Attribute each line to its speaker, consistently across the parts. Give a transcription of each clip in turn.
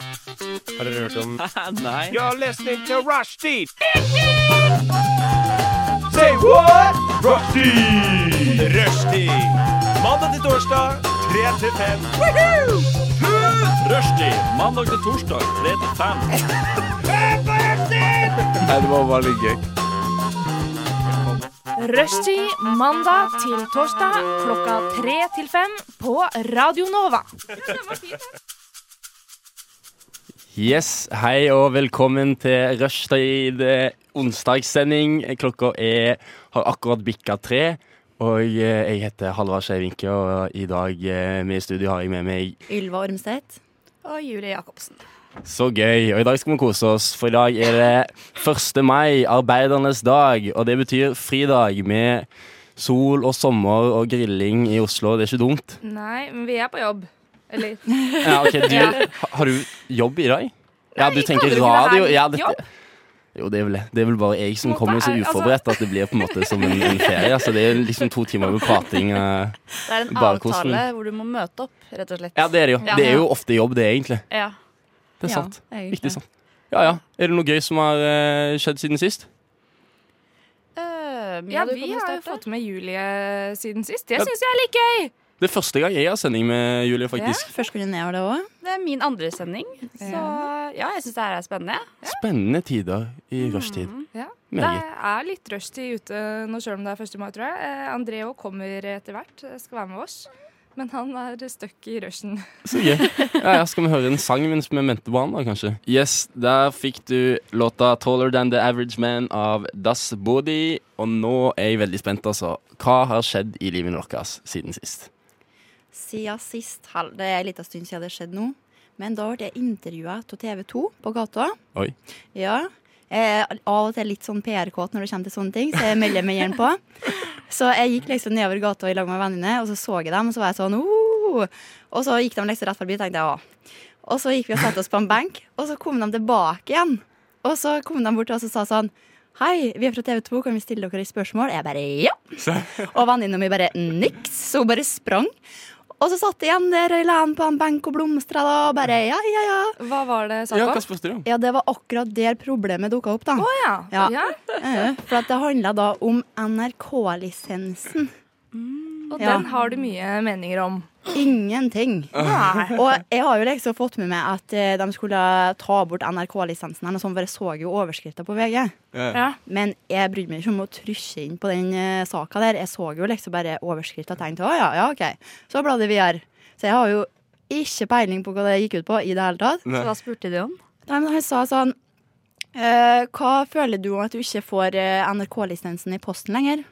Speaker 1: Har dere hørt om
Speaker 2: Nei.
Speaker 3: You're listening to Rushdie. Say what? Rushdie. Rushdie. Mandag til torsdag, 3 til 5.
Speaker 2: Rushdie mandag til torsdag 3 til 5.
Speaker 4: Nei, det var bare litt gøy.
Speaker 5: Rushtid mandag til torsdag klokka tre til fem på Radio Nova.
Speaker 1: Yes, hei og velkommen til Rushtid eh, onsdagssending. Klokka er, har akkurat bikka tre. Og eh, jeg heter Halvard Skeivinke, og i dag eh, med i studio har jeg med meg
Speaker 6: Ylva Ormseth. Og Julie Jacobsen.
Speaker 1: Så gøy. Og i dag skal vi kose oss, for i dag er det 1. mai, arbeidernes dag. Og det betyr fridag med sol og sommer og grilling i Oslo. Det er ikke dumt.
Speaker 5: Nei, men vi er på jobb. Eller
Speaker 1: Ja, ok, du, ha- Har du jobb i dag? Ja, du tenker
Speaker 5: aldri kunne
Speaker 1: radio?
Speaker 5: være
Speaker 1: Ja,
Speaker 5: litt
Speaker 1: dette, jo, det er, vel, det er vel bare jeg som
Speaker 5: Måte
Speaker 1: kommer så
Speaker 5: er- altså-
Speaker 1: uforberedt at det blir på en måte som en, en ferie. Altså, det er liksom to timer med prating. eh.
Speaker 6: Det er en
Speaker 1: Bare kosen.
Speaker 6: avtale hvor du må møte opp, rett og slett.
Speaker 1: Ja, det er det jo.
Speaker 6: Ja.
Speaker 1: Det er jo ofte jobb, det, egentlig.
Speaker 6: Ja.
Speaker 1: Det er
Speaker 4: Ja,
Speaker 1: sant.
Speaker 4: egentlig.
Speaker 1: Viktig sant. Ja, ja. Er det noe gøy som har eh, skjedd siden sist?
Speaker 6: Eh, Mia,
Speaker 5: Ja,
Speaker 6: du
Speaker 5: vi
Speaker 6: kan jo
Speaker 5: har jo
Speaker 6: starte.
Speaker 5: fått med Julie siden sist. Det
Speaker 1: Ja.
Speaker 5: syns jeg er litt gøy.
Speaker 1: Det er første gang jeg har sending med Julie, faktisk.
Speaker 4: Første gangen jeg var det òg.
Speaker 6: Det er min andre sending, så ja, jeg syns det her er spennende.
Speaker 1: Spennende tider i rushtid.
Speaker 5: Ja. Det
Speaker 1: Meget.
Speaker 5: er litt rushtid ute nå sjøl om det er 1. mai, tror jeg. Eh, André òg kommer etter hvert, eh, skal være med oss. Men han er stuck i rushen.
Speaker 1: Så gøy. Ja, ja, skal vi høre en sang mens vi venter på han, da, kanskje? Yes, der fikk du låta 'Taller Than The Average Man' av Das Body. Og nå er jeg veldig spent, altså. Hva har skjedd i livet deres siden sist?
Speaker 4: Siden sist halv Det er en liten stund siden det skjedde nå. Men da ble jeg intervjua av TV 2 på gata.
Speaker 1: Oi.
Speaker 4: Ja. Jeg er av og til litt sånn PR-kåt når det kommer til sånne ting, så jeg melder meg gjerne på. Så jeg gikk liksom nedover gata i lag med vennene, og så så jeg dem, og så var jeg sånn «Oh!» Og så gikk de liksom rett forbi, tenkte jeg ja. Og så gikk vi og satte oss på en benk, og så kom de tilbake igjen. Og så kom de bort til oss og sa sånn Hei, vi er fra TV 2, kan vi stille dere et spørsmål? Jeg bare ja. Og venninna mi bare niks. Så hun bare sprang. Og så satt jeg igjen der og la han på en benk og blomstra da, og bare ja, ja, ja.
Speaker 5: Hva var det sak
Speaker 1: Ja,
Speaker 5: om?
Speaker 1: hva spurte du om?
Speaker 4: Ja, det var akkurat der problemet dukka opp, da.
Speaker 5: Å ja.
Speaker 4: Ja.
Speaker 5: ja.
Speaker 4: Eh, For at det handla da om NRK-lisensen.
Speaker 5: Og
Speaker 4: Ja.
Speaker 5: den har du mye meninger om.
Speaker 4: Ingenting. Og jeg har jo liksom fått med meg at eh, de skulle ta bort NRK-lisensen, her, og sånn, for jeg så jo overskrifta på VG.
Speaker 5: Ja.
Speaker 4: Men jeg brydde meg ikke om å trysje inn på den eh, saka der. Jeg så jo liksom bare overskrifta og tenkte å ja, ja, OK. Så bladde vi her. Så jeg har jo ikke peiling på hva det gikk ut på i det hele tatt.
Speaker 6: Så hva spurte de om?
Speaker 4: Nei, men han sa sånn «Eh, Hva føler du om at du ikke får eh, NRK-lisensen i posten lenger?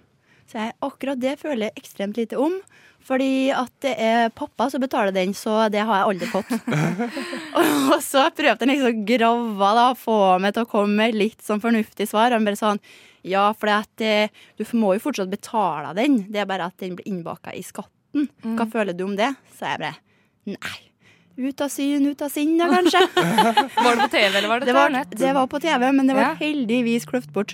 Speaker 4: Så jeg, akkurat det føler jeg ekstremt lite om. Fordi at det er pappa som betaler den, så det har jeg aldri fått. og så prøvde han liksom å grave da, få meg til å komme med litt sånn fornuftig svar. Han bare sånn Ja, for at, eh, du må jo fortsatt betale den. Det er bare at den blir innbaka i skatten. Hva føler du om det? Så jeg bare Nei. Ut av syn, ut av sinn, da, kanskje.
Speaker 5: Var det på TV, eller var det,
Speaker 4: Det
Speaker 5: på
Speaker 4: var,
Speaker 5: nett?
Speaker 4: det var på TV, men det var
Speaker 5: Ja.
Speaker 4: heldigvis kløft bort.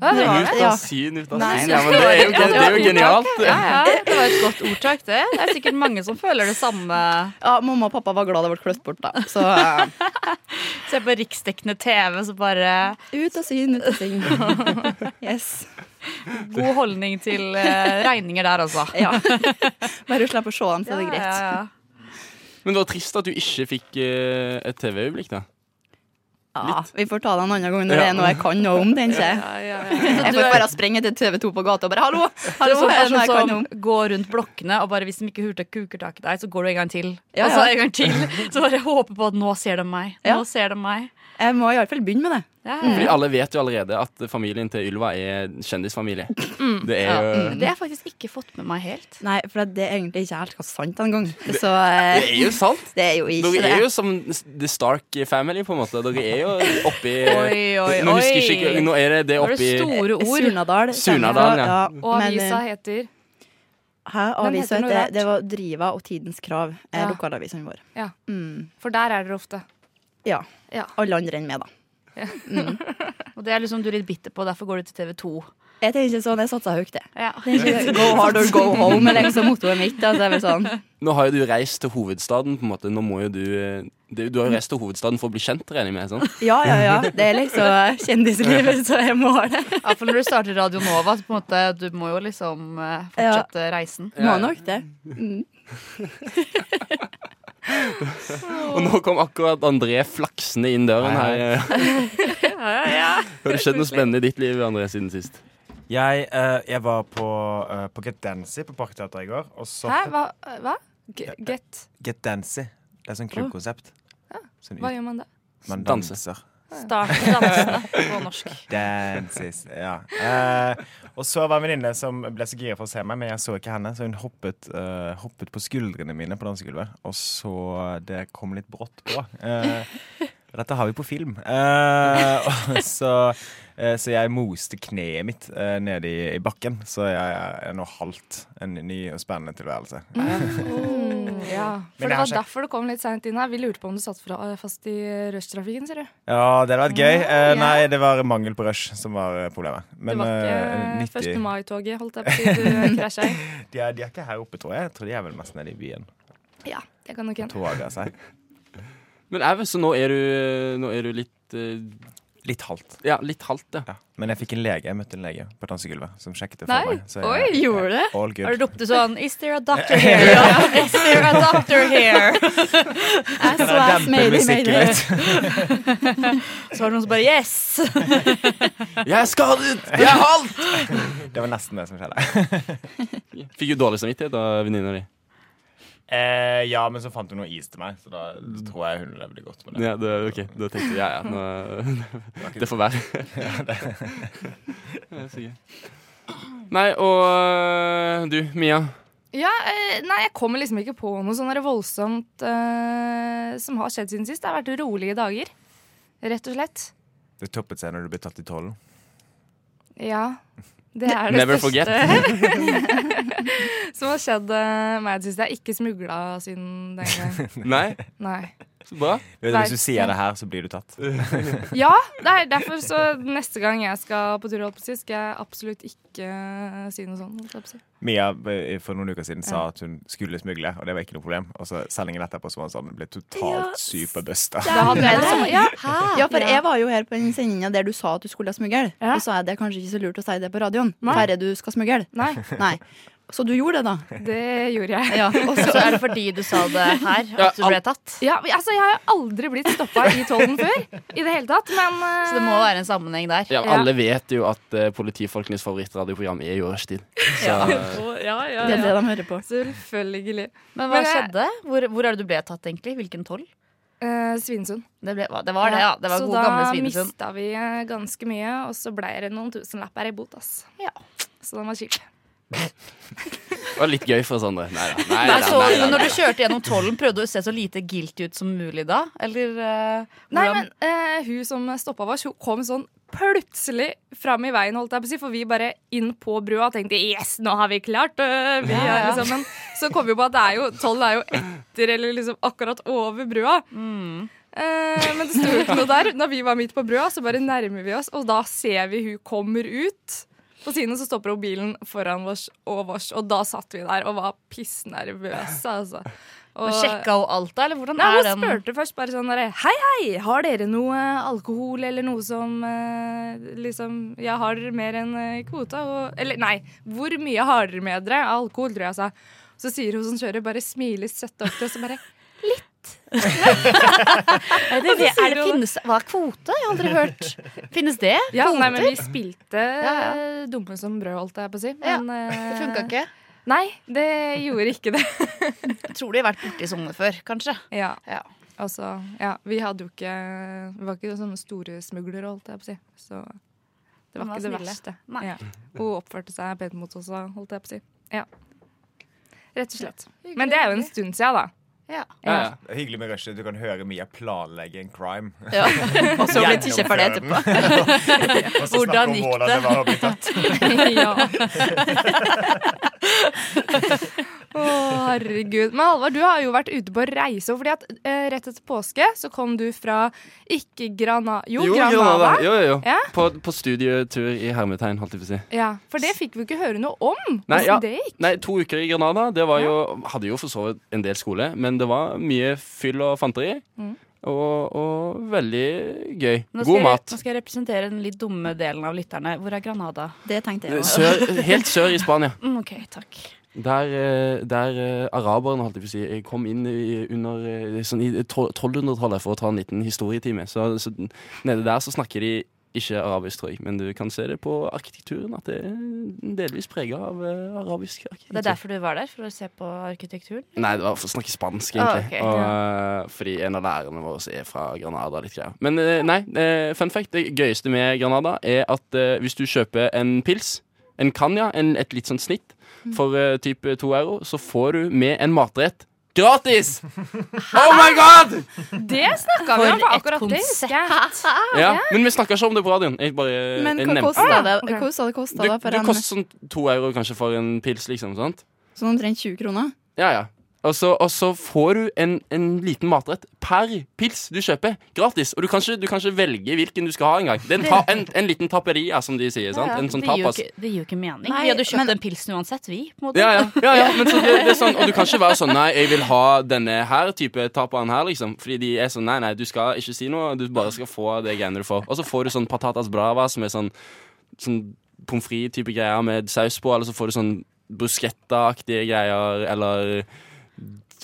Speaker 5: Ja, det var
Speaker 1: Ut
Speaker 5: det.
Speaker 1: av
Speaker 4: Ja.
Speaker 1: syn, ut av
Speaker 4: Nei,
Speaker 1: syn. Ja, men det er jo, det er jo genialt.
Speaker 6: Ja, ja, det var et godt ordtak, det. Det er sikkert mange som føler det samme.
Speaker 4: Ja, Mamma og pappa var glad det ble kløft bort, da. Så eh,
Speaker 6: Se på riksdekkende TV, så bare
Speaker 4: ut av syn, ut av syn. Yes.
Speaker 6: God holdning til eh, regninger der, altså.
Speaker 4: Ja. Bare du slipper å se dem, så er det
Speaker 6: Ja,
Speaker 4: greit.
Speaker 6: ja, ja.
Speaker 1: Men det var trist at du ikke fikk eh, et TV-øyeblikk, da.
Speaker 4: Ja, vi får ta det en annen gang når det
Speaker 1: Ja.
Speaker 4: er noe jeg kan noe om. tenker jeg. Jeg får bare sprenge til TV 2 på gata og bare 'hallo'!
Speaker 6: Det er
Speaker 4: hallo, er det noe jeg
Speaker 6: sånn
Speaker 4: kan
Speaker 6: som
Speaker 4: om?
Speaker 6: går rundt blokkene og bare hvis de ikke hurtig kuker tak i deg, så går du en gang til.
Speaker 4: Ja,
Speaker 6: Og så
Speaker 4: ja.
Speaker 6: en gang til. Så bare håper på at nå ser de meg. Nå
Speaker 4: Ja.
Speaker 6: ser de meg.
Speaker 4: Jeg må iallfall begynne med det.
Speaker 6: Ja,
Speaker 1: Fordi alle vet jo allerede at familien til Ylva er kjendisfamilie. Det er
Speaker 6: ja. Mm.
Speaker 1: jo
Speaker 6: Det har jeg faktisk ikke fått med meg helt.
Speaker 4: Nei, for det er egentlig ikke helt sant engang. Så eh,
Speaker 1: Det er jo sant.
Speaker 4: det er jo ikke
Speaker 1: Dere er
Speaker 4: det.
Speaker 1: jo som The Stark family, på en måte. Dere er jo oppi
Speaker 6: Oi, oi,
Speaker 1: Nå husker jeg
Speaker 6: oi.
Speaker 1: ikke Nå er det det
Speaker 6: Var det
Speaker 1: oppi
Speaker 6: store ord?
Speaker 4: Surnadal.
Speaker 1: Surnadal, ja.
Speaker 5: Og
Speaker 4: men, eh,
Speaker 5: avisa heter
Speaker 4: Hæ,
Speaker 5: Den
Speaker 4: avisa
Speaker 5: heter noe
Speaker 4: heter
Speaker 5: rart.
Speaker 4: Det var Driva og Tidens Krav.
Speaker 5: Ja.
Speaker 4: Ja. Lokalavisene våre.
Speaker 5: Ja.
Speaker 4: Mm.
Speaker 5: For der er dere ofte.
Speaker 4: ja.
Speaker 5: Ja.
Speaker 4: Alle andre enn meg, da.
Speaker 6: Og det er liksom du er litt bitter på, derfor går du til TV 2.
Speaker 4: Jeg tenker sånn, jeg satser høyt, det.
Speaker 6: Ja.
Speaker 4: Go hard or go home er liksom mottoet mitt. Altså, jeg er vel sånn.
Speaker 1: Nå har jo du reist til hovedstaden, på en måte. Nå må jo du eh, det- Du har jo reist til hovedstaden for å bli kjent, regner jeg med? sånn?
Speaker 4: Ja, ja, ja. Det er liksom kjendislivet, så jeg må ha det.
Speaker 6: Ja, for når du starter Radio Nova, så på en måte, du må jo liksom eh, fortsette reisen.
Speaker 4: Må nok det. Mm.
Speaker 1: Og nå kom akkurat André flaksende inn døren
Speaker 7: Hei,
Speaker 1: her. Har det skjedd noe spennende i ditt liv, André, siden sist?
Speaker 7: Jeg, eh, jeg var på, eh, på Get Dancy på Parkteatret i går. Og så
Speaker 5: Hæ? Hva? hva? G get?
Speaker 7: Get Dancy. Det er sånn klubbkonsept. Sånn
Speaker 5: Hva
Speaker 7: ut,
Speaker 5: gjør man da?
Speaker 7: man
Speaker 1: Danse.
Speaker 7: danser.
Speaker 6: Start dansene på norsk.
Speaker 7: Dances, ja. Eh, og så var en venninne som ble så gira for å se meg, men jeg så ikke henne. Så hun hoppet, eh, hoppet på skuldrene mine på dansegulvet, og så det kom litt brått på. Eh, og dette har vi på film. Eh, og så, eh, så jeg moste kneet mitt eh, nede i, i bakken, så jeg er nå halvt en ny og spennende tilværelse.
Speaker 5: Mm, Ja,
Speaker 7: Men
Speaker 5: for
Speaker 7: det
Speaker 5: det
Speaker 7: har
Speaker 5: var
Speaker 7: skjedd.
Speaker 5: derfor du kom litt seint inn her. Vi lurte på om du satt fra- eh, fast i rushtrafikken, ser du.
Speaker 7: Ja, det hadde vært gøy. Eh,
Speaker 5: Ja.
Speaker 7: nei, det var mangel på rush som var eh, problemet.
Speaker 5: Det
Speaker 7: Men
Speaker 5: var
Speaker 7: eh,
Speaker 5: ikke
Speaker 7: 90
Speaker 5: 1. mai-toget, holdt jeg på å si. Du krasja i.
Speaker 7: de, er, de er ikke her oppe, tror jeg. Jeg tror de er vel mest nede i byen.
Speaker 5: Ja, det kan nok hende.
Speaker 7: Toga seg.
Speaker 1: Men Au, så nå er du, nå er du litt eh,
Speaker 7: Litt halvt.
Speaker 1: Ja, litt halvt, ja.
Speaker 7: Ja. Men jeg fikk en lege, jeg møtte en lege på dansegulvet som sjekket det for
Speaker 6: Nei,
Speaker 7: meg. Så jeg,
Speaker 6: oi,
Speaker 4: gjorde du det?
Speaker 7: All
Speaker 6: Har
Speaker 7: good.
Speaker 6: du ropt sånn Is there a doctor here? Is there a doctor here?
Speaker 4: SOS, mayday, mayday.
Speaker 6: Så var det noen som bare Yes!
Speaker 1: Jeg er skadet! Jeg er halvt!
Speaker 7: Det var nesten det som skjedde.
Speaker 1: Fikk du dårlig samvittighet av venninna di?
Speaker 7: Eh, ja, men så fant hun noe is til meg, så da tror jeg hun levde godt med det.
Speaker 1: Ja, det, ok, da tenkte jeg ja, ja, nå, det får være. Det er så gøy. Nei, og du, Mia.
Speaker 5: Ja, eh, nei, jeg kommer liksom ikke på noe sånn der voldsomt eh, som har skjedd siden sist. Det har vært rolige dager, rett og slett.
Speaker 7: Det toppet seg når du ble tatt i tollen.
Speaker 5: Ja. Det er det
Speaker 1: Never
Speaker 5: største
Speaker 1: forget.
Speaker 5: som har skjedd eh, meg i det siste. Jeg er ikke smugla siden den gang.
Speaker 1: Nei,
Speaker 5: Nei.
Speaker 1: så bra.
Speaker 7: Hvis du sier det her, så blir du tatt.
Speaker 5: Ja, det er derfor så neste gang jeg skal på tur, holdt på å si, skal jeg absolutt ikke eh, si noe sånt. Holdt jeg på å si.
Speaker 7: Mia eh, for noen uker siden sa at hun skulle smugle, og det var ikke noe problem. Og så sendingen etterpå så var hun sånn, ble
Speaker 4: Ja,
Speaker 7: totalt superbusta.
Speaker 5: Da hadde jeg det sånn. Ja,
Speaker 4: Ja, for jeg var jo her på den sendinga der du sa at du skulle smugle.
Speaker 5: Ja.
Speaker 4: Og så er det kanskje ikke så lurt å si det på radioen. Færre du skal smugle.
Speaker 5: nei,
Speaker 4: Nei. Så du gjorde det, da.
Speaker 5: det gjorde jeg.
Speaker 4: Ja, og
Speaker 6: Så
Speaker 4: så
Speaker 6: er det fordi du sa det her,
Speaker 1: Ja,
Speaker 6: at du ble tatt?
Speaker 5: Ja, men altså, jeg har aldri blitt stoppa i tollen før, i det hele tatt, men eh,
Speaker 6: Så det må være en sammenheng der.
Speaker 1: Ja, alle vet jo at eh, politifolkenes favorittradioprogram er jo rushtid. Så eh,
Speaker 4: det er det de hører på.
Speaker 5: Selvfølgelig.
Speaker 6: Men hva
Speaker 5: Men jeg-
Speaker 6: skjedde? Hvor, hvor er det du ble tatt, egentlig? Hvilken toll?
Speaker 5: Eh, Svinesund.
Speaker 6: Det, ble, det var det, ja. Det var
Speaker 5: så
Speaker 6: god
Speaker 5: da
Speaker 6: gamle Svinesund.
Speaker 5: mista vi eh, ganske mye, og så ble det noen tusenlapper i bot. ass.
Speaker 6: Ja.
Speaker 5: Så den var kjip.
Speaker 1: det var litt gøy for oss andre. Nei da. Nei,
Speaker 6: Men
Speaker 1: da,
Speaker 6: så,
Speaker 1: nei, da,
Speaker 6: når
Speaker 1: nei.
Speaker 6: du kjørte gjennom tollen, prøvde du å se så lite guilty ut som mulig da? Eller eh,
Speaker 5: Nei,
Speaker 6: hvordan-
Speaker 5: men eh, hun som stoppa oss, hun kom sånn plutselig fram i veien, holdt jeg på å si, for vi bare inn på brua og tenkte yes, nå har vi klart det! Vi
Speaker 6: Ja,
Speaker 5: er
Speaker 6: ja.
Speaker 5: liksom, men så kom vi på at det er jo, tollen er jo etter eller liksom akkurat over brua.
Speaker 6: Mm.
Speaker 5: Eh, men det sto jo ikke noe der. Da vi var midt på brua, så bare nærmer vi oss, og da ser vi hun kommer ut. På siden så stopper hun bilen foran vårs og vårs, og da satt vi der og var pissnervøse, altså.
Speaker 6: Og sjekka hun alt da, eller hvordan
Speaker 5: Nei,
Speaker 6: er
Speaker 5: Hun
Speaker 6: den?
Speaker 5: spurte først bare sånn derre Hei, hei, har dere noe eh, alkohol eller noe som eh, liksom Jeg har mer enn eh, kvota. Og, eller nei, hvor mye har dere med dere? Alkohol, tror jeg jeg sa. Så sier hun som kjører, bare smiler søtt opp til oss og bare
Speaker 6: Er det, det,
Speaker 5: sier
Speaker 6: er det
Speaker 5: hun-
Speaker 6: finnes, hva er kvote? Jeg har aldri hørt. Finnes det?
Speaker 5: Ja, nei, men vi spilte
Speaker 6: ja.
Speaker 5: eh, dumme som brød, holdt jeg på å si.
Speaker 6: Ja,
Speaker 5: Men eh,
Speaker 6: Det funka ikke.
Speaker 5: Nei, det gjorde ikke det.
Speaker 6: Jeg tror de har vært borti sånne før, kanskje.
Speaker 5: Ja.
Speaker 6: Ja.
Speaker 5: Altså, ja, vi hadde jo ikke Vi var ikke sånne store smuglere, holdt jeg på å si. Så det var
Speaker 6: Men
Speaker 5: ikke
Speaker 6: var
Speaker 5: det
Speaker 6: snille.
Speaker 5: verste.
Speaker 6: Nei.
Speaker 5: Ja. Hun oppførte seg pent mot oss, da, holdt jeg på å si. Ja. Rett og slett. Men det er jo en stund siden, da.
Speaker 6: Ja.
Speaker 1: Ja, ja.
Speaker 7: Det er hyggelig med rushet. Du kan høre Mia planlegge en crime.
Speaker 6: Og så blir tisje for det
Speaker 7: Gjennomføre
Speaker 6: etterpå.
Speaker 7: den. Og så snakke
Speaker 6: Hvordan
Speaker 7: om
Speaker 6: gikk
Speaker 7: hvordan
Speaker 6: det?
Speaker 7: det var å bli tatt.
Speaker 5: ja. Å, herregud. Men Halvard, du har jo vært ute på reise. Fordi at eh, rett etter påske så kom du fra ikke Grana... Jo, Granada.
Speaker 1: Jo, jo, jo.
Speaker 5: Ja.
Speaker 1: På, på studietur i Hermetegn, holdt jeg på å si.
Speaker 5: Ja, For det fikk vi ikke høre noe om.
Speaker 1: Nei,
Speaker 5: hvordan
Speaker 1: ja.
Speaker 5: det gikk.
Speaker 1: Nei, to uker i Granada. Det var jo, hadde jo for så vidt en del skole, men det var mye fyll og fanteri. Og, og veldig gøy.
Speaker 6: Mm. Nå skal,
Speaker 1: God
Speaker 6: jeg,
Speaker 1: mat.
Speaker 6: nå skal jeg representere den litt dumme delen av lytterne. Hvor er Granada?
Speaker 4: Det tenkte jeg også.
Speaker 1: Sør, helt sør i Spania.
Speaker 6: Mm, ok, takk.
Speaker 1: Der, eh, der eh, araberne holdt jeg på å si, eh, kom inn i, under eh, sånn i tol- 1200-tallet for å ta en liten historietime. Så, så nede der så snakker de ikke arabisk, tror jeg. Men du kan se det på arkitekturen at det er delvis prega av eh, arabisk arkitektur.
Speaker 6: Det er derfor du var der, for å se på arkitekturen?
Speaker 1: Nei, det var for å snakke spansk,
Speaker 6: Ah,
Speaker 1: egentlig.
Speaker 6: ok,
Speaker 1: og, eh, Fordi en av lærerne våre er fra Granada. og Litt greier. Men eh, nei, eh, fun fact, det gøyeste med Granada er at eh, hvis du kjøper en pils, en canja, en, et litt sånn snitt, for eh, type to euro, så får du med en matrett gratis! Oh my god!
Speaker 5: Det snakka
Speaker 6: For
Speaker 5: vi om, for
Speaker 6: et
Speaker 5: akkurat det husker jeg.
Speaker 1: Ja, men vi snakker ikke om det på radioen. Jeg bare jeg
Speaker 4: Men hva
Speaker 1: nevnte
Speaker 4: kosta det?
Speaker 5: ok.
Speaker 4: Hva sa det kosta
Speaker 1: det.
Speaker 4: da
Speaker 1: Du,
Speaker 4: for
Speaker 1: du
Speaker 4: en
Speaker 1: koster sånn to euro kanskje for en pils, liksom. sant?
Speaker 4: sånn omtrent 20 kroner?
Speaker 1: Ja, ja. Og så, og så får du en, en liten matrett per pils du kjøper. Gratis. Og du kan ikke, du kan ikke velge hvilken du skal ha engang. Det er en, ta, en, en liten taperia, som de sier. sant? En sånn
Speaker 6: det, gir jo
Speaker 1: tapas.
Speaker 6: ikke, det gir jo ikke mening.
Speaker 4: Nei,
Speaker 6: vi hadde kjøpt
Speaker 4: men-
Speaker 6: den pilsen uansett, vi. På en måte.
Speaker 1: Ja, ja. ja, ja. Men så det, det er sånn, og du kan ikke være sånn Nei, jeg vil ha denne her type tapaen her, liksom. Fordi de er sånn Nei, nei, du skal ikke si noe. Du bare skal få det greiene du får. Og så får du sånn patatas brava, som er sånn, sånn pommes frites-type greier med saus på. Eller så får du sånn bruschetta-aktige greier, eller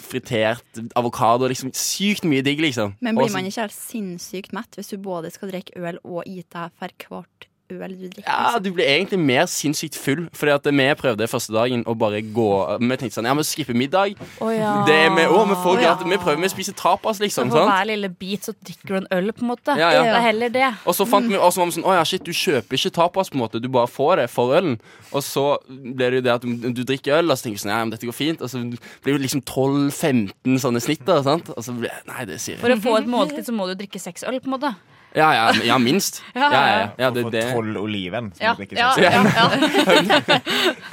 Speaker 1: fritert avokado. Liksom sykt mye digg, liksom.
Speaker 4: Men blir
Speaker 1: Og så-
Speaker 4: man ikke helt sinnssykt mett hvis du både skal drikke øl og ite for hvert øl du drikker?
Speaker 1: Ja, Altså, du blir egentlig mer sinnssykt full. Fordi at vi prøvde første dagen å bare gå Vi tenkte sånn, ja, vi skipper middag. Det er med, å, vi, får gratis, vi prøver, vi spiser tapas,
Speaker 6: Så
Speaker 1: liksom.
Speaker 6: på
Speaker 1: sant?
Speaker 6: hver lille bit så drikker du en øl, på en måte.
Speaker 1: Ja, ja.
Speaker 6: Det er heller det.
Speaker 1: Og så fant vi, og så var vi sånn, å ja, shit, du kjøper ikke tapas, på en måte, du bare får det for ølen. Og så ble det jo det at du, du drikker øl, og så tenker du sånn, ja, men dette går fint. Og så blir det liksom 12-15 sånne snitter, sant. Og så blir Nei, det sier jeg.
Speaker 6: For å få et måltid så må du drikke seks øl, på en måte.
Speaker 1: Ja, ja, ja, minst. Ja, ja, ja. ja det,
Speaker 7: For
Speaker 1: det.
Speaker 7: tolv oliven. som du drikker
Speaker 6: ja,
Speaker 7: sånn.
Speaker 6: ja, ja.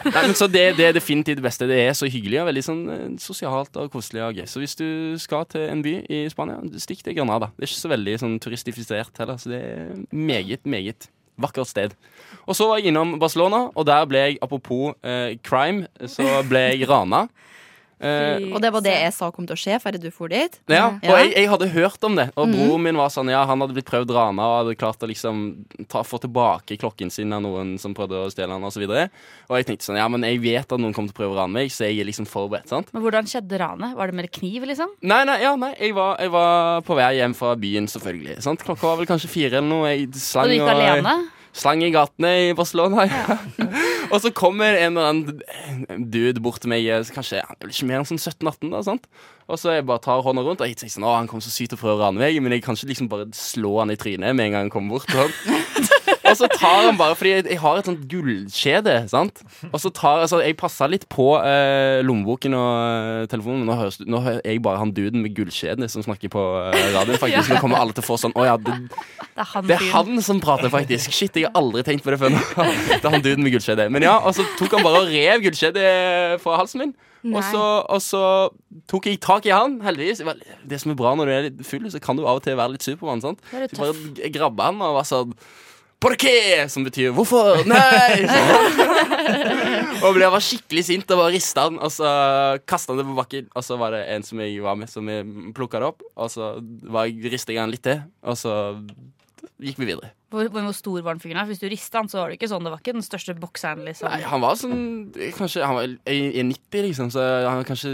Speaker 1: Nei, men så det, det er definitivt det beste. Det er så hyggelig og veldig sånn eh, sosialt og koselig og gøy. Så hvis du skal til en by i Spania, stikk til Granada. Det er ikke så veldig sånn turistifisert heller, så det er meget, meget vakkert sted. Og så var jeg innom Barcelona, og der ble jeg, apropos eh, crime, så ble jeg rana. Eh,
Speaker 4: Og det var det jeg sa kom til å skje før du for dit.
Speaker 1: ja, og
Speaker 4: Ja.
Speaker 1: jeg, jeg hadde hørt om det. Og
Speaker 6: Mhm.
Speaker 1: broren min var sånn, ja, han hadde blitt prøvd rana og hadde klart å liksom ta, få tilbake klokken sin av noen som prøvde å stjele han og så videre. Og jeg tenkte sånn, ja, men jeg vet at noen kommer til å prøve å rane meg, så jeg er liksom forberedt. sant?
Speaker 6: Men hvordan skjedde ranet? Var det med kniv, liksom?
Speaker 1: Nei, nei, ja, nei, jeg var, jeg var på vei hjem fra byen, selvfølgelig. sant? Klokka var vel kanskje fire eller noe. Jeg
Speaker 6: Og
Speaker 1: slang,
Speaker 6: du gikk alene?
Speaker 1: slang i gatene i Barcelona. Ja. og så kommer en eller annen dude bort til meg, eh, kanskje han er vel ikke mer enn sånn 17-18, da, sant? Og så jeg bare tar hånda rundt, og jeg tenker sånn, å, han kommer så sykt til å prøve å rane meg, men jeg kan ikke liksom bare slå han i trynet med en gang han kommer bort. Sånn. og så tar han bare, fordi jeg, jeg har et sånt gullkjede, sant? Og så tar, altså, jeg passer litt på eh, lommeboken og eh, telefonen, men nå, høres, nå hører jeg bare han duden med gullkjedene som snakker på eh, radioen, faktisk. Nå kommer alle til å få sånn, å ja, det,
Speaker 6: Det er han
Speaker 1: det er
Speaker 6: fyren.
Speaker 1: han som prater, faktisk. Shit, jeg har aldri tenkt på det før nå. Det er han duden med gullkjede. Men ja, og så tok han bare og rev gullkjedet fra halsen min. Og så, og så tok jeg tak i han, heldigvis. Jeg var- Det som er bra når du er litt full, så kan du av og til være litt Supermann. sant?
Speaker 6: Da er du
Speaker 1: Så
Speaker 6: tøff.
Speaker 1: bare grabba han og var sånn Por qué? Som betyr 'hvorfor'? Nei! sånn. og ble jeg var skikkelig sint og bare rista han, og så kasta han det på bakken. Og så var det en som jeg var med, som plukka det opp, og så rista jeg han litt til, og så gikk vi videre.
Speaker 6: Hvor, hvor hvor stor var den fyren? her? Hvis du rista han, så var det ikke sånn. Det var ikke den største bokseren, liksom.
Speaker 1: Nei, han var sånn Kanskje han var 1,90, liksom, så han var kanskje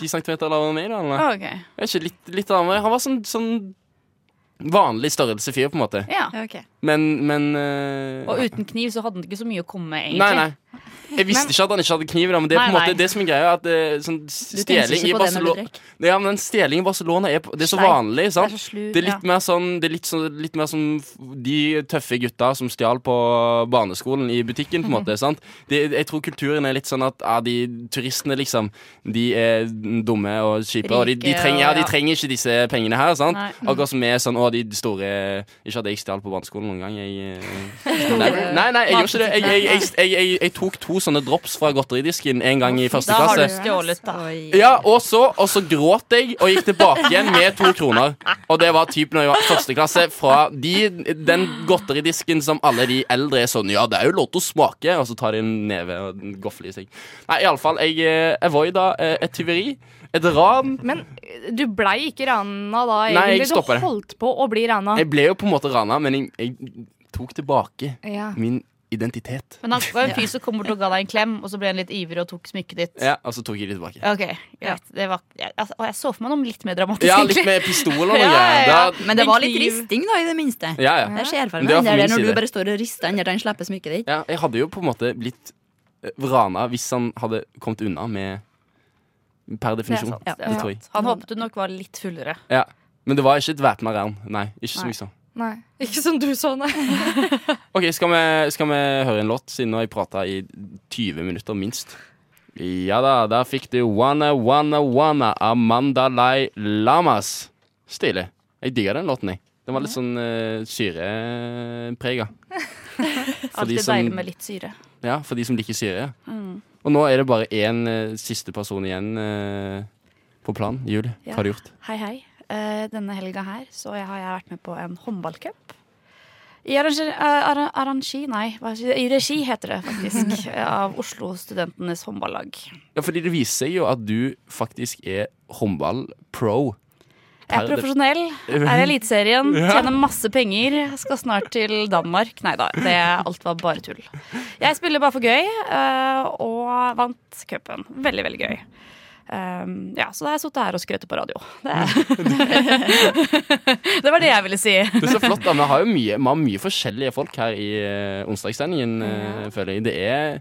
Speaker 1: 10 cm lavere enn meg. da, eller noe.
Speaker 6: Ah, ok.
Speaker 1: Jeg vet ikke, litt, litt lavere. Han var sånn, sånn vanlig størrelse fyr, på en måte.
Speaker 6: Ja.
Speaker 4: Ok.
Speaker 1: Men, men eh,
Speaker 6: Og uten kniv så hadde han ikke så mye å komme med, egentlig.
Speaker 1: Nei, nei. Jeg visste ikke at han ikke hadde kniv, da, men det, er på en
Speaker 6: Nei, nei.
Speaker 1: måte, det som er greia, er at eh, sånn
Speaker 4: Du tenker
Speaker 1: stjeling i
Speaker 4: ikke på det når du
Speaker 1: Barcelona
Speaker 4: drikker.
Speaker 1: Ja, men den stjeling i Barcelona er, på- det er så
Speaker 6: Steik.
Speaker 1: vanlig, sant?
Speaker 6: Det er så slu,
Speaker 1: Det er
Speaker 6: ja.
Speaker 1: litt mer sånn Det er litt, sånn, litt mer som de tøffe gutta som stjal på barneskolen i butikken, på en måte. sant? Det, jeg tror kulturen er litt sånn at ja, de turistene, liksom, de er dumme og kjipe. Og de, de,
Speaker 6: Rike
Speaker 1: trenger, ja,
Speaker 6: og-
Speaker 1: de
Speaker 6: ja.
Speaker 1: trenger ikke disse pengene her, sant?
Speaker 6: Nei.
Speaker 1: Akkurat som vi er sånn Å, de store Ikke at jeg stjal på barneskolen noen gang. Jeg, eh, nei, nei, nei, jeg gjorde ikke det. Jeg, jeg, jeg, jeg, jeg, jeg tok tok to sånne drops fra godteridisken en gang i første
Speaker 6: Da har du
Speaker 1: klasse.
Speaker 6: stjålet, da.
Speaker 1: Ja, og så, og så gråt jeg og gikk tilbake igjen med to kroner. Og det var typ når jeg var i første klasse. Fra de, den godteridisken som alle de eldre er sånn Ja, det er jo lov til å smake. Og så tar de en neve og en gofle i seg. Nei, iallfall. Jeg eh, avoida eh, et tyveri. Et ran.
Speaker 5: Men eh, du blei ikke rana da,
Speaker 1: Nei, jeg
Speaker 5: egentlig.
Speaker 1: stopper det.
Speaker 5: du holdt på å bli rana.
Speaker 1: Jeg ble jo på en måte rana, men jeg, jeg tok tilbake
Speaker 5: Ja.
Speaker 1: min identitet.
Speaker 6: Men han var en fyr som kom bort og ga deg en klem, og så ble han litt ivrig og tok smykket ditt.
Speaker 1: Ja, Og så tok jeg det tilbake.
Speaker 6: Ok, greit. Det var, jeg, altså, og jeg så for meg noe litt mer dramatisk,
Speaker 1: Ja, litt
Speaker 6: egentlig.
Speaker 1: med pistol og noe
Speaker 6: Ja, ja,
Speaker 1: greier.
Speaker 6: ja.
Speaker 1: Da-
Speaker 4: Men det var litt
Speaker 5: kniv.
Speaker 4: risting, da, i det minste.
Speaker 1: Ja, ja.
Speaker 4: Det skjer for
Speaker 1: Men
Speaker 4: meg.
Speaker 1: det var
Speaker 4: Det er
Speaker 1: for
Speaker 4: det
Speaker 1: min
Speaker 4: når
Speaker 1: side.
Speaker 4: du bare står og rister den der den slipper smykket ditt.
Speaker 1: ja. Jeg hadde jo på en måte blitt eh, vrana hvis han hadde kommet unna med Per definisjon.
Speaker 6: Det er sant.
Speaker 1: Det tror jeg.
Speaker 6: Han håpet du nok var litt fullere.
Speaker 1: Ja. Men det var ikke et væpna ran. Nei, ikke som
Speaker 6: Nei.
Speaker 1: jeg sa.
Speaker 5: Nei, ikke som du så, nei.
Speaker 1: OK, skal vi, skal vi høre en låt, siden nå har jeg prata i 20 minutter minst? Ja da, der fikk du Wanna Wanna Wanna av Mandalay Lamas. Stilig. Jeg digger den låten, jeg. Den var litt sånn eh, uh, syreprega. For de
Speaker 6: Alltid
Speaker 1: som-
Speaker 6: deilig med litt syre.
Speaker 1: Ja, for de som liker Syria. Og nå er det bare én eh, siste person igjen eh, på planen. Julie,
Speaker 6: Ja.
Speaker 1: hva har du gjort?
Speaker 6: Hei, hei. Eh, denne helga her så jeg har jeg vært med på en håndballcup. I arrangi, eh, arra- arrangi nei, hva sier jeg? i regi heter det faktisk, av Oslo Studentenes Håndballag.
Speaker 1: Ja, fordi det viser seg jo at du faktisk er håndball-pro.
Speaker 6: Jeg
Speaker 1: Er
Speaker 6: er
Speaker 1: det-
Speaker 6: profesjonell, er i Eliteserien, tjener masse penger, skal snart til Danmark. Nei da, det alt var bare tull. Jeg spiller bare for gøy, eh, og vant cupen. Veldig, veldig gøy. Um, ja, så da har jeg sittet her og skrøtet på radio. Det, det var det jeg ville si.
Speaker 1: Det er så flott, da. Vi har jo mye, vi har mye forskjellige folk her i uh, onsdagssendingen, eh, føler jeg. Det er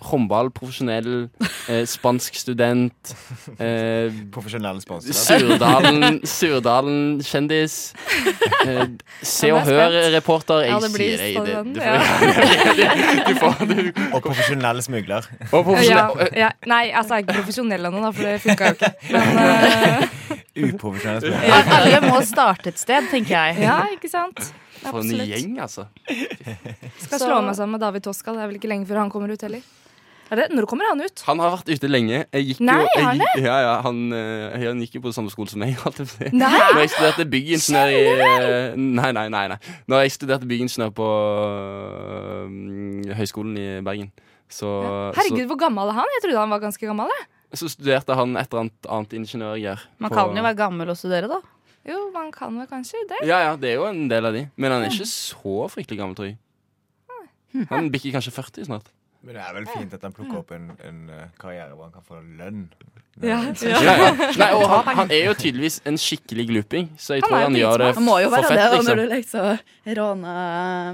Speaker 1: håndball, profesjonell, eh, spansk student, eh,
Speaker 7: Profesjonelle sponsorer.
Speaker 1: Surdalen, Surdalen kjendis. Eh, se
Speaker 5: Ja,
Speaker 1: og
Speaker 5: nå er jeg spent.
Speaker 1: Hør-reporter. Jeg
Speaker 5: Ja, det blir
Speaker 1: sier deg det.
Speaker 5: spennende,
Speaker 1: Du får, du, du får,
Speaker 7: Og profesjonelle smugler.
Speaker 1: du, sånn- og
Speaker 5: Ja,
Speaker 1: profesjonell.
Speaker 5: ja. Nei, altså, jeg er ikke profesjonell ennå, da, for det funka jo ikke. Men eh,
Speaker 7: Uprofesjonelle smugler.
Speaker 6: Alle må starte et sted, tenker jeg.
Speaker 5: ja, ikke sant?
Speaker 1: For en
Speaker 5: Absolutt.
Speaker 1: gjeng, altså.
Speaker 5: Skal slå meg sammen med David Toska. Det er vel ikke lenge før han kommer ut heller. Er det? Når kommer han ut?
Speaker 1: Han har vært ute lenge. Jeg gikk
Speaker 5: Nei,
Speaker 1: jo, jeg,
Speaker 5: har han
Speaker 1: gikk- Ja, ja, han, eh, han gikk jo på samme skole som meg. holdt jeg på å si.
Speaker 5: Nei!
Speaker 1: Når jeg studerte byggingeniør i eh, Nei, nei, nei. nei. Når jeg studerte byggingeniør på eh, Høgskolen i Bergen, så,
Speaker 5: Herregud, hvor gammel er han? Jeg trodde han var ganske gammel. Jeg.
Speaker 1: så, så studerte han et eller annet, annet ingeniørgreier.
Speaker 6: Man
Speaker 1: på-
Speaker 6: kan jo være gammel og studere, da.
Speaker 5: Jo, man kan vel kanskje det.
Speaker 1: Ja, ja, det er jo en del av de. Men han er ikke så fryktelig gammel, tror jeg. Han bikker kanskje 40 snart.
Speaker 7: Men det er vel fint at han plukker opp en, en eh, karriere hvor han kan få lønn.
Speaker 1: Ja, ja. Nei, og han, han er jo tydeligvis en skikkelig gluping, så jeg
Speaker 5: Han
Speaker 1: tror
Speaker 5: er jo
Speaker 1: han gjør det
Speaker 5: dritsmart.
Speaker 4: Han må jo
Speaker 1: for
Speaker 4: være
Speaker 1: fett.
Speaker 4: det, og
Speaker 1: liksom.
Speaker 4: når du liksom rana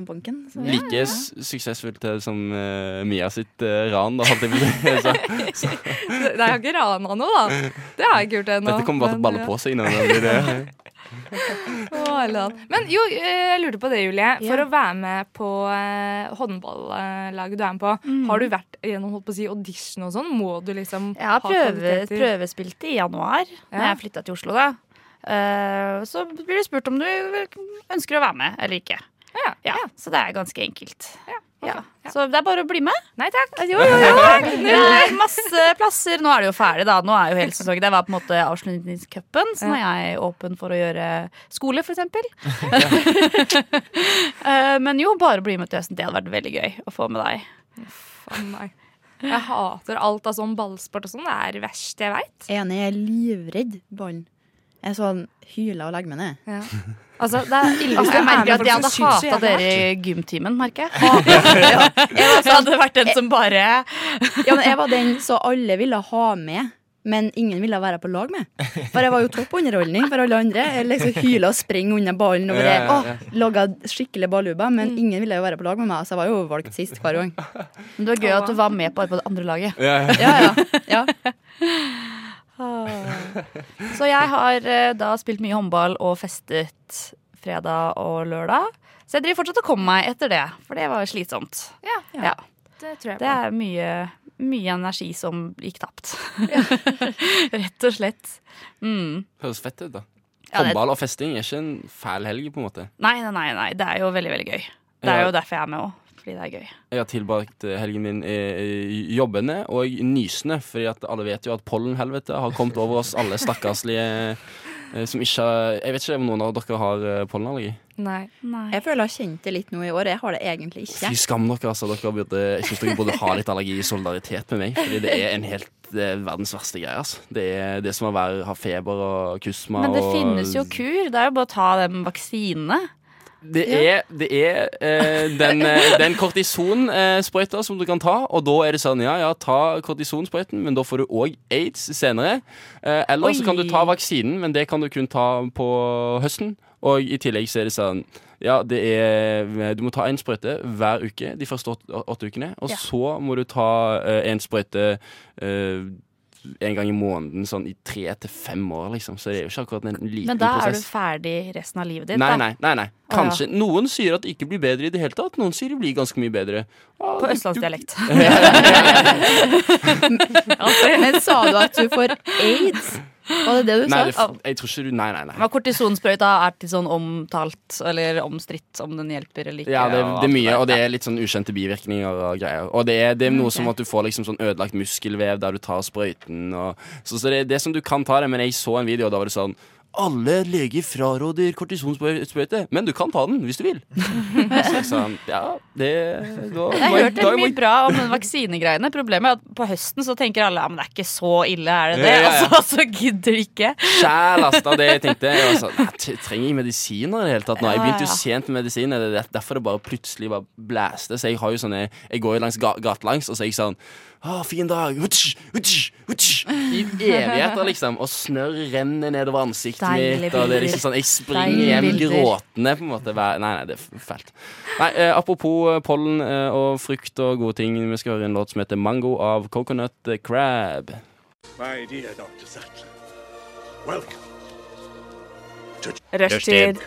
Speaker 4: banken. Så.
Speaker 1: like s- suksessfullt eh, som eh, Mia sitt eh, ran. Da, holdt jeg på å si. så,
Speaker 5: Nei, jeg har ikke rana noe, da. Det har jeg ikke gjort ennå.
Speaker 1: dette kommer bare til å balle
Speaker 5: Men,
Speaker 1: på seg. Når det blir eh, det.
Speaker 5: ja. Å, alle land. Men jo, eh, jeg lurte på det, Julie. For å være med på eh, håndballaget du er med på, har du vært gjennom holdt på å si, audition og sånn? Må du liksom
Speaker 6: Jeg har prøve,
Speaker 5: kvaliteter?
Speaker 6: prøvespilte i januar,
Speaker 5: Ja.
Speaker 6: Når jeg flytta til Oslo. da Eh, Så blir du spurt om du ønsker å være med eller ikke.
Speaker 5: Ja,
Speaker 6: Ja, Så det er ganske enkelt.
Speaker 5: ok.
Speaker 6: Ja. Så det er bare å bli med.
Speaker 5: Nei takk.
Speaker 6: Jo, jo, jo. Det er masse plasser. Nå er det jo ferdig, da. Nå er jo hele sesongen. Det var på en måte avslutningscupen. Så nå er jeg åpen for å gjøre skole, for eksempel. Eh, Men jo, bare bli med til høsten. Det hadde vært veldig gøy å få med deg.
Speaker 5: Faen, nei. Jeg hater alt av sånn ballsport og sånn. Det er det verste jeg veit.
Speaker 4: Enig, jeg er livredd ballen. Jeg er sånn hyler og legger meg ned.
Speaker 5: Ja. Altså, det er ille hvis du
Speaker 6: Jeg
Speaker 5: er med
Speaker 6: merker at
Speaker 5: folk
Speaker 6: jeg
Speaker 5: som
Speaker 6: hadde
Speaker 5: syns så
Speaker 6: hata
Speaker 5: jævlig.
Speaker 6: dere i gymtimen, merker jeg. sånn, "Eh, Jeg også hadde vært den som bare
Speaker 4: Ja, men jeg var den så alle ville ha med, men ingen ville være på lag med. For jeg var jo topp underholdning for alle andre. Jeg liksom hyla og sprang under ballen og bare
Speaker 1: Ja, ja, ja.
Speaker 4: åh, laga skikkelig balluba, men ingen ville jo være på lag med meg, så jeg var jo valgt sist hver gang.
Speaker 6: Men det var gøy at du var med bare på det andre laget.
Speaker 1: Ja, ja.
Speaker 4: Ja, ja. ja.
Speaker 6: Ah. Så jeg har eh, da spilt mye håndball og festet fredag og lørdag. Så jeg driver fortsatt og kommer meg etter det, for det var slitsomt.
Speaker 5: Ja,
Speaker 6: Ja,
Speaker 5: det tror jeg
Speaker 6: Det
Speaker 5: på.
Speaker 6: er mye, mye energi som gikk tapt. Rett og slett. Mm.
Speaker 1: Høres fett ut, da.
Speaker 6: Ja, det-
Speaker 1: Håndball og festing er ikke en fæl helg, på en måte.
Speaker 6: Nei, nei, nei, nei. Det er jo veldig, veldig gøy. Det er
Speaker 1: Ja.
Speaker 6: jo derfor jeg er med òg. fordi det er gøy.
Speaker 1: Jeg har tilbrakt eh, helgen min eh, jobbende og nysende, fordi at alle vet jo at pollenhelvete har kommet over oss alle stakkarslige eh, som ikke har Jeg vet ikke om noen av dere har eh, pollenallergi.
Speaker 5: Nei.
Speaker 4: Jeg føler jeg har kjent det litt nå i år. Jeg har det egentlig ikke.
Speaker 1: Fy skam dere, altså. Dere burde, jeg syns dere burde ha litt allergi i solidaritet med meg, fordi det er en helt det er verdens verste greie. Altså. Det er det som å være, ha feber og kusma
Speaker 6: Men det
Speaker 1: og
Speaker 6: finnes jo kur. Det er jo bare å ta den vaksinene.
Speaker 1: Det er, det er eh, den, eh, den kortisonsprøyta som du kan ta, og da er det sånn ja, ja, ta kortisonsprøyten, men da får du òg aids senere. Eh, eller så kan du ta
Speaker 6: Oi.
Speaker 1: vaksinen, men det kan du kun ta på høsten. Og i tillegg så er det sånn ja, det er, du må ta én sprøyte hver uke de første åtte, åtte ukene. Og
Speaker 6: Ja.
Speaker 1: så må du ta én sprøyte eh, en gang i måneden sånn i tre til fem år, liksom. Så det er jo ikke akkurat en liten
Speaker 6: Men da er
Speaker 1: prosess.
Speaker 6: du ferdig resten av livet ditt.
Speaker 1: Nei,
Speaker 6: da.
Speaker 1: nei, nei, nei.
Speaker 6: Å, ja.
Speaker 1: Kanskje. Noen sier at det ikke blir bedre i det hele tatt. Noen sier det blir ganske mye bedre. Ah,
Speaker 6: På
Speaker 1: du-
Speaker 6: østlandsdialekt.
Speaker 4: Men sa du at du får aids? Var det det
Speaker 1: du-
Speaker 4: du sa?
Speaker 1: Nei, det, f- jeg tror ikke du Nei, nei, nei.
Speaker 6: Men kortisonsprøyta er til sånn omtalt eller omstridt om den hjelper eller ikke.
Speaker 1: Ja, det,
Speaker 6: og
Speaker 1: det er
Speaker 6: alt
Speaker 1: mye,
Speaker 6: der.
Speaker 1: og det er litt sånn ukjente bivirkninger og greier. Og det er, det er noe som at du får liksom sånn ødelagt muskelvev der du tar sprøyten og Så, så det, er- det er som du kan ta det, men jeg så en video, og da var det sånn alle leger fraråder kortisonsprøyte, men du kan ta den hvis du vil. Så jeg sa ja, det da,
Speaker 6: Jeg
Speaker 1: må
Speaker 6: har hørt
Speaker 1: da
Speaker 6: veldig
Speaker 1: må
Speaker 6: mye bra om den vaksinegreiene. Problemet er at på høsten så tenker alle ja, men det er ikke så ille, er det det?
Speaker 1: Ja, ja, ja.
Speaker 6: Og så, så gidder de ikke.
Speaker 1: sjæl ass, av det jeg tenkte. Jeg var sånn, nei, t- trenger jeg medisiner i det hele tatt? Nå, jeg
Speaker 6: Ja,
Speaker 1: begynte
Speaker 6: ja.
Speaker 1: jo sent med medisiner. Det er der- derfor det bare plutselig bare blæste. Så jeg har jo sånne Jeg går jo langs ga- gatelangs, og så er jeg sånn Å, fin dag! Hutsj, hutsj, hutsj. I evigheter, liksom. Og snørr renner nedover ansiktet
Speaker 6: Deilige
Speaker 1: mitt. Og det er
Speaker 6: bilder.
Speaker 1: liksom sånn Jeg springer
Speaker 6: Deilige
Speaker 1: hjem
Speaker 6: bilder.
Speaker 1: gråtende, på en måte. Hver- Nei, nei, det er fælt. Nei, eh, apropos eh, pollen eh, og frukt og gode ting. Vi skal høre en låt som heter 'Mango' av Coconut eh, Crab.
Speaker 8: My dear Dr. Sattler, welcome.
Speaker 5: Rushtid.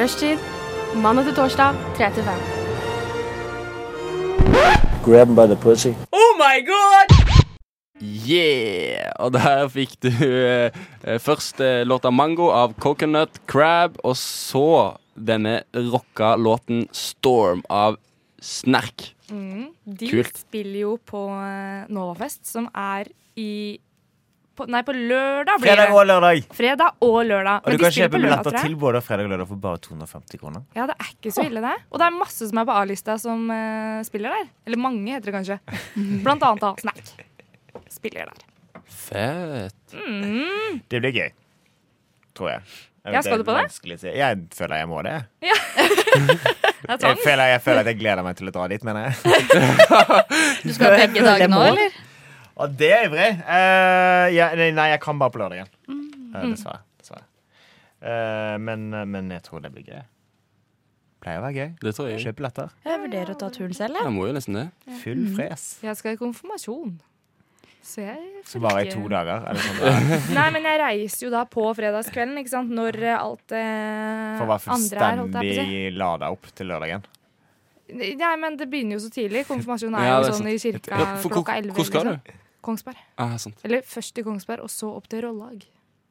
Speaker 9: Rushtid. Mandag til torsdag, 3 til 5.
Speaker 1: Yeah! Og der fikk du eh, eh, først eh, låta 'Mango' av Coconut Crab, og så denne rocka låten 'Storm' av Snerk.
Speaker 5: De
Speaker 1: Kult.
Speaker 5: spiller jo på eh, Novafest, som er i på, Nei, på lørdag blir
Speaker 7: Fredag
Speaker 5: det.
Speaker 7: og lørdag.
Speaker 5: Fredag og lørdag.
Speaker 7: Og
Speaker 5: Men
Speaker 7: du
Speaker 5: de
Speaker 7: kan
Speaker 5: spiller
Speaker 7: kjøpe
Speaker 5: på lørdag,
Speaker 7: billetter
Speaker 5: tror jeg.
Speaker 7: til både fredag og lørdag for bare 250 kroner.
Speaker 5: Ja, det er ikke så ille, det. Og det er masse som er på A-lista som eh, spiller der. Eller mange, heter det kanskje. Blant annet da Snack. Spiller der.
Speaker 1: Fett.
Speaker 7: Det blir gøy. Tror jeg. Jeg vet
Speaker 5: Ja,
Speaker 7: er
Speaker 5: skal du på det?
Speaker 7: vanskelig å si. Jeg føler jeg må det.
Speaker 5: Det er
Speaker 7: Jeg
Speaker 5: sånn.
Speaker 7: føler, jeg føler at jeg gleder meg til å dra dit, mener jeg.
Speaker 6: Du skal begge dager nå, eller?
Speaker 7: Og det er ivrig. Eh, ja, nei, nei, jeg kan bare på lørdagen. Eh, dessverre. dessverre. Eh, men, men jeg tror det blir gøy. Pleier å være gøy.
Speaker 1: Det tror jeg.
Speaker 7: Kjøp billetter.
Speaker 6: Jeg vurderer å ta turen selv, jeg.
Speaker 1: Jeg må jo nesten det.
Speaker 7: Full fres.
Speaker 5: Jeg skal i konfirmasjon. Så jeg
Speaker 7: Så bare i to dager. Er det sånn det er?
Speaker 5: Nei, men jeg reiser jo da på fredagskvelden, ikke sant. Når eh, alt det
Speaker 7: For å være
Speaker 5: andre er, holdt jeg på å si.
Speaker 7: fullstendig lada opp til lørdagen.
Speaker 5: Nei, men det begynner jo så tidlig. Konfirmasjonen er
Speaker 1: Ja, det
Speaker 5: jo
Speaker 1: er
Speaker 5: sånn i kirka
Speaker 1: Ja, for hvor-
Speaker 5: klokka elleve. liksom.
Speaker 1: hvor skal du?
Speaker 4: liksom.
Speaker 5: Kongsberg.
Speaker 1: Ah, sant.
Speaker 5: Eller først til Kongsberg, og så opp til Rollag.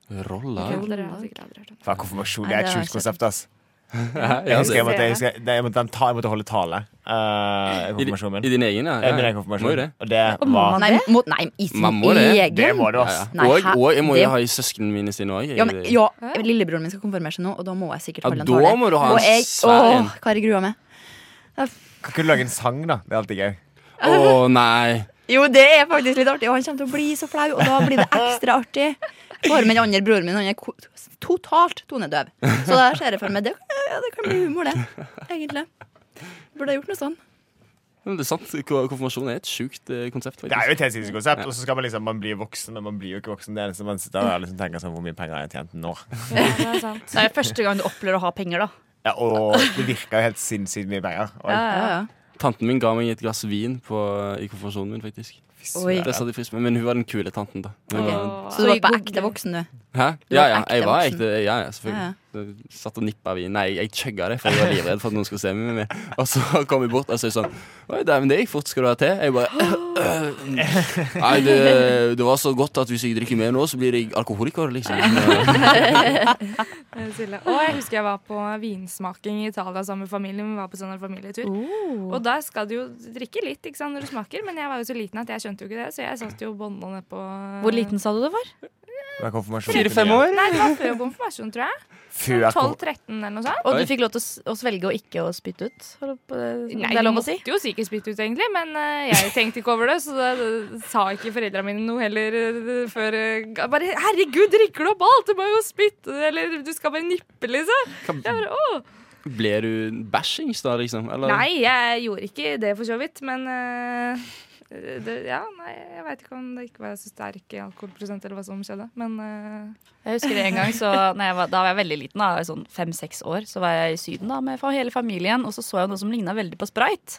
Speaker 1: Rolla.
Speaker 5: Dere har sikkert aldri hørt om det.
Speaker 7: For konfirmasjon det
Speaker 4: Nei,
Speaker 7: er
Speaker 4: det
Speaker 7: et
Speaker 4: har jeg
Speaker 7: sjukt konsept, ass. Jeg
Speaker 1: Ja,
Speaker 7: husker jeg
Speaker 1: det-
Speaker 7: måtte, jeg husker, det- jeg måtte, den ta, jeg måtte holde tale eh, i
Speaker 1: I,
Speaker 7: konfirmasjonen min.
Speaker 1: I din egen, ja?
Speaker 7: Eh, Min
Speaker 1: ja.
Speaker 7: egen
Speaker 1: Må jo
Speaker 7: konfirmasjon.
Speaker 1: det.
Speaker 7: Og det var
Speaker 4: Nei, må, nei i sin
Speaker 1: Man må det.
Speaker 4: egen.
Speaker 7: Det må du,
Speaker 1: Ja,
Speaker 7: ass.
Speaker 1: ja.
Speaker 4: Nei,
Speaker 1: Og,
Speaker 4: hæ?
Speaker 1: og jeg må
Speaker 4: Det-
Speaker 1: jo ha i søsknene mine sine òg.
Speaker 4: Ja, men, ja, lillebroren min skal konfirmere seg nå, og da må jeg sikkert
Speaker 1: Ja,
Speaker 4: holde en
Speaker 1: da
Speaker 4: tale.
Speaker 1: må du ha en
Speaker 4: og jeg,
Speaker 1: svær en.
Speaker 4: Åh, hva har jeg grua meg?
Speaker 7: Kan ikke du lage en sang, da? Det er alltid gøy.
Speaker 1: Å nei.
Speaker 4: Jo, det er faktisk litt artig, og han kommer til å bli så flau, og da blir det ekstra artig. Bare med den andre broren min, han er ko- totalt tonedøv. Så da ser jeg for meg det, ja, det kan bli humor, det. Egentlig. Burde jeg gjort noe sånn.
Speaker 1: Men Det er sant. Ko- Konfirmasjon er et sjukt eh, konsept,
Speaker 7: Det er
Speaker 1: faktisk.
Speaker 7: jo et helt sinnssykt konsept. Og så skal man liksom Man blir voksen, men man blir jo ikke voksen. Det eneste man sitter der og liksom tenker sånn Hvor mye penger har jeg tjent nå?
Speaker 5: Ja, det er sant.
Speaker 6: Det er jo første gang du opplever å ha penger, da.
Speaker 7: Ja, og det virker jo helt sinnssykt mye penger. Og
Speaker 4: Ja, ja.
Speaker 1: Tanten min ga meg et glass vin på, eh, i konfirmasjonen min, faktisk.
Speaker 4: Oi.
Speaker 1: Det satte jeg pris på, men hun var den kule tanten, da. Hun var
Speaker 4: Ok.
Speaker 1: en
Speaker 4: Så du var på ekte voksen, du.
Speaker 1: Hæ?
Speaker 4: Du
Speaker 1: Ja
Speaker 4: var
Speaker 1: ja,
Speaker 4: ekte
Speaker 1: jeg var
Speaker 4: voksen.
Speaker 1: ekte. Ja, ja, selvfølgelig. Så Satt og nippa vin. Nei, jeg chugga det, for jeg var livredd for at noen skulle se meg. med. Og så kom jeg bort og så sånn Oi, dæven, det gikk fort. Skal du ha te? Jeg bare Nei, det, det var så godt at hvis jeg drikker mer nå, så blir jeg alkoholiker, liksom.
Speaker 5: Eh, Silje. Og jeg husker jeg var på vinsmaking i Italia sammen med familien. Vi var på sånn en familietur. Og der skal du jo drikke litt ikke sant, når du smaker, men jeg var jo så liten at jeg skjønte jo ikke det, så jeg satt jo og bånda nedpå
Speaker 6: Hvor liten sa du det var?
Speaker 7: Det er konfirmasjon.
Speaker 5: Nei, det var før konfirmasjon, tror jeg.
Speaker 7: Før konf-
Speaker 5: 12-13 eller noe sånt.
Speaker 6: Og
Speaker 1: Oi.
Speaker 6: du fikk lov til å s- å svelge og ikke å spytte ut? Holdt på-
Speaker 5: Nei,
Speaker 6: det er lov å
Speaker 5: måtte
Speaker 6: si?
Speaker 5: jo sikkert spytte ut, egentlig, men eh, jeg tenkte ikke over det. Så da eh, sa ikke foreldra mine noe heller eh, før eh, ga- Bare 'herregud, drikker du opp alt?' Du må jo spytte, eller du skal bare nippe, liksom. Jeg bare, Åh.
Speaker 1: Ble du bæsjings da, liksom? Eller?
Speaker 5: Nei, jeg gjorde ikke det, for så vidt, men eh, det, ja, nei, jeg veit ikke om det ikke var så sterk alkoholprosent eller hva som skjedde, men eh,
Speaker 6: Jeg husker det en gang, så når jeg var, Da var jeg veldig liten, da, jeg var sånn fem-seks år. Så var jeg i Syden da med fa- hele familien, og så så jeg noe som ligna veldig på sprite.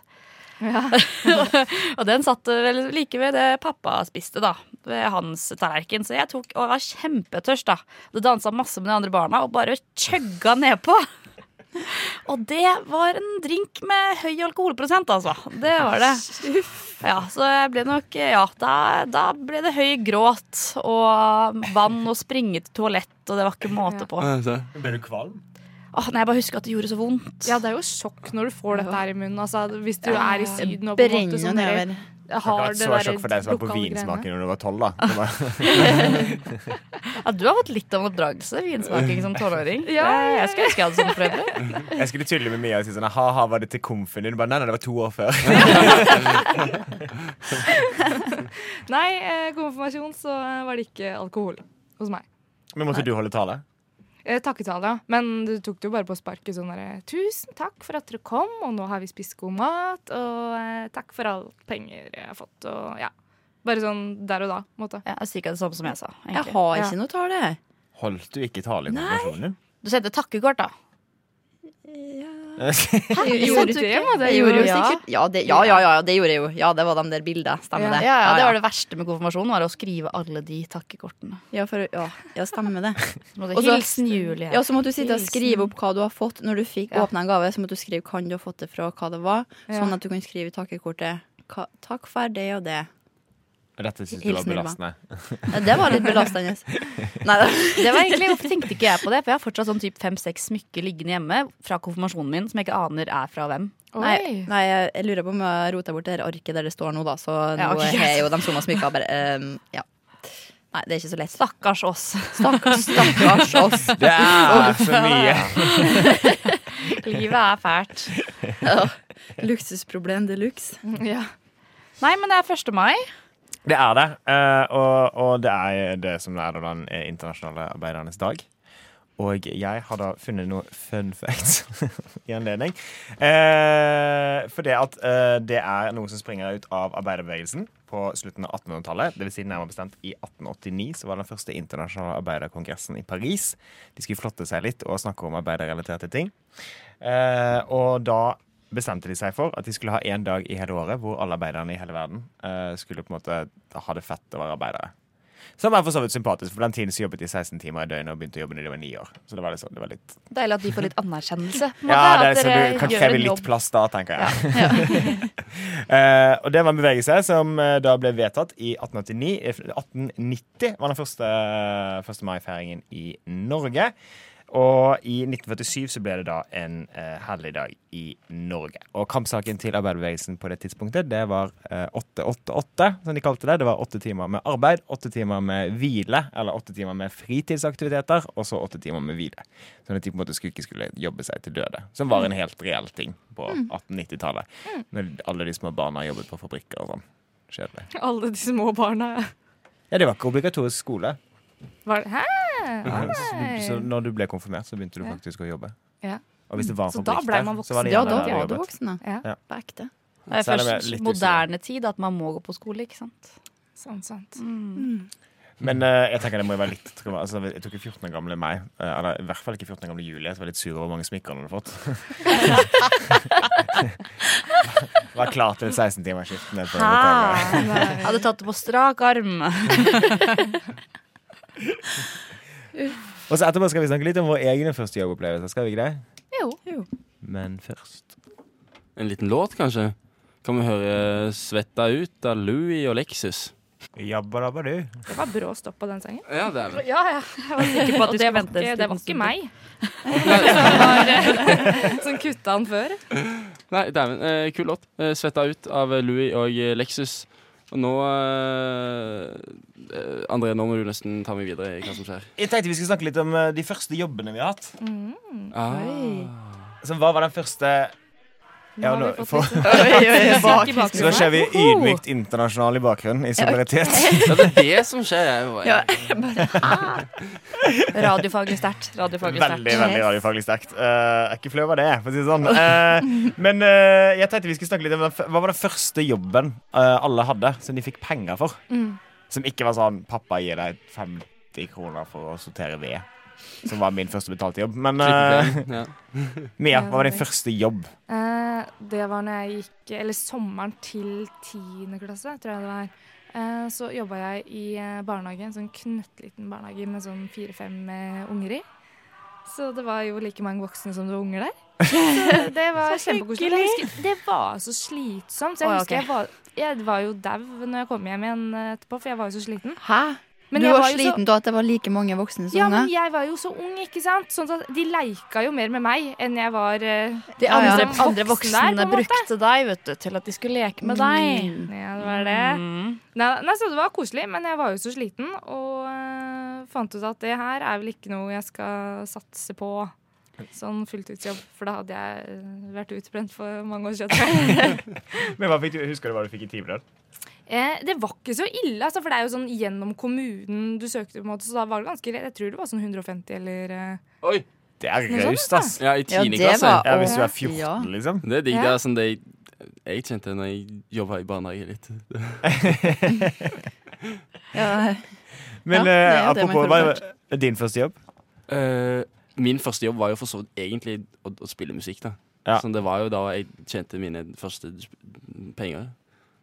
Speaker 6: og den satt eh, vel like ved det pappa spiste, da. Ved hans tallerken. Så jeg tok og var kjempetørst, da. Det dansa masse med de andre barna og bare chugga nedpå. Og det var en drink med høy alkoholprosent, altså. Det var det. Ja, så jeg ble nok Ja, da, da ble det høy gråt og vann og springe til toalett, og det var ikke måte på.
Speaker 1: Altså.
Speaker 7: Ble du kvalm?
Speaker 6: Åh, nei, jeg bare husker at det gjorde så vondt.
Speaker 5: ja, det er jo sjokk når du får dette her i munnen, altså, hvis du er i Syden og på en
Speaker 4: Brenner
Speaker 5: måte
Speaker 4: jo
Speaker 5: sånn der-
Speaker 4: nedover.
Speaker 7: det
Speaker 5: har det
Speaker 7: så
Speaker 5: der
Speaker 7: sjokk for deg som var på
Speaker 5: lokale greiene.
Speaker 7: vinsmaken da du var tolv, da. Det var-
Speaker 6: Ja, du har fått litt av en oppdragelse, vinsmaking som tolvåring.
Speaker 5: Ja,
Speaker 6: Det- Jeg skulle ønske jeg hadde sånn sånne foreldre.
Speaker 7: Jeg skulle tulle med Mia og si sånn ha-ha, var det til komfen din? Du Bare, nei, nei, det var to år før.
Speaker 5: Nei, eh, konfirmasjon så eh, var det ikke alkohol hos meg.
Speaker 7: Men måtte du holde tale?
Speaker 5: Eh, Takketale, ja. Men du tok det jo bare på sparket sånn derre Tusen takk for at dere kom, og nå har vi spist god mat, og eh, takk for alle penger jeg har fått, og ja. Bare sånn der og da, på en måte.
Speaker 6: Ja, det er sikkert det samme som jeg sa.
Speaker 4: Jeg
Speaker 6: egentlig.
Speaker 4: har
Speaker 5: Ja.
Speaker 4: ikke noe tale.
Speaker 7: Holdt du ikke tale i konfirmasjonen din?
Speaker 6: Du sendte takkekort, da.
Speaker 4: Jeg
Speaker 5: Gjorde
Speaker 4: sendte
Speaker 5: du
Speaker 4: jo
Speaker 5: det,
Speaker 4: ikke-
Speaker 5: må det
Speaker 4: Jeg gjorde jo
Speaker 5: gjøre.
Speaker 4: sikkert ja det, ja, ja, ja, det gjorde jeg jo. Ja, det var de der bildene. Stemmer
Speaker 5: Ja.
Speaker 4: det.
Speaker 6: Ja, ja, Det var det verste med konfirmasjonen, var å skrive alle de takkekortene.
Speaker 4: Ja, for, ja, ja stemmer det.
Speaker 6: Så måtte
Speaker 4: Og så-
Speaker 6: Hilsen Julie.
Speaker 4: Ja, så måtte du sitte og skrive opp hva du har fått. Når du fikk
Speaker 6: Ja.
Speaker 4: åpna en gave, så måtte du skrive kan du ha fått det fra, og hva det var. Sånn at du kan skrive i takkekortet "Ka- takk for det og det.
Speaker 7: Dette synes du var
Speaker 4: Hilsen Ylva.
Speaker 7: belastende.
Speaker 4: Ja, det var litt belastende. Nei, det,
Speaker 6: Det var egentlig, Hvorfor tenkte ikke jeg på det? For jeg har fortsatt sånn typ fem-seks smykker liggende hjemme fra konfirmasjonen min som jeg ikke aner er fra hvem.
Speaker 4: nei, nei jeg, jeg lurer på om jeg rota bort det her arket der det står nå, da. Så
Speaker 6: Ja,
Speaker 4: nå
Speaker 6: ok.
Speaker 4: har jo de som har smykka bare ehm, Ja. Nei, det er ikke så lett.
Speaker 6: Stakkars oss.
Speaker 4: Stakkars, stakkars oss.
Speaker 7: Det er så mye!
Speaker 6: Livet er fælt.
Speaker 4: Luksusproblem de luxe.
Speaker 5: Ja.
Speaker 6: Nei, men det er 1. mai.
Speaker 7: Det er det. eh, og, og det er det som er da den eh, internasjonale arbeidernes dag. Og jeg har da funnet noe fun facts i anledning. Eh, for det at eh, det er noe som springer ut av arbeiderbevegelsen på slutten av 1800-tallet. Dvs. Si nærmere bestemt i 1889 så var den første internasjonale arbeiderkongressen i Paris. De skulle flotte seg litt og snakke om arbeiderrelaterte ting. Eh, og da bestemte de seg for at de skulle ha én dag i hele året hvor alle arbeiderne i hele verden eh, skulle på en måte ha det fett å være arbeidere. Som er for så vidt sympatisk, for på den tiden så jobbet de 16 timer i døgnet og begynte å jobbe når de var ni år. Så det var litt sånn, det var litt
Speaker 6: Deilig at de får litt anerkjennelse. på en
Speaker 7: Ja,
Speaker 6: måte,
Speaker 7: det
Speaker 6: at
Speaker 7: er, så
Speaker 6: dere
Speaker 7: du kan
Speaker 6: gjør
Speaker 7: kreve
Speaker 6: en
Speaker 7: litt
Speaker 6: jobb.
Speaker 7: plass da, tenker jeg. Eh, og det var en bevegelse som eh, da ble vedtatt i 1889. Eh, 1890 var den første, eh, første mai-feiringen i Norge. Og i 1947 så ble det da en eh, helligdag i Norge. Og kampsaken til arbeiderbevegelsen på det tidspunktet, det var eh, 888, som de kalte det. Det var åtte timer med arbeid, åtte timer med hvile, eller åtte timer med fritidsaktiviteter, og så åtte timer med hvile. Sånn at de på en måte skulle, ikke skulle jobbe seg til døde. Som var en helt reell ting på 1890-tallet. Når alle de små barna jobbet på fabrikker og sånn. Kjedelig.
Speaker 5: Alle de små barna.
Speaker 7: Ja, det var ikke obligatorisk skole.
Speaker 5: Var det, hæ?
Speaker 7: Så, du, så når du ble konfirmert, så begynte du faktisk å jobbe.
Speaker 5: Ja.
Speaker 7: Og hvis det var en
Speaker 5: Så da
Speaker 7: fabrikk
Speaker 5: ble man
Speaker 7: der, så var det
Speaker 4: Ja,
Speaker 7: gjerne
Speaker 4: da
Speaker 7: der du
Speaker 4: var du
Speaker 7: jobbet.
Speaker 4: voksen, da.
Speaker 5: Ja.
Speaker 7: Ja.
Speaker 4: På ekte.
Speaker 6: Det er
Speaker 7: Selv om jeg er
Speaker 6: først
Speaker 7: litt
Speaker 6: moderne tid at man må gå på skole, ikke sant.
Speaker 5: Sånn, sant.
Speaker 6: Mm.
Speaker 7: Men eh, jeg tenker det må jo være litt trauma- altså, Jeg tok ikke 14 år gamle meg, eh, eller i hvert fall ikke 14 år gamle Julie, som var litt sur over hvor mange smykker hun hadde fått. var klar til 16-timersskiftene. på lokalet.
Speaker 6: Hadde tatt det på strak arm.
Speaker 7: Og så etterpå skal vi snakke litt om våre egne første jobbopplevelser. Skal vi ikke det?
Speaker 6: Jo.
Speaker 7: Men først
Speaker 1: En liten låt, kanskje? Kan vi høre 'Svetta ut' av Louie og Lexus?
Speaker 7: Jabba dabba du.
Speaker 5: Det var brå stopp på den sangen.
Speaker 1: Ja, det er vel.
Speaker 5: Ja, ja. Jeg var sikker på at
Speaker 6: Og
Speaker 5: du
Speaker 6: det
Speaker 5: skulle
Speaker 6: ventes
Speaker 5: banke. Det var ikke
Speaker 6: liten
Speaker 5: meg. Som sånn kutta han før.
Speaker 1: Nei, dæven. Eh, kul låt. Eh, 'Svetta ut' av Louie og eh, Lexus. Og nå eh, eh, André, nå må du nesten ta meg videre i hva som skjer.
Speaker 7: Jeg tenkte vi skulle snakke litt om eh, de første jobbene vi har hatt.
Speaker 1: Ah.
Speaker 7: Så hva var den første
Speaker 5: Nå har
Speaker 7: nå-
Speaker 5: vi fått
Speaker 7: for-
Speaker 5: disse-
Speaker 6: Bak-
Speaker 5: Musikk
Speaker 7: Så
Speaker 5: i
Speaker 7: da
Speaker 5: bakgrunnen.
Speaker 7: ser vi ydmykt internasjonal i bakgrunnen. I solidaritet.
Speaker 1: Ja, det er det som skjer. Jeg, bare-
Speaker 4: Ja.
Speaker 6: Radiofaglig sterkt. Radiofaglig
Speaker 7: Veldig
Speaker 6: sterkt.
Speaker 7: veldig radiofaglig sterkt. Eh, jeg er ikke flau over det, for å si det sånn. Eh, men eh, jeg tenkte vi skulle snakke litt om den, f- hva var den første jobben eh, alle hadde, som de fikk penger for? Som ikke var sånn 'pappa gir deg 50 kroner for å sortere ved'. Som var min første betalte jobb. Men eh,
Speaker 1: Klippeplan, ja.
Speaker 7: Mia, hva var din første jobb?
Speaker 5: Eh, det var når jeg gikk Eller sommeren til 10. klasse, tror jeg det var. Eh, så jobba jeg i eh, barnehage, en sånn knøttliten barnehage med sånn fire-fem eh, unger i. Så det var jo like mange voksne som det var unger der. Så det var kjempekoselig. Men jeg husker- Det var så slitsomt. Så jeg
Speaker 6: Å, ja,
Speaker 5: husker
Speaker 6: ok.
Speaker 5: jeg var, jeg var jo dau når jeg kom hjem igjen eh, etterpå, for jeg var jo så sliten.
Speaker 4: Hæ?
Speaker 5: Men
Speaker 4: du
Speaker 5: jeg
Speaker 4: var,
Speaker 5: var jo så-
Speaker 4: sliten av at det var like mange voksne som
Speaker 5: Ja, men
Speaker 4: unger?
Speaker 5: jeg var jo så ung, ikke sant? Sånn at de leika jo mer med meg enn jeg var eh,
Speaker 6: De andre,
Speaker 5: Ja, ja.
Speaker 6: andre
Speaker 5: Voksen der,
Speaker 6: voksne
Speaker 5: på en måte.
Speaker 6: brukte deg vet du, til at de skulle leke med deg.
Speaker 5: Mm.
Speaker 6: Mm.
Speaker 5: Ja, det var det. Nei, nei, så det var koselig, men jeg var jo så sliten. Og eh, fant ut at det her er vel ikke noe jeg skal satse på sånn fulltidsjobb. For da hadde jeg eh, vært utbrent for mange år siden.
Speaker 7: Men hva fikk du, Husker du hva du fikk i timelønn?
Speaker 5: eh, det var ikke så ille, altså, for det er jo sånn gjennom kommunen du søkte, på en måte, så da var det ganske greit. Jeg tror det var sånn 150 eller eh,
Speaker 1: Oi!
Speaker 7: Det er
Speaker 5: Noe sånt,
Speaker 7: raust, ass.
Speaker 1: Ja, i
Speaker 4: sånn, Ja,
Speaker 1: tiende
Speaker 4: det
Speaker 1: klasse.
Speaker 4: var
Speaker 7: Ja, hvis du er
Speaker 4: Ja.
Speaker 7: 14, liksom.
Speaker 1: Det er digg.
Speaker 5: Ja.
Speaker 1: Det er sånn det jeg, jeg kjente når jeg jobba i barnehage litt.
Speaker 4: Ja. Ja,
Speaker 7: Men
Speaker 4: det
Speaker 7: eh,
Speaker 4: er jo det man
Speaker 7: apropos, hva
Speaker 4: føler
Speaker 7: var din første jobb?
Speaker 1: Eh, min første jobb var jo for så vidt egentlig å, å spille musikk, da.
Speaker 7: Ja.
Speaker 1: Så det var jo da jeg tjente mine første sp- penger.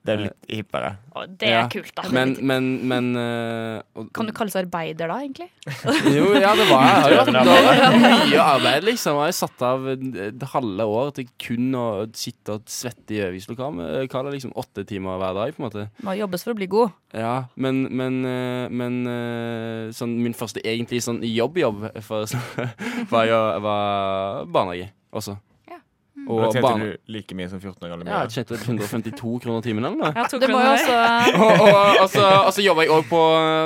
Speaker 7: Det er litt hippere.
Speaker 6: Å, det er
Speaker 1: Ja.
Speaker 6: kult, da.
Speaker 1: Men, men, men eh, og,
Speaker 6: kan du kalles arbeider da, egentlig?
Speaker 1: Jo, ja, det var jeg. har jo vært- Det har vært mye arbeid, liksom. Jeg har satt av det halve år til kun å sitte og svette i øvingslokalet. Liksom åtte timer hver dag, på en måte.
Speaker 6: Må jobbes for å bli god.
Speaker 1: Ja, men, men, eh, men eh, sånn, min første egentlig sånn jobb-jobb for, var, jo, var barnehage også.
Speaker 5: Ja.
Speaker 7: Da
Speaker 1: Og
Speaker 7: tjente
Speaker 1: barne...
Speaker 7: du like mye som 14 år gamle
Speaker 1: Ja,
Speaker 7: Mia.
Speaker 1: jeg tjente 152 kroner timen eller noe.
Speaker 6: Du må jo også
Speaker 1: Og, og, og så, og så jobber jeg også på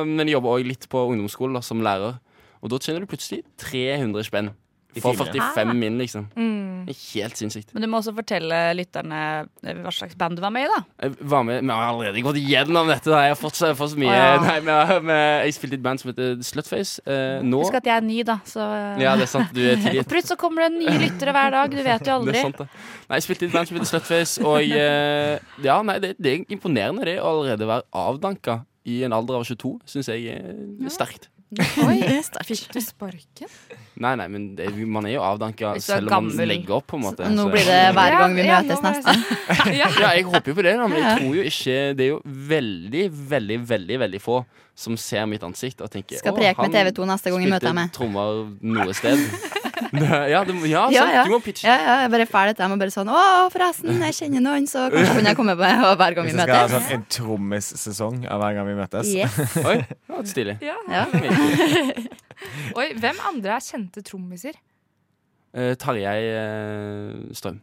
Speaker 1: Men jeg jobber også litt på ungdomsskolen da, som lærer. Og da tjener du plutselig 300 spenn.
Speaker 7: I
Speaker 1: For
Speaker 7: timen,
Speaker 1: 45 min, liksom.
Speaker 5: mm.
Speaker 1: Det er Helt sinnssykt.
Speaker 6: Men du må også fortelle lytterne eh, hva slags band du var med i, da.
Speaker 1: Jeg var med, Vi har allerede gått igjennom dette. Da. Jeg har fått så, fått så mye
Speaker 6: Å, ja.
Speaker 1: Nei, men jeg, men jeg spilte i et band som heter Slutface. Eh, nå
Speaker 6: Husk at jeg er ny, da, så
Speaker 1: Ja, det er sant. Du er tidlig.
Speaker 6: Prutt, så kommer det nye lyttere hver dag. Du vet jo
Speaker 1: Det
Speaker 6: aldri.
Speaker 1: er sant, det. Nei, jeg spilte i et band som heter Slutface, og eh, ja, nei, det, det er imponerende det å allerede være avdanka i en alder av 22, syns jeg er sterkt.
Speaker 5: Oi, fikk du sparken?
Speaker 1: Nei, nei, men det, man er jo avdanka
Speaker 6: Hvis du er
Speaker 1: selv om man
Speaker 6: gammel.
Speaker 1: legger opp, på en måte.
Speaker 4: Nå
Speaker 1: så-
Speaker 4: blir det hver gang vi
Speaker 5: Ja, ja,
Speaker 4: møtes
Speaker 5: nå må jeg
Speaker 4: neste.
Speaker 5: Ja.
Speaker 1: Ja, jeg håper jo på det, da, men jeg tror jo ikke Det er jo veldig, veldig, veldig veldig få som ser mitt ansikt og tenker «Å,
Speaker 4: Skal preke
Speaker 1: han
Speaker 4: med TV2 neste gang jeg møter
Speaker 1: spilte
Speaker 4: meg.
Speaker 1: trommer noe sted. ja, det, må- ja,
Speaker 4: Ja,
Speaker 1: sant,
Speaker 4: ja.
Speaker 1: du må pitche.
Speaker 4: Ja, ja, jeg er bare fæl etter dem og bare sånn Å, forresten, jeg kjenner noen, så kanskje kunne jeg komme på og hver gang vi
Speaker 7: Hvis vi skal ha
Speaker 4: møtes.
Speaker 7: sånn en trommissesong av hver gang vi møtes.
Speaker 4: Yes.
Speaker 1: Oi, ja, stilig.
Speaker 5: Ja.
Speaker 4: Ja.
Speaker 5: Oi, hvem andre er kjente trommiser?
Speaker 1: Eh, Tarjei eh, Strøm.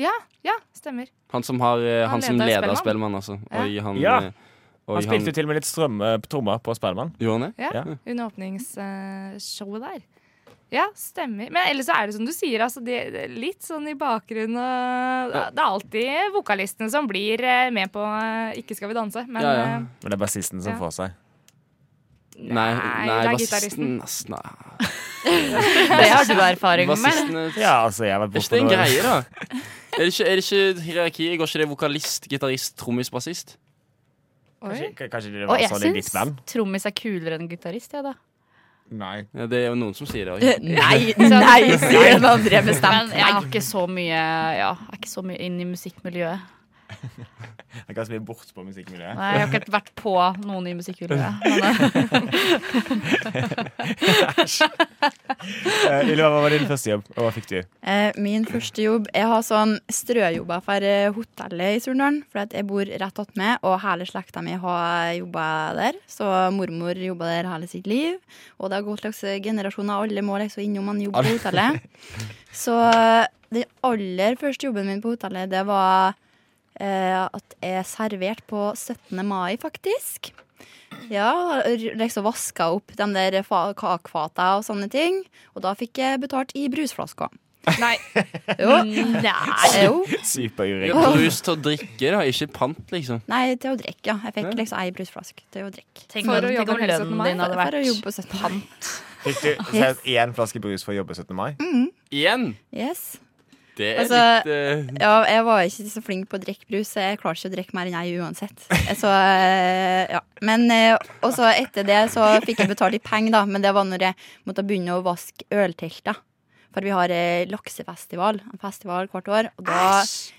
Speaker 5: Ja, ja, stemmer.
Speaker 1: Han som, har, eh, han
Speaker 5: Han
Speaker 1: som
Speaker 5: leder
Speaker 1: leder Spellemann,
Speaker 5: Spellemann,
Speaker 1: altså.
Speaker 5: Ja.
Speaker 1: Oi, han,
Speaker 7: Ja.
Speaker 1: eh, oi,
Speaker 7: Han spilte jo til og med litt strøm eh, på trommer på Spellemann.
Speaker 1: Gjorde han det?
Speaker 5: Ja,
Speaker 7: Ja.
Speaker 5: Under åpningsshowet der. Ja, stemmer. Men ellers så er det som du sier, altså det, det er litt sånn i bakgrunnen og Det er alltid vokalistene som blir eh, med på eh, Ikke skal vi danse, men
Speaker 1: Ja, ja.
Speaker 5: eh,
Speaker 7: Men det er bassisten som
Speaker 5: Ja.
Speaker 7: får seg.
Speaker 1: Nei, nei,
Speaker 5: det er gitaristen.
Speaker 1: bassisten ass, Nei,
Speaker 6: Det har du erfaring med.
Speaker 1: bassisten er-
Speaker 7: Ja, altså, jeg har vært
Speaker 1: Er ikke
Speaker 7: borte
Speaker 1: det en
Speaker 7: nå.
Speaker 1: greie, da? Er det ikke, er det ikke hierarki? Går ikke det vokalist, gitarist, trommis, bassist?
Speaker 5: Oi.
Speaker 7: Kanskje, kanskje det
Speaker 6: Og
Speaker 7: var
Speaker 6: jeg
Speaker 7: sånn i ditt
Speaker 6: syns
Speaker 7: band?
Speaker 6: trommis er kulere enn gitarist, jeg, da.
Speaker 7: Nei.
Speaker 1: Ja, det er jo noen som sier det
Speaker 4: Eh,
Speaker 1: òg.
Speaker 4: Nei, nei, sier den andre bestemt.
Speaker 6: Men jeg er ikke så mye, ja, jeg er ikke så mye inn i musikkmiljøet.
Speaker 7: Jeg kan ikke bli bort på musikkmiljøet.
Speaker 6: Nei, Jeg har ikke vært på noen i musikkmiljøet. Men, eh,
Speaker 7: Eh, Ylva, hva var din første jobb, og hva fikk du?
Speaker 4: Eh, Min første jobb Jeg har sånn strøjobber for eh, hotellet i Surndalen. For at jeg bor rett attmed, og hele slekta mi har jobba der. Så mormor jobba der hele sitt liv. Og det har gått slags generasjoner. Alle må liksom innom en jobb på hotellet. Så eh, den aller første jobben min på hotellet, det var eh, at jeg serverte på 17. mai, faktisk. Ja, r- liksom vaska opp de der fa- kakefata og sånne ting. Og da fikk jeg betalt i brusflasker.
Speaker 5: Nei,
Speaker 4: Jo.
Speaker 6: Nei.
Speaker 4: Mm. Jo.
Speaker 7: Superjuring.
Speaker 1: Brus til å drikke, da. Ikke pant, liksom.
Speaker 4: Nei, til å drikke, ja. Jeg fikk liksom ei brusflaske til å drikke.
Speaker 6: Tenk
Speaker 5: For
Speaker 6: om,
Speaker 5: å jobbe
Speaker 6: tenk om
Speaker 5: hele 17.
Speaker 6: lønnen
Speaker 5: mai,
Speaker 6: din hadde
Speaker 4: For å jobbe
Speaker 6: vært
Speaker 4: på 17. mai.
Speaker 7: Fikk du seriøst én flaske brus for å jobbe 17. mai?
Speaker 6: Mm.
Speaker 1: Igjen!
Speaker 4: Yes.
Speaker 1: Det er
Speaker 4: Altså-
Speaker 1: litt eh,
Speaker 4: Ja, jeg var ikke så flink på å drikke brus, så jeg klarer ikke å drikke mer enn ei uansett. Så, eh, ja. Men eh, Og så etter det så fikk jeg betalt i penger, da. Men det var når jeg måtte begynne å vaske øltelta. For vi har eh, laksefestival, en festival hvert år, og da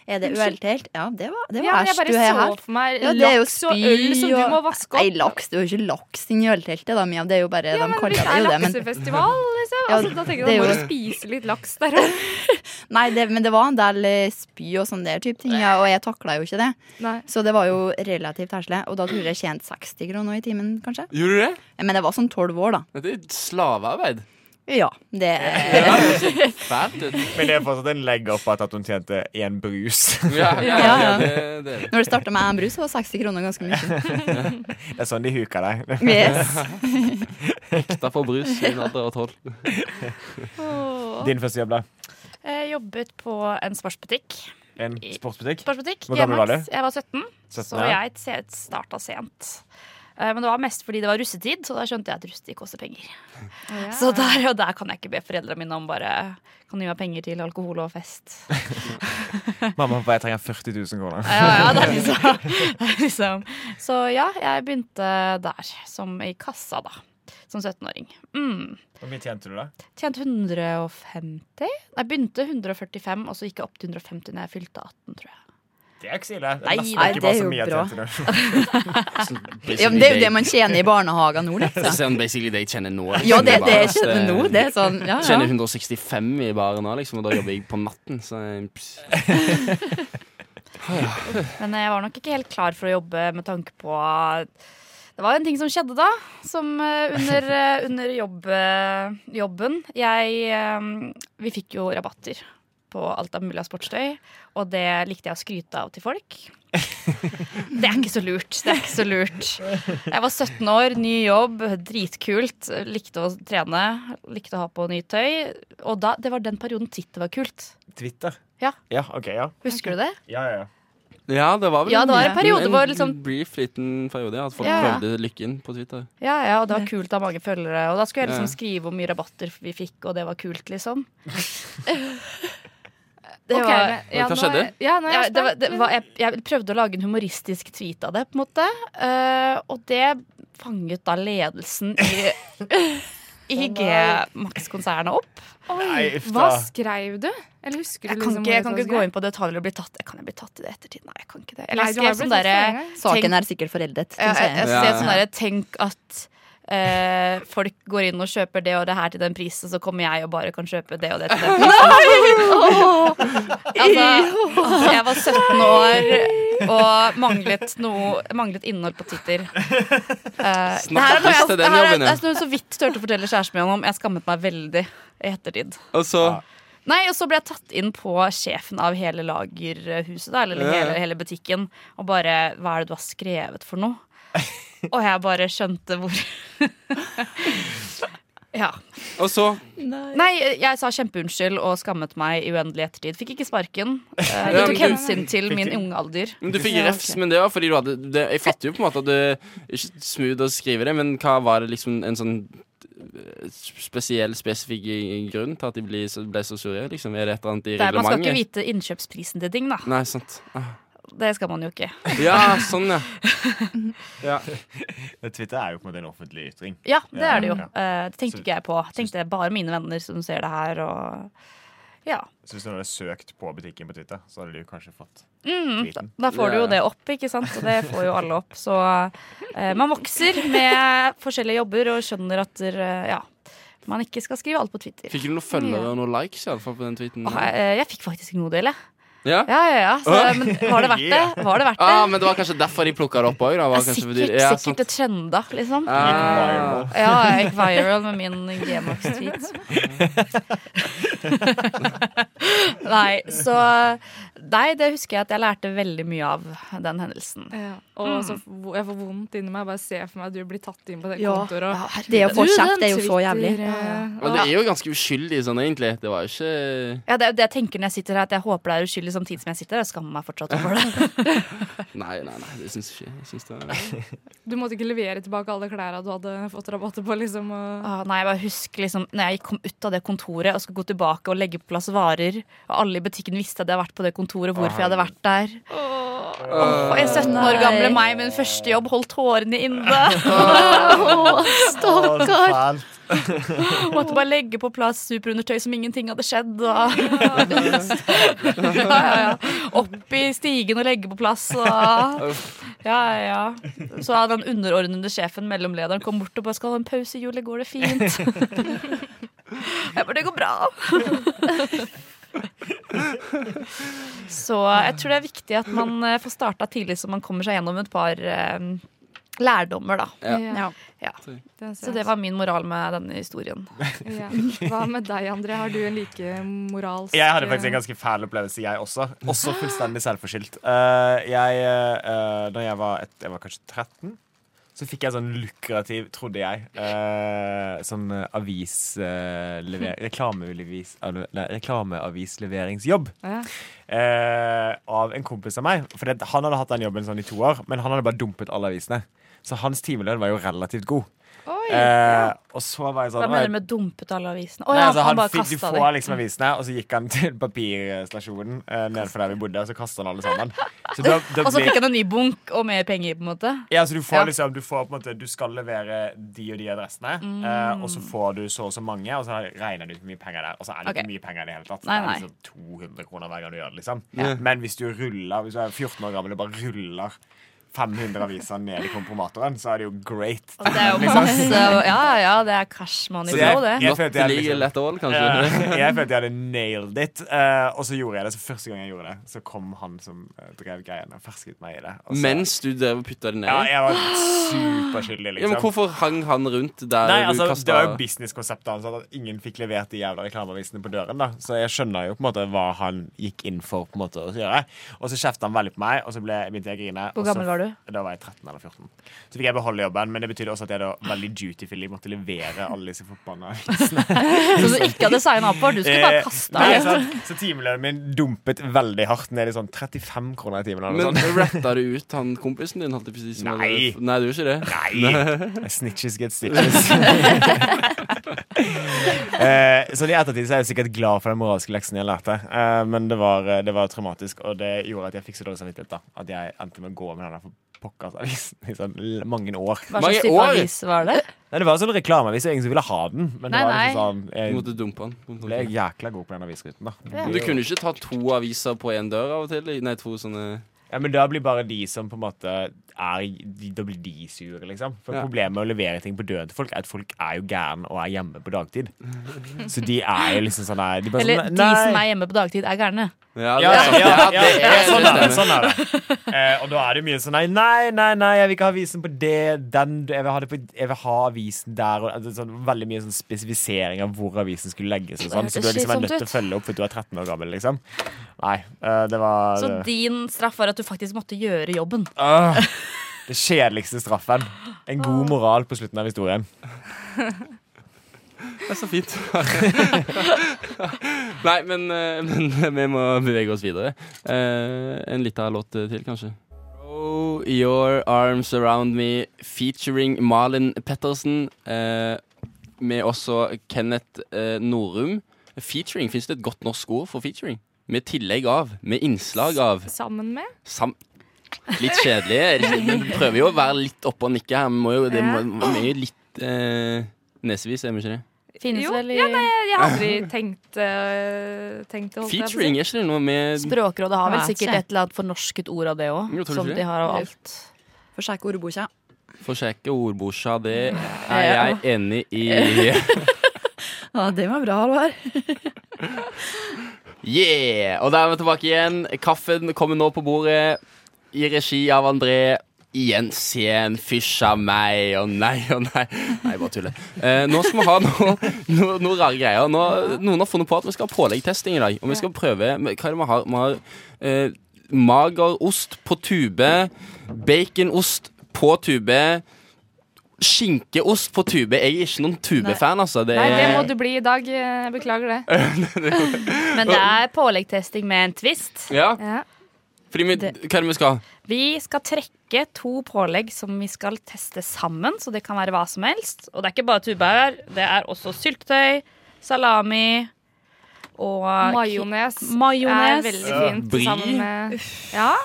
Speaker 4: er det øltelt. Ja, det var, det
Speaker 5: ja, men
Speaker 4: var
Speaker 5: jeg
Speaker 4: æsj, du
Speaker 5: bare
Speaker 4: har
Speaker 5: så
Speaker 4: her.
Speaker 5: for meg
Speaker 4: Ja, det er jo
Speaker 5: laks og øl som du
Speaker 4: spy og-
Speaker 5: må vaske
Speaker 4: Nei,
Speaker 5: opp.
Speaker 4: laks. Det er jo ikke laks inni ølteltet, da, Mia. Det er jo bare
Speaker 5: Ja,
Speaker 4: De
Speaker 5: men hvis
Speaker 4: kaller
Speaker 5: det
Speaker 4: det
Speaker 5: er
Speaker 4: jo det, men
Speaker 5: laksefestival, liksom.
Speaker 4: Ja,
Speaker 5: altså, da tenker jeg
Speaker 4: det er
Speaker 5: da må
Speaker 4: jo-
Speaker 5: du spise litt laks der òg.
Speaker 4: Nei, det, men det var en del eh, spy og sånne der type ting, ja, og jeg takla jo ikke det. Så det var jo relativt herselig. Og da tror jeg jeg tjente 60 kroner i timen, kanskje.
Speaker 1: Gjorde du det?
Speaker 4: Men jeg var sånn 12 år, da.
Speaker 1: Dette er slavearbeid.
Speaker 4: Ja, det eh,
Speaker 1: Fælt. ut.
Speaker 7: Men det er fortsatt en legg opp at at hun tjente én brus.
Speaker 1: Ja, ja, ja,
Speaker 4: Ja, ja.
Speaker 1: det, det er det.
Speaker 4: Når det starta med én brus, så var 60 kroner ganske mye.
Speaker 7: Det er sånn de huker deg.
Speaker 4: Yes.
Speaker 1: Nekta for brus i en alder av tolv.
Speaker 7: Din første jobb, da?
Speaker 6: Jeg jobbet på en sportsbutikk.
Speaker 7: En sportsbutikk?
Speaker 6: sportsbutikk
Speaker 7: Hvor gammel var du?
Speaker 6: G-Max. Jeg var 17,
Speaker 7: 17,
Speaker 6: Eh, så
Speaker 7: ja.
Speaker 6: jeg starta sent. Eh, Men det var mest fordi det var russetid, så da skjønte jeg at russetid koster penger. Så der og der kan jeg ikke be foreldrene mine om bare Kan du gi meg penger til alkohol og fest.
Speaker 7: Mamma og pappa, jeg trenger 40 000 kroner.
Speaker 6: Ja, ja, det er liksom, det er liksom. Så ja, jeg begynte der, som i kassa, da. Som 17-åring. Mm.
Speaker 7: Hvor mye tjente du, da?
Speaker 6: Tjente 150 Nei, begynte 145, og så gikk jeg opp til 150 når jeg fylte 18, tror jeg.
Speaker 7: Det er jo ikke så ille.
Speaker 6: Nei,
Speaker 7: nesten
Speaker 6: nei,
Speaker 7: ikke
Speaker 4: det
Speaker 7: bare
Speaker 4: er
Speaker 7: så
Speaker 4: jo
Speaker 7: mye jeg
Speaker 4: bra.
Speaker 7: tjente da.
Speaker 4: Ja, men det er jo det man tjener i barnehagen nå, liksom.
Speaker 1: Sånn basically det jeg kjenner nå. liksom.
Speaker 4: Ja, det, det
Speaker 1: bare-
Speaker 4: jeg kjenner nå, det er sånn ja,
Speaker 1: Tjener
Speaker 4: ja.
Speaker 1: 165 i baren nå, liksom, og da jobber jeg på natten. Så jeg- pss.
Speaker 6: Men eh, jeg var nok ikke helt klar for å jobbe med tanke på Det var en ting som skjedde da, som eh, under, eh, under jobb, eh, jobben. Jeg eh, Vi fikk jo rabatter på alt av mulig av sportstøy, og det likte jeg å skryte av til folk. Det er ikke så lurt. Det er ikke så lurt. Jeg var 17 år, ny jobb, dritkult. Likte å trene, likte å ha på nytt tøy. Og da, det var den perioden Twitter var kult.
Speaker 7: Twitter?
Speaker 6: Ja.
Speaker 7: Ja, ok, ja.
Speaker 6: Husker du det?
Speaker 7: Ja, ja, ja.
Speaker 1: Ja, det var vel
Speaker 6: Ja, det var en
Speaker 1: liten-
Speaker 6: periode hvor liksom-
Speaker 1: En brief liten periode, ja. At folk
Speaker 6: Ja, ja.
Speaker 1: prøvde lykken på Twitter.
Speaker 6: Ja, ja, og det var kult å ha mange følgere. Og da skulle jeg liksom
Speaker 1: Ja.
Speaker 6: skrive hvor mye rabatter vi fikk, og det var kult, liksom. det,
Speaker 5: Ok,
Speaker 6: var,
Speaker 5: men- ja,
Speaker 1: Hva
Speaker 5: nå
Speaker 1: skjedde?
Speaker 5: er- Ja, nå er
Speaker 6: ja,
Speaker 5: jeg
Speaker 6: det var, det
Speaker 5: spent.
Speaker 6: var jeg, jeg prøvde å lage en humoristisk tweet av det, på en måte. Eh, og det fanget da ledelsen i, i G-Max-konsernet opp.
Speaker 7: Nei, uff
Speaker 5: Hva
Speaker 7: da.
Speaker 5: skrev du? Eller husker du
Speaker 6: Jeg kan
Speaker 5: liksom
Speaker 6: ikke, jeg kan
Speaker 5: hvordan
Speaker 6: ikke
Speaker 5: det
Speaker 6: gå
Speaker 5: var
Speaker 6: inn på detaljer og bli tatt. Jeg kan jeg bli tatt i det ettertid? Nei, jeg kan ikke det.
Speaker 5: Nei,
Speaker 6: Eller jeg
Speaker 5: du har
Speaker 6: skrev sånn
Speaker 5: blitt tatt
Speaker 6: derre
Speaker 5: flere ganger.
Speaker 6: tenk-
Speaker 4: Saken er sikkert foreldet.
Speaker 6: Ja, jeg, jeg
Speaker 4: synes jeg.
Speaker 1: Ja,
Speaker 6: ser
Speaker 1: ja.
Speaker 6: sånn derre Tenk at eh, folk går inn og kjøper det og det her til den prisen, så kommer jeg og bare kan kjøpe det og det til den prisen. Altså, jeg var 17 år og manglet noe Manglet innhold på Twitter. Eh, det her er noe
Speaker 1: Snakkes
Speaker 6: jeg,
Speaker 1: til
Speaker 6: det
Speaker 1: den
Speaker 6: her er,
Speaker 1: jobben,
Speaker 6: det
Speaker 1: ja.
Speaker 6: er noe jeg så vidt turte å fortelle kjæresten min om. Jeg skammet meg veldig i ettertid.
Speaker 1: Og så
Speaker 6: Nei, og så ble jeg tatt inn på sjefen av hele lagerhuset, da, eller
Speaker 1: Ja, ja.
Speaker 6: hele, hele butikken, og bare Hva er det du har skrevet for noe? og jeg bare skjønte hvor Ja.
Speaker 1: Og så
Speaker 6: Nei, jeg sa kjempeunnskyld og skammet meg i uendelig ettertid. Fikk ikke sparken. Eh,
Speaker 1: Ja,
Speaker 6: Jeg tok
Speaker 1: men du-
Speaker 6: hensyn til min unge alder.
Speaker 1: Men Du fikk refs, men det var fordi du hadde det, Jeg fatter jo på en måte at det er ikke smooth å skrive det, men hva var det liksom en sånn eh, spesiell, spesifikk i- i grunn til at de ble så, ble så sure? Liksom? Er det et eller annet i
Speaker 6: Der man skal
Speaker 1: reglementet?
Speaker 6: ikke vite innkjøpsprisen til ting, da.
Speaker 1: Nei, sant. Ah.
Speaker 6: Det skal man jo ikke.
Speaker 1: Ja, sånn, ja.
Speaker 7: Twitter er jo på en måte en offentlig ytring.
Speaker 6: Ja, det er det jo.
Speaker 7: Ja.
Speaker 6: Eh, Det tenkte ikke jeg på. Tenkte bare mine venner som ser det her, og Ja.
Speaker 7: Så hvis du hadde søkt på butikken på Twitter, så hadde du kanskje fått
Speaker 6: Mm, da,
Speaker 7: tweeten.
Speaker 6: da får du jo
Speaker 1: Ja.
Speaker 6: det opp, ikke sant? Og det får jo alle opp. Så eh, man vokser med forskjellige jobber og skjønner at eh, ja, man ikke skal skrive alt på Twitter.
Speaker 1: Fikk du noen følgere og noen likes i alle fall på den tweeten?
Speaker 6: Åh, eh, jeg, jeg fikk faktisk en god del, jeg.
Speaker 1: Ja?
Speaker 6: Ja, ja, ja. Så,
Speaker 1: Åh.
Speaker 6: men var det verdt det? Var det verdt det?
Speaker 1: Ah, men det var kanskje derfor de plukka det opp òg?
Speaker 6: Ja, sikkert, sikkert det trenda, liksom.
Speaker 1: Ah.
Speaker 6: Ja, jeg gikk viral med min Gmax-tweet. nei, så Nei, det husker jeg at jeg lærte veldig mye av den hendelsen.
Speaker 5: Ja. Og så f- jeg får vondt inni meg. Bare se for meg at du blir tatt inn på det
Speaker 4: Ja.
Speaker 5: kontoret. og-
Speaker 4: Det å få
Speaker 5: Du,
Speaker 4: kjeft
Speaker 5: den
Speaker 4: er jo så jævlig.
Speaker 5: Twitter, eh,
Speaker 1: Men det er jo ganske uskyldig sånn, egentlig. Det var jo ikke
Speaker 6: Ja, det er jo det jeg tenker når jeg sitter her, at jeg håper det er uskyldig samtidig som jeg sitter her. Jeg skammer meg fortsatt over det.
Speaker 1: Nei, nei, nei, det syns jeg ikke. Jeg syns det
Speaker 5: Du måtte ikke levere tilbake alle klærne du hadde fått rabatter på. liksom og...
Speaker 6: Åh, Ah, nei, jeg bare husker liksom Når jeg kom ut av det kontoret og skulle gå tilbake og legge på plass varer, og alle i butikken visste at jeg hadde vært på det kontoret, hvorfor jeg hadde vært der. Åh, jeg 17 år gamle meg, min første jobb, holdt hårene inne.
Speaker 7: Å, så fælt.
Speaker 6: Måtte bare legge på plass superundertøy som ingenting hadde skjedd. Og... ja, ja, ja. Opp i stigen og legge på plass. Og... Ja, ja, ja. Så hadde den underordnede sjefen, mellomlederen, kom bort og bare 'Skal ha en pause i juli, går det fint?' Jeg bare 'Det går bra'. Så jeg tror det er viktig at man eh, får starta tidlig, så man kommer seg gjennom et par eh, lærdommer, da.
Speaker 1: Ja.
Speaker 4: Ja.
Speaker 6: Ja.
Speaker 5: Den ser
Speaker 6: Så det
Speaker 5: jeg.
Speaker 6: var min moral med denne historien.
Speaker 5: Ja. Hva med deg, André? Har du en like moralsk eh,
Speaker 7: Jeg hadde faktisk en ganske fæl opplevelse, jeg også. Også fullstendig selvforskyldt. Eh, jeg, eh, da jeg var, et, jeg var kanskje 13, så fikk jeg sånn lukrativ, trodde jeg, eh, sånn eh, avis, eh, lever, reklameavis, eller, nei, reklameavisleveringsjobb.
Speaker 5: Ja.
Speaker 7: eh, av en kompis av meg. For det, han hadde hatt den jobben sånn i to år, men han hadde bare dumpet alle avisene. Så hans timelønn var jo relativt god.
Speaker 5: Oi,
Speaker 7: Eh, og så var jeg sånn
Speaker 6: Hva mener du med dumpet alle avisene? Å
Speaker 7: Nei,
Speaker 6: ja,
Speaker 7: altså,
Speaker 6: han,
Speaker 7: han
Speaker 6: bare
Speaker 7: fikk, du
Speaker 6: kasta
Speaker 7: får
Speaker 6: dem.
Speaker 7: liksom avisene, og så gikk han til papirstasjonen eh, nedenfor der vi bodde, og så kasta han alle sammen. Så da, da
Speaker 6: Og så
Speaker 7: blir,
Speaker 6: fikk han en ny bunk og mer penger, på en måte.
Speaker 7: ja, så du får
Speaker 6: Ja.
Speaker 7: liksom Du får på en måte Du skal levere de og de adressene,
Speaker 6: Mm.
Speaker 7: eh, og så får du så og så mange, og så regner du ut hvor mye penger det er. Og så er det
Speaker 6: Ok.
Speaker 7: ikke mye penger i det hele tatt.
Speaker 6: Nei,
Speaker 7: Det
Speaker 6: nei.
Speaker 7: er liksom 200 kroner hver gang du gjør det, liksom. Men hvis du ruller Hvis du er 14 år gammel og bare ruller 500 aviser ned i kompromatoren, så er det jo great.
Speaker 6: Og det er jo masse Ja, ja, ja, det er cash money
Speaker 7: Så
Speaker 6: flow, det.
Speaker 7: jeg
Speaker 1: Not
Speaker 7: følte jeg liksom-
Speaker 1: illegal at all, kanskje.
Speaker 7: Ja, Eh, jeg følte jeg hadde nailed it, eh, og så gjorde jeg det. Så første gang jeg gjorde det, så kom han som eh, drev greiene, og fersket meg i det. Og så,
Speaker 1: Mens du drev og putta det ned? Ja,
Speaker 7: Ja, jeg var superskyldig, liksom.
Speaker 1: men hvorfor hang han rundt der
Speaker 7: Nei,
Speaker 1: du
Speaker 7: altså,
Speaker 1: kastet-
Speaker 7: Det var jo businesskonseptet hans at at ingen fikk levert de jævla reklameavisene på døren. da Så jeg skjønner jo på en måte hva han gikk inn for på en måte å gjøre. Og så kjefta han veldig på meg, og så ble, begynte jeg å grine.
Speaker 6: Hvor
Speaker 7: og så-
Speaker 6: gammel var du?
Speaker 7: Da var jeg 13 eller 14. Så fikk jeg beholde jobben, men det betydde også at jeg da veldig dutifully måtte levere alle disse forbanna
Speaker 6: Som du ikke hadde signa opp for. Du skulle bare
Speaker 7: Eh,
Speaker 6: kasta
Speaker 7: nei,
Speaker 6: dem.
Speaker 7: sant? Så timelønnen min dumpet veldig hardt ned i sånn 35 kroner i sånn, timen. Eller
Speaker 1: Men
Speaker 7: noe sånt.
Speaker 1: ratta du ut han kompisen din? Holdt jeg på å si, som
Speaker 7: Nei.
Speaker 1: hadde- Nei, du gjorde ikke det?
Speaker 7: Nei! Snitches get stitches. eh, så i ettertid så er jeg sikkert glad for den moralske leksen jeg lærte. Eh, men det var, eh, det var traumatisk, og det gjorde at jeg fikk så dårlig samvittighet da at jeg endte med å gå med den der for pokkers avisen i sånn l- mange år.
Speaker 6: Hva
Speaker 1: Mange
Speaker 6: slags type
Speaker 1: år.
Speaker 6: avis var det?
Speaker 7: Nei, det var sånn reklameavis, og ingen som ville ha den. Men
Speaker 6: Nei,
Speaker 7: det var liksom
Speaker 1: Du
Speaker 7: sånn,
Speaker 1: måtte dumpe han.
Speaker 7: jeg ble jækla god på den avisruten, da.
Speaker 1: Men du kunne ikke ta to aviser på én dør av og til? Nei, to sånne
Speaker 7: Ja, men da blir bare de som på en måte er de- Da blir de sure, liksom. For
Speaker 1: Ja.
Speaker 7: problemet med å levere ting på døren til folk er at folk er jo gærne og er hjemme på dagtid. Så de er jo liksom sånn der de bare
Speaker 6: Eller
Speaker 7: sånn,
Speaker 6: de som er hjemme på dagtid, er gærne.
Speaker 1: Ja,
Speaker 7: ja, ja, ja,
Speaker 1: sant.
Speaker 7: ja, ja, sånn er
Speaker 1: stemmer.
Speaker 7: det. Sånn er det. Eh, og da er det mye sånn nei, nei, nei, nei jeg vil ikke ha avisen på det, den Jeg vil ha, det på, jeg vil ha avisen der. Og, altså, sånn, veldig mye sånn spesifisering av hvor avisen skulle legges. Og sånn, så
Speaker 6: Det
Speaker 7: du er liksom
Speaker 6: hørtes
Speaker 7: er nødt
Speaker 6: slitsomt
Speaker 7: til å følge opp for du er 13 år gammel, liksom. Nei, eh, det var
Speaker 6: Så din straff var at du faktisk måtte gjøre jobben.
Speaker 7: Ah, det kjedeligste straffen. En god moral på slutten av historien.
Speaker 1: Det er så fint. Nei, men, eh, men vi må bevege oss videre. Eh, en liten låt til, kanskje. Throw Your Arms Around Me featuring Malin Pettersen. eh, med også Kenneth eh, Norum. Featuring, Fins det et godt norsk ord for featuring? Med tillegg av. Med innslag av.
Speaker 5: Sammen med?
Speaker 1: Sam litt kjedelig. er det ikke? Men vi prøver jo å være litt oppe og nikke her. Vi må jo, det må, vi er jo litt eh, nesevis, er vi ikke det?
Speaker 6: Finnes
Speaker 5: Jo,
Speaker 6: vel i
Speaker 5: ja, nei, Eh, jeg har aldri tenkt, øh, tenkt det. holdt jeg på å si.
Speaker 1: Featuring, er ikke det noe med
Speaker 6: Språkrådet har vel
Speaker 4: Nei,
Speaker 6: sikkert
Speaker 4: ikke.
Speaker 6: et eller annet fornorsket ord av det òg.
Speaker 1: Jo, tror du
Speaker 6: Som
Speaker 1: ikke
Speaker 6: de
Speaker 1: det?
Speaker 6: har av alt.
Speaker 4: For sjekke ordboka.
Speaker 1: Forsjekke ordboka, det er
Speaker 6: Ja.
Speaker 1: jeg enig i.
Speaker 4: Ja, det var bra, Halvard.
Speaker 1: Yeah! Og der er vi tilbake igjen. Kaffen kommer nå på bordet i regi av André. Jens igjen, fysja meg, og nei og nei. Nei, bare tuller. Eh, nå skal vi ha noe, noe, noe rare greier. Nå, noen har funnet på at vi skal ha påleggtesting i dag. Og vi skal prøve Hva er det vi har? Vi har eh, magerost på tube, baconost på tube, skinkeost på tube. Jeg er ikke noen tubefan, altså. Det
Speaker 5: Nei, det
Speaker 1: er-
Speaker 5: må du bli i dag. eh, Beklager det.
Speaker 6: Men det er påleggtesting med en twist.
Speaker 1: Ja,
Speaker 5: Ja.
Speaker 1: fordi vi,
Speaker 6: Det-
Speaker 1: hva er det vi skal ha?
Speaker 6: Vi skal trekke to pålegg som vi skal teste sammen, så det kan være hva som helst. Og det er ikke bare tuber, det er også syltetøy, salami og
Speaker 5: Majones er
Speaker 6: Majones.
Speaker 5: veldig fint
Speaker 1: Brie.
Speaker 5: sammen med Ja.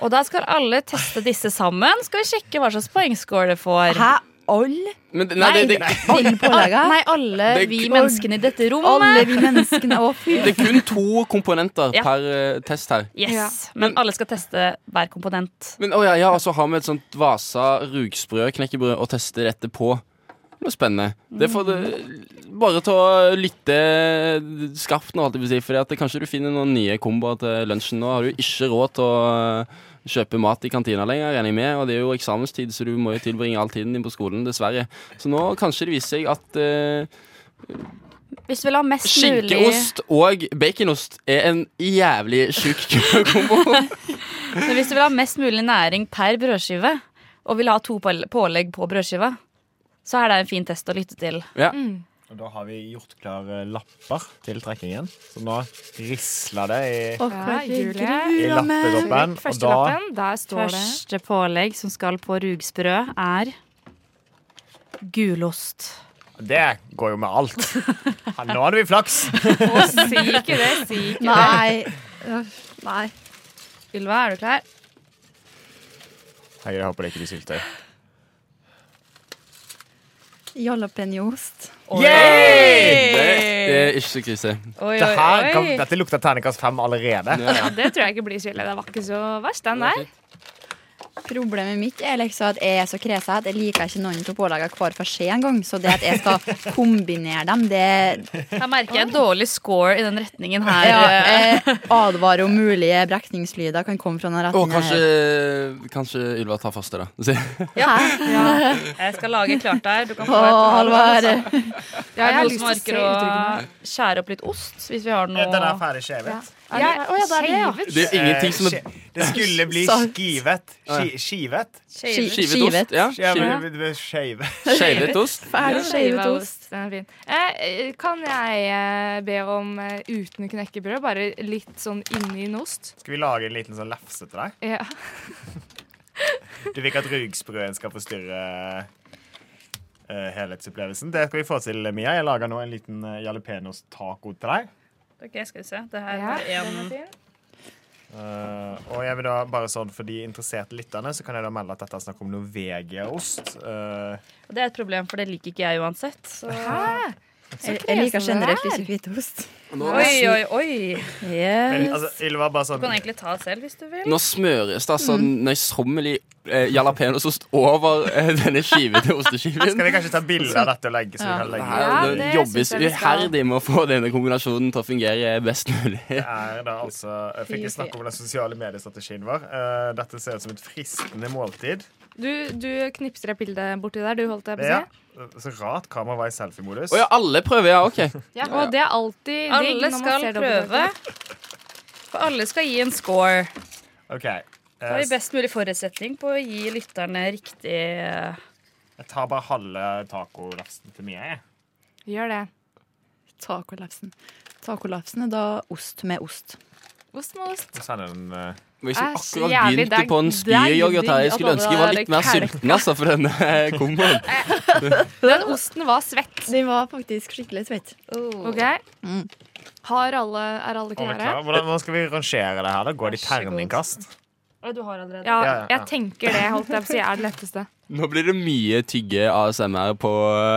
Speaker 6: Og da skal alle teste disse sammen. Skal vi sjekke hva slags poengscore det får.
Speaker 4: Hæ? Alle?
Speaker 1: Men, det- nei, det, det,
Speaker 4: Alle
Speaker 6: Al-
Speaker 4: pålegga?
Speaker 6: Nei, alle
Speaker 1: Det-
Speaker 6: vi menneskene i dette
Speaker 4: Alle
Speaker 6: rommet.
Speaker 4: vi menneskene. Å, fy.
Speaker 1: det er kun to komponenter
Speaker 6: Ja.
Speaker 1: per eh, test her.
Speaker 6: Yes, Men alle skal teste hver komponent.
Speaker 1: Men å ja, ja, og så har vi et sånt Vasa rugsprø knekkebrød og tester dette på. Det er spennende. Det får du eh, bare til å lytte eh, skarpt nå, holdt jeg på å si, for kanskje du finner noen nye komboer til lunsjen. Nå har du ikke råd til å eh, kjøpe mat i kantina lenger, regner jeg med, og det er jo eksamenstid, så du må jo tilbringe all tiden din på skolen, dessverre. Så nå kanskje det viser seg at eh,
Speaker 6: Hvis du vil ha mest mulig
Speaker 1: skinkeost og baconost er en jævlig sjuk kombo.
Speaker 6: Men hvis du vil ha mest mulig næring per brødskive, og vil ha to pål- pålegg på brødskiva, så er det en fin test å lytte til.
Speaker 7: Og da har vi gjort klar eh, lapper til trekkingen. Så nå risler det i,
Speaker 4: Og
Speaker 5: Ja, Julie.
Speaker 7: i lappekoppen. Og
Speaker 5: Første
Speaker 7: da
Speaker 5: lappen, der står det
Speaker 6: Første pålegg som skal på rugsprø, er gulost.
Speaker 7: Det går jo med alt. Ja, Nå hadde vi flaks.
Speaker 5: Å, si ikke det, si ikke det.
Speaker 4: Nei. Uff, Nei.
Speaker 6: Ylva, er du klar?
Speaker 7: Hei, jeg håper det ikke blir syltetøy.
Speaker 4: Jalapeñost.
Speaker 1: Det er ikke så krise.
Speaker 6: Oi,
Speaker 7: Det
Speaker 6: oi,
Speaker 7: her kan,
Speaker 6: oi.
Speaker 7: dette lukter terningkast fem allerede.
Speaker 5: Ja, det tror jeg ikke blir så ille. Det var ikke så verst, den der.
Speaker 4: Problemet mitt er liksom at jeg er så kresen at jeg liker ikke noen av påleggene hver for seg engang. Så det at jeg skal kombinere dem, det
Speaker 6: Her merker jeg dårlig score i den retningen her. Eh,
Speaker 4: ja, jeg eh, advarer om mulige brekningslyder kan komme fra den
Speaker 1: Å,
Speaker 4: retningen
Speaker 1: kanskje, kanskje Ylva tar første, da.
Speaker 6: Jeg skal lage klart der. Du kan få
Speaker 4: Å,
Speaker 6: et
Speaker 4: Halvard.
Speaker 5: Ja,
Speaker 6: Er
Speaker 5: jeg
Speaker 6: det
Speaker 5: har
Speaker 6: noen
Speaker 5: lyst
Speaker 6: som
Speaker 5: til å se
Speaker 6: orker å
Speaker 5: uttrykkene.
Speaker 6: skjære opp litt ost? Hvis vi har noe
Speaker 7: Den er ferdig skjevet.
Speaker 5: Ja, å, ja, det er det, ja.
Speaker 1: Det er jo ingenting som er
Speaker 7: Eh, skje- Det skulle bli
Speaker 4: Sant.
Speaker 7: skivet. Ski- Skivet?
Speaker 4: Ski-
Speaker 1: skivet ost. Ja,
Speaker 7: Ja, men
Speaker 1: skivet-
Speaker 7: det blir skjevet.
Speaker 1: Skjevet ost.
Speaker 4: Ferdig skeivet
Speaker 5: Skiva
Speaker 4: ost.
Speaker 5: Den er fin. Eh, kan jeg eh, be om eh, uten knekkebrød, bare litt sånn inni en ost?
Speaker 7: Skal vi lage en liten sånn lefse til deg?
Speaker 5: Ja.
Speaker 7: Du vil ikke at rugsprøen skal forstyrre eh, helhetsopplevelsen. Det skal vi få til, Mia. Jeg lager nå en liten eh, jalapeños-taco til deg.
Speaker 6: Ok, skal vi se. Det her
Speaker 5: Ja,
Speaker 6: er
Speaker 5: den
Speaker 6: en
Speaker 5: er fin.
Speaker 7: Eh, og jeg vil da bare sånn for de interesserte lytterne, så kan jeg da melde at dette er snakk om Norvegia-ost. Eh,
Speaker 6: Og Det er et problem, for det liker ikke jeg uansett. Så.
Speaker 4: Jeg, jeg liker generelt ikke hvitost.
Speaker 6: Oi, oi, oi.
Speaker 7: men, altså, Ylva, bare sånn
Speaker 6: Du kan egentlig ta selv hvis du vil.
Speaker 1: Nå smøres det altså nøysommelig eh, jalapeñosost over eh, denne skivete osteskiven.
Speaker 7: Skal vi kanskje ta bilde av dette og legge? Så vi kan legge
Speaker 1: Her,
Speaker 5: Ja,
Speaker 1: det
Speaker 5: det
Speaker 1: jobbes
Speaker 5: synes jeg vi skal.
Speaker 1: iherdig med å få denne kombinasjonen til å fungere best mulig.
Speaker 7: Det er da altså Jeg fikk ikke snakke om den sosiale mediestrategien vår. Eh, dette ser ut som et fristende måltid.
Speaker 5: Du, du knipser et bilde borti der, du, holdt jeg på å
Speaker 7: Ja.
Speaker 5: si.
Speaker 7: Så rart kameraet var i selfie-modus.
Speaker 1: Å ja, alle prøver, ja. Ok.
Speaker 5: Ja, og det er alltid digg
Speaker 6: Alle
Speaker 5: når man
Speaker 6: skal
Speaker 5: ser dobbeltdrakt.
Speaker 6: prøve. For alle skal gi en score.
Speaker 7: OK. eh,
Speaker 6: Da har vi best mulig forutsetning på å gi lytterne riktig eh,
Speaker 7: jeg tar bare halve tacolafsen til Mia. jeg.
Speaker 5: Gjør det.
Speaker 4: Tacolapsen. Tacolapsen er da ost med ost.
Speaker 5: Ost med ost.
Speaker 7: Og så er det en eh,
Speaker 1: Og Jeg som
Speaker 5: Æsj,
Speaker 1: akkurat
Speaker 5: jævlig,
Speaker 1: begynte
Speaker 5: det er
Speaker 1: på en spyyoghurt her. Jeg
Speaker 5: deilig
Speaker 1: skulle
Speaker 5: at
Speaker 1: ønske jeg var
Speaker 5: alle
Speaker 1: litt mer
Speaker 5: kalka.
Speaker 1: sulten altså, for denne eh, komboen.
Speaker 5: Den osten var svett.
Speaker 4: Den var faktisk skikkelig svett.
Speaker 5: OK? Har alle, er
Speaker 7: om
Speaker 5: alle
Speaker 7: vi er
Speaker 5: klare?
Speaker 7: klar. Hvordan, hvordan skal vi rangere det her? da? Går det i
Speaker 6: Vær så god.
Speaker 7: terningkast?
Speaker 6: Å, Du har allerede.
Speaker 5: Ja,
Speaker 7: Ja, ja, ja.
Speaker 5: jeg tenker det, holdt jeg på å si, er det letteste.
Speaker 1: Nå blir det mye tygge ASMR på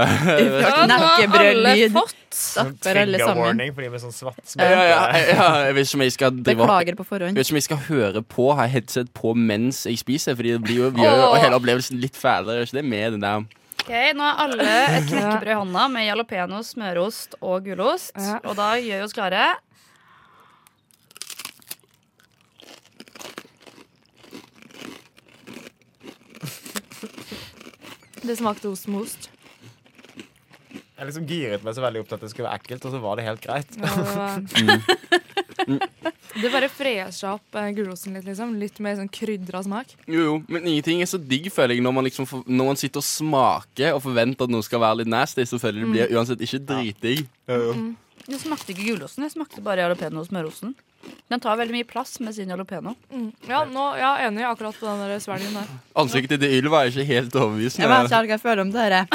Speaker 1: eh,
Speaker 6: Ja, nå har alle
Speaker 4: Knekkebrødlyd.
Speaker 6: fått.
Speaker 7: Sånn
Speaker 4: Stapper alle
Speaker 7: trigger
Speaker 4: sammen.
Speaker 7: warning for de med sånn svart
Speaker 1: ja,
Speaker 7: smak.
Speaker 1: ja, ja, Jeg vet ikke om jeg skal drive opp
Speaker 4: Beklager på forhånd.
Speaker 1: Jeg vet ikke om jeg skal høre på, ha headset på mens jeg spiser, Fordi det blir jo, gjør jo hele opplevelsen litt fælere. Gjør ikke det med den der
Speaker 6: Ok, Nå har alle et knekkebrød i hånda med jalapeño, smørost og gulost.
Speaker 5: Ja.
Speaker 6: Og da gjør vi oss klare.
Speaker 5: Det smakte ost med ost.
Speaker 7: Jeg liksom giret meg så veldig opp til at det skulle være ekkelt, og så var det helt greit.
Speaker 5: Ja, det var-
Speaker 1: Mm.
Speaker 5: Det bare frer seg opp eh, gulosten litt, liksom. Litt mer sånn krydra smak.
Speaker 1: Jo, jo, men ingenting er så digg, føler jeg, når man, liksom, for- når man sitter og smaker og forventer at noe skal være litt nasty, så føler jeg det blir uansett ikke dritdigg.
Speaker 6: Det smakte ikke gulosten, det smakte bare jalapeño og smørosten. Den tar veldig mye plass med sin jalapeño.
Speaker 5: Ja, nå, ja, enig akkurat på den der svelgen der.
Speaker 1: Ansiktet til Ylva er ikke helt
Speaker 4: Jeg vet ikke
Speaker 1: overbevisende.
Speaker 4: helt hva jeg føler om det her.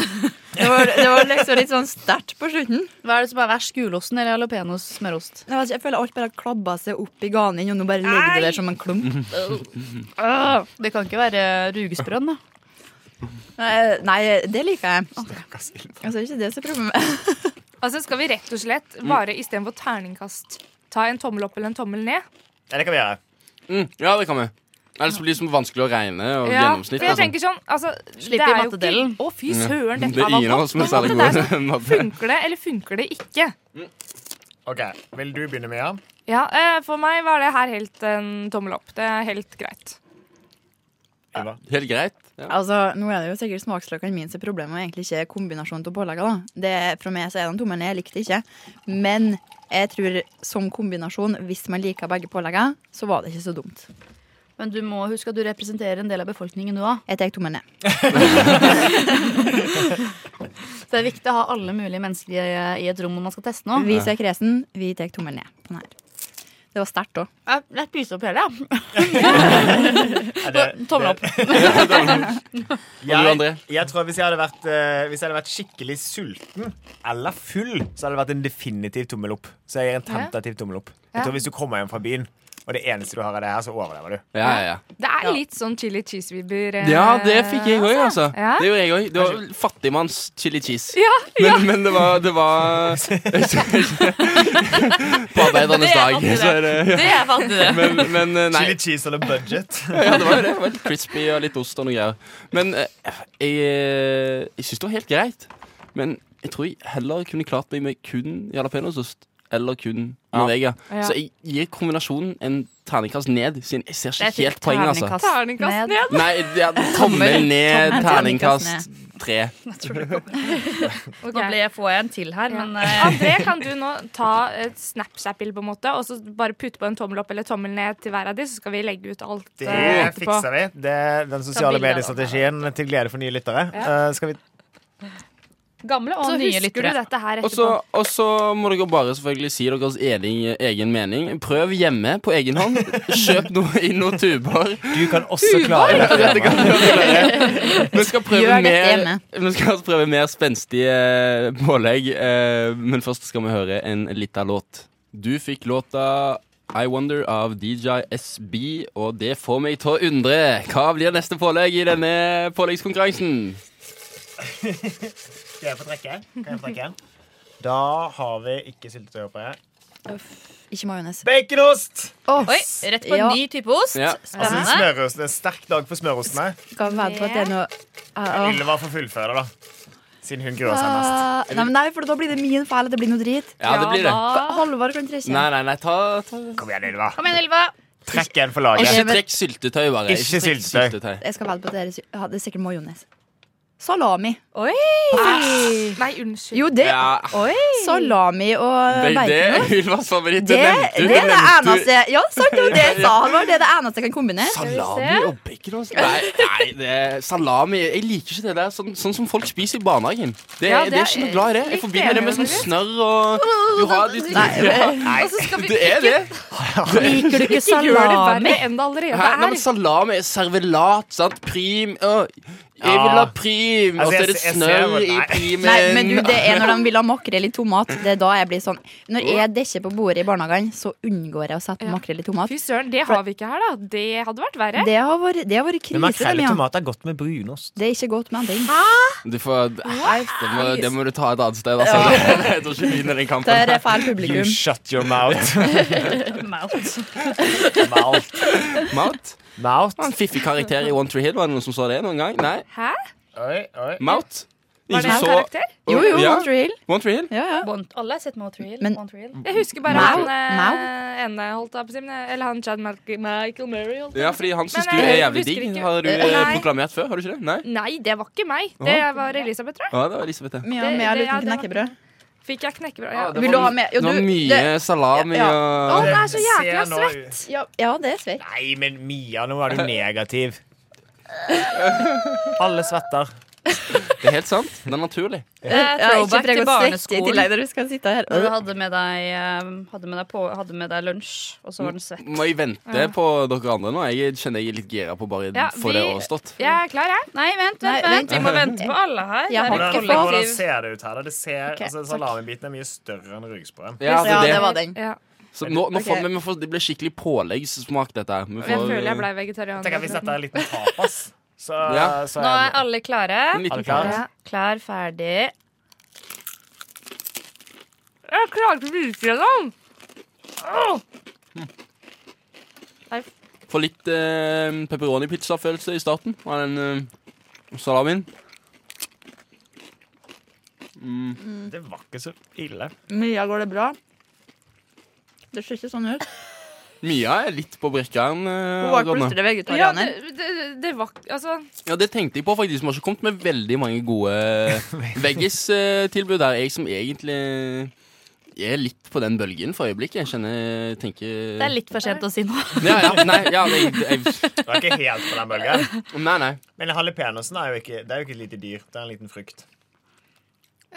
Speaker 4: Det var, det var liksom litt sånn sterkt på slutten.
Speaker 6: Hva er det som er verst, gulosten eller jalapeños smørost?
Speaker 4: Jeg, vet ikke, jeg føler alt bare har klabba seg opp i ganen, og nå bare ligger det der som en
Speaker 7: Mhm.
Speaker 4: klump.
Speaker 5: Ah.
Speaker 6: Det kan ikke være rugesprønn, da.
Speaker 4: Eh, Nei, det liker jeg. Altså, ikke det som er problemet.
Speaker 5: Altså, skal vi rett og slett
Speaker 1: Mm.
Speaker 5: bare istedenfor terningkast ta en tommel opp eller en tommel ned?
Speaker 7: Ja, det kan vi gjøre.
Speaker 1: Mm, ja, det kan vi. Ellers blir det liksom vanskelig å regne og
Speaker 5: for
Speaker 1: gjennomsnitt.
Speaker 5: jeg
Speaker 1: og sånn.
Speaker 5: tenker sånn altså,
Speaker 6: Slipper
Speaker 5: det er jo
Speaker 6: mattedelen.
Speaker 5: ikke- Å, fy
Speaker 1: Det
Speaker 5: søren, dette
Speaker 1: er
Speaker 5: var
Speaker 1: ingen av oss
Speaker 5: godt.
Speaker 1: som er
Speaker 5: Nå måtte
Speaker 1: særlig
Speaker 5: det sånn,
Speaker 1: gode matte.
Speaker 5: Funker det, eller funker det ikke?
Speaker 7: Ok, Vil du begynne, Mia?
Speaker 5: Ja, eh, For meg var det her helt en tommel opp. Det er helt greit.
Speaker 1: Helt greit. Ja.
Speaker 4: Altså, nå er det jo sikkert smaksløkene mine som er problemet, og egentlig ikke kombinasjonen av påleggene. da. Det, fra meg så er det en tommel ned, jeg likte det ikke. Men jeg tror som kombinasjon, hvis man liker begge påleggene, så var det ikke så dumt.
Speaker 6: Men du må huske at du representerer en del av befolkningen du òg.
Speaker 4: Jeg tar tommelen ned.
Speaker 6: Så det er viktig å ha alle mulige menneskelige i et rom når man skal teste noe.
Speaker 4: Vi som er kresen, vi tar tommelen ned på den her. Det var sterkt òg.
Speaker 6: Jeg, jeg spiser opp hele, jeg.
Speaker 7: Er det,
Speaker 6: Tommel opp.
Speaker 1: Og du, André?
Speaker 7: Jeg, jeg tror Hvis jeg, hadde vært, eh, hvis jeg hadde vært skikkelig sulten eller full, så hadde det vært en definitiv tommel opp. Så jeg gir en tentativ tommel opp. Jeg tror Hvis du kommer hjem fra byen, og det eneste du har av det her, så overlever du.
Speaker 1: Ja, ja, ja.
Speaker 5: Det er litt sånn chili cheeseburger. eh,
Speaker 1: Ja, det fikk jeg òg, altså.
Speaker 5: Ja.
Speaker 1: Det gjorde jeg også. Det var fattigmanns chili cheese.
Speaker 5: Ja,
Speaker 1: Men, men det var, det var På arbeidernes
Speaker 6: Det er
Speaker 1: dag,
Speaker 6: alltid det.
Speaker 1: så er det
Speaker 6: Det er faktisk det.
Speaker 1: Men, men eh, nei.
Speaker 7: Chili cheese eller budget.
Speaker 1: Ja, det var jo det. Det var litt crispy og litt ost og noe greier. Men eh, jeg, eh, jeg syns det var helt greit. Men jeg tror jeg heller kunne klart meg med kun jalapeñosost. Eller kun Norvegia.
Speaker 5: Ja.
Speaker 1: Så jeg gir kombinasjonen en terningkast ned, siden jeg ser
Speaker 6: Jeg
Speaker 1: ikke
Speaker 6: fikk
Speaker 1: helt poenget, altså.
Speaker 6: terningkast
Speaker 5: Terningkast ned.
Speaker 1: Nei, ja, tommel ned,
Speaker 4: Tommel.
Speaker 1: terningkast tre.
Speaker 5: Ok.
Speaker 6: Nå ble, får jeg en til her,
Speaker 5: Ja.
Speaker 6: men eh,
Speaker 5: André, kan du nå ta et Snapchat-bilde på en måte, og så bare putte på en tommel opp eller tommel ned til hver av de, så skal vi legge ut alt
Speaker 7: Det
Speaker 5: eh, etterpå.
Speaker 7: fikser vi. Det er den sosiale
Speaker 6: bilder av
Speaker 7: mediestrategien til glede for nye lyttere. Eh, skal vi
Speaker 5: Gamle og
Speaker 6: Så
Speaker 5: nye
Speaker 6: husker du
Speaker 5: lyttere. Så husker du dette her
Speaker 1: Og så, og så må dere bare selvfølgelig si deres egen, egen mening. Prøv hjemme på egen hånd. Kjøp noe inn noen tuber.
Speaker 7: Du kan også klare det.
Speaker 1: Dette kan dere gjøre. Vi skal prøve
Speaker 4: Gjør dette
Speaker 1: mer,
Speaker 4: hjemme.
Speaker 1: vi skal altså prøve mer spenstige pålegg, eh, men først skal vi høre en lita låt. Du fikk låta I Wonder av DJ SB, og det får meg til å undre. Hva blir neste pålegg i denne påleggskonkurransen?
Speaker 7: Skal jeg få trekke? Kan jeg få trekke? Da har vi ikke syltetøy, håper jeg.
Speaker 4: Ikke majones.
Speaker 7: Baconost!
Speaker 6: Oi, rett på
Speaker 4: Ja.
Speaker 6: en ny type ost.
Speaker 1: Ja.
Speaker 7: Altså
Speaker 6: Spennende.
Speaker 7: smørosten, En sterk dag for smørostene.
Speaker 4: Skal vi vente på at det er noe Åh.
Speaker 7: Ylva får fullføre, da. Siden hun gruer seg mest.
Speaker 4: Ah, nei, men nei, for da blir det min feil at det blir noe drit.
Speaker 1: Ja, det blir det.
Speaker 4: Ka- Halvor kan trekke.
Speaker 1: Nei, nei, nei, ta, ta.
Speaker 7: Kom igjen, Ylva.
Speaker 6: Kom igjen, Ylva.
Speaker 7: Trekk en for laget.
Speaker 1: Ikke trekk syltetøy, bare.
Speaker 7: Ikke
Speaker 1: trekk
Speaker 7: syltetøy.
Speaker 4: Jeg skal velge på at det er, ja, det er sikkert majones. Salami.
Speaker 5: Nei, unnskyld.
Speaker 4: Jo, det
Speaker 1: Ja.
Speaker 4: Salami og
Speaker 1: Det, det
Speaker 4: bacon.
Speaker 1: er Ylvas favoritt.
Speaker 4: Det,
Speaker 1: nevnte hun.
Speaker 4: det er det eneste Ja, sant, det var det jeg sa, Halvor. Det er det eneste jeg kan kombinere.
Speaker 1: Salami og baconost? Nei, nei det er salami Jeg liker ikke det der. Sånn, sånn som folk spiser i barnehagen. Det,
Speaker 5: Ja, det
Speaker 1: det, er ikke noe glad i det. Jeg
Speaker 5: litt
Speaker 1: forbinder det med
Speaker 5: enig
Speaker 1: sånn snørr og du har, du, ja,
Speaker 5: Og så skal vi
Speaker 1: Det er det.
Speaker 4: Liker du ikke
Speaker 5: ikke gjøre det
Speaker 4: salami?
Speaker 5: verre enn det allerede
Speaker 1: Hæ? Nei,
Speaker 5: er.
Speaker 1: men salami er servelat, sant? Prim. Å, jeg vil ha prim! Og så er
Speaker 7: Altså, jeg-
Speaker 1: det
Speaker 7: jeg ser
Speaker 1: snørr
Speaker 7: hvor-
Speaker 1: i
Speaker 7: nei.
Speaker 1: primen.
Speaker 4: Nei, men du, det er når de vil ha makrell i tomat. Det er da jeg blir sånn Når jeg dekker på bordet i barnehagen, så unngår jeg å sette
Speaker 5: Ja.
Speaker 4: makrell i tomat.
Speaker 5: Fy søren, det har vi ikke her, da. Det hadde vært verre.
Speaker 4: Det har vært, det har vært krise.
Speaker 7: Men makrell
Speaker 4: dem,
Speaker 7: i
Speaker 4: ja.
Speaker 7: tomat er godt med brunost.
Speaker 4: Det er ikke godt med endring.
Speaker 1: Du får, det, må, det må du ta et annet sted, altså. Jeg tror ikke vi vinner den
Speaker 4: Det
Speaker 1: kampen.
Speaker 4: er feil
Speaker 7: You
Speaker 4: publikum.
Speaker 7: shut your mouth.
Speaker 6: Malt.
Speaker 7: mouth.
Speaker 1: Mount?
Speaker 7: Mouth.
Speaker 1: En fiffig karakter i One Tree Hill, var det noen som så det noen gang? Nei?
Speaker 5: Hæ?
Speaker 7: Oi, oi.
Speaker 1: Mount?
Speaker 5: Var det
Speaker 1: Ingen
Speaker 5: en
Speaker 1: så-
Speaker 5: karakter?
Speaker 4: Jo, jo,
Speaker 1: Ja.
Speaker 4: Montreal.
Speaker 1: Want real?
Speaker 4: Ja, ja.
Speaker 6: Bond. Alle har sett Montreal.
Speaker 4: Men-
Speaker 6: Montreal.
Speaker 5: Jeg husker bare
Speaker 4: Mao?
Speaker 5: han eh,
Speaker 4: Mao?
Speaker 5: ene, holdt jeg på å si. men- eh, Eller han Chad Malk- Michael Murray. Holdt jeg
Speaker 1: Ja,
Speaker 5: på å si.
Speaker 1: fordi han syns du
Speaker 5: Men,
Speaker 1: er
Speaker 5: eh,
Speaker 1: jævlig
Speaker 5: husker
Speaker 1: digg,
Speaker 5: ikke.
Speaker 1: har du
Speaker 5: Eh,
Speaker 1: eh,
Speaker 5: nei.
Speaker 1: proklamert før? Har du ikke det? Nei?
Speaker 5: Nei, det var ikke meg. Det var Elisabeth, tror jeg.
Speaker 1: Ja, det var Elisabeth, det.
Speaker 4: Mye
Speaker 5: Det-
Speaker 4: mer
Speaker 5: det- ja,
Speaker 4: uten
Speaker 5: det var-
Speaker 4: knekkebrød.
Speaker 5: Fikk jeg knekkebrød?
Speaker 1: Ja,
Speaker 5: Ja.
Speaker 1: det
Speaker 4: Vil
Speaker 1: var
Speaker 4: du ha
Speaker 1: no-
Speaker 4: med- jo,
Speaker 1: det var
Speaker 4: du-
Speaker 1: mye salami
Speaker 4: ja.
Speaker 5: Å,
Speaker 1: og
Speaker 5: det er så
Speaker 7: ser
Speaker 5: jækla
Speaker 7: nå
Speaker 5: svett!
Speaker 7: ut.
Speaker 4: Ja, ja, det er svett.
Speaker 7: Nei, men Mia, nå er du negativ. Alle svetter.
Speaker 1: Det er helt sant. Det er naturlig.
Speaker 6: Det er throwback til barneskolen.
Speaker 4: når du skal sitte her.
Speaker 6: Når du hadde med deg, eh, hadde med deg, på, hadde med deg lunsj, og så var den svett.
Speaker 1: Må jeg vente på dere andre nå? Jeg kjenner jeg er litt gira på bare
Speaker 5: Ja,
Speaker 1: få det
Speaker 5: vi-
Speaker 1: overstått.
Speaker 5: Jeg er klar, jeg.
Speaker 6: Nei, vent,
Speaker 4: Nei,
Speaker 6: vent, vent.
Speaker 4: vent.
Speaker 6: Vi må vente på alle her.
Speaker 4: Jeg
Speaker 6: Det er
Speaker 4: har
Speaker 6: et
Speaker 4: ikke fått-
Speaker 6: kollektiv.
Speaker 7: ser det ut her? da? Det ser,
Speaker 4: Ok,
Speaker 7: altså, Salamibiten er mye større enn rugsprøen.
Speaker 1: Ja,
Speaker 4: Ja,
Speaker 1: det,
Speaker 4: det
Speaker 1: det.
Speaker 4: var den.
Speaker 5: Ja.
Speaker 1: Så nå, nå
Speaker 4: Ok.
Speaker 1: får, vi- vi får, det blir skikkelig påleggssmak, dette her. Vi
Speaker 5: Jeg
Speaker 1: får,
Speaker 5: føler jeg
Speaker 1: eh,
Speaker 5: ble vegetarianer.
Speaker 7: Tenk at Hvis dette er en liten tapas, så,
Speaker 1: Ja.
Speaker 7: så
Speaker 6: Nå
Speaker 7: er
Speaker 6: er alle klare.
Speaker 1: en liten
Speaker 7: Alle klar?
Speaker 1: pause.
Speaker 6: Ja. Klar, ferdig.
Speaker 5: Jeg klarer ikke å vise sånn. gjennom!
Speaker 1: Får litt eh, pepperoni-pizza-følelse i starten av den eh, salamien.
Speaker 7: Det var ikke så ille.
Speaker 4: Mia, går det bra? Det ser ikke sånn ut.
Speaker 1: Mia er litt på brekkeren.
Speaker 4: Hun
Speaker 1: eh,
Speaker 4: var
Speaker 1: Adriana.
Speaker 4: plutselig
Speaker 5: Ja,
Speaker 4: vegetarianer.
Speaker 5: det, det, det var Altså,
Speaker 1: Ja, det tenkte jeg på faktisk. Vi har ikke kommet med veldig mange gode eh, veggis-tilbud her. Jeg som egentlig eh, er litt på den bølgen for øyeblikket. Jeg kjenner tenker
Speaker 6: Det er litt for sent å si noe.
Speaker 1: ja, ja, Nei, ja, nei, jeg,
Speaker 7: Det var ikke helt på den bølgen.
Speaker 1: nei, nei.
Speaker 7: Men jalapeñosen er jo ikke Det er jo ikke et lite dyr. Det er en liten frukt.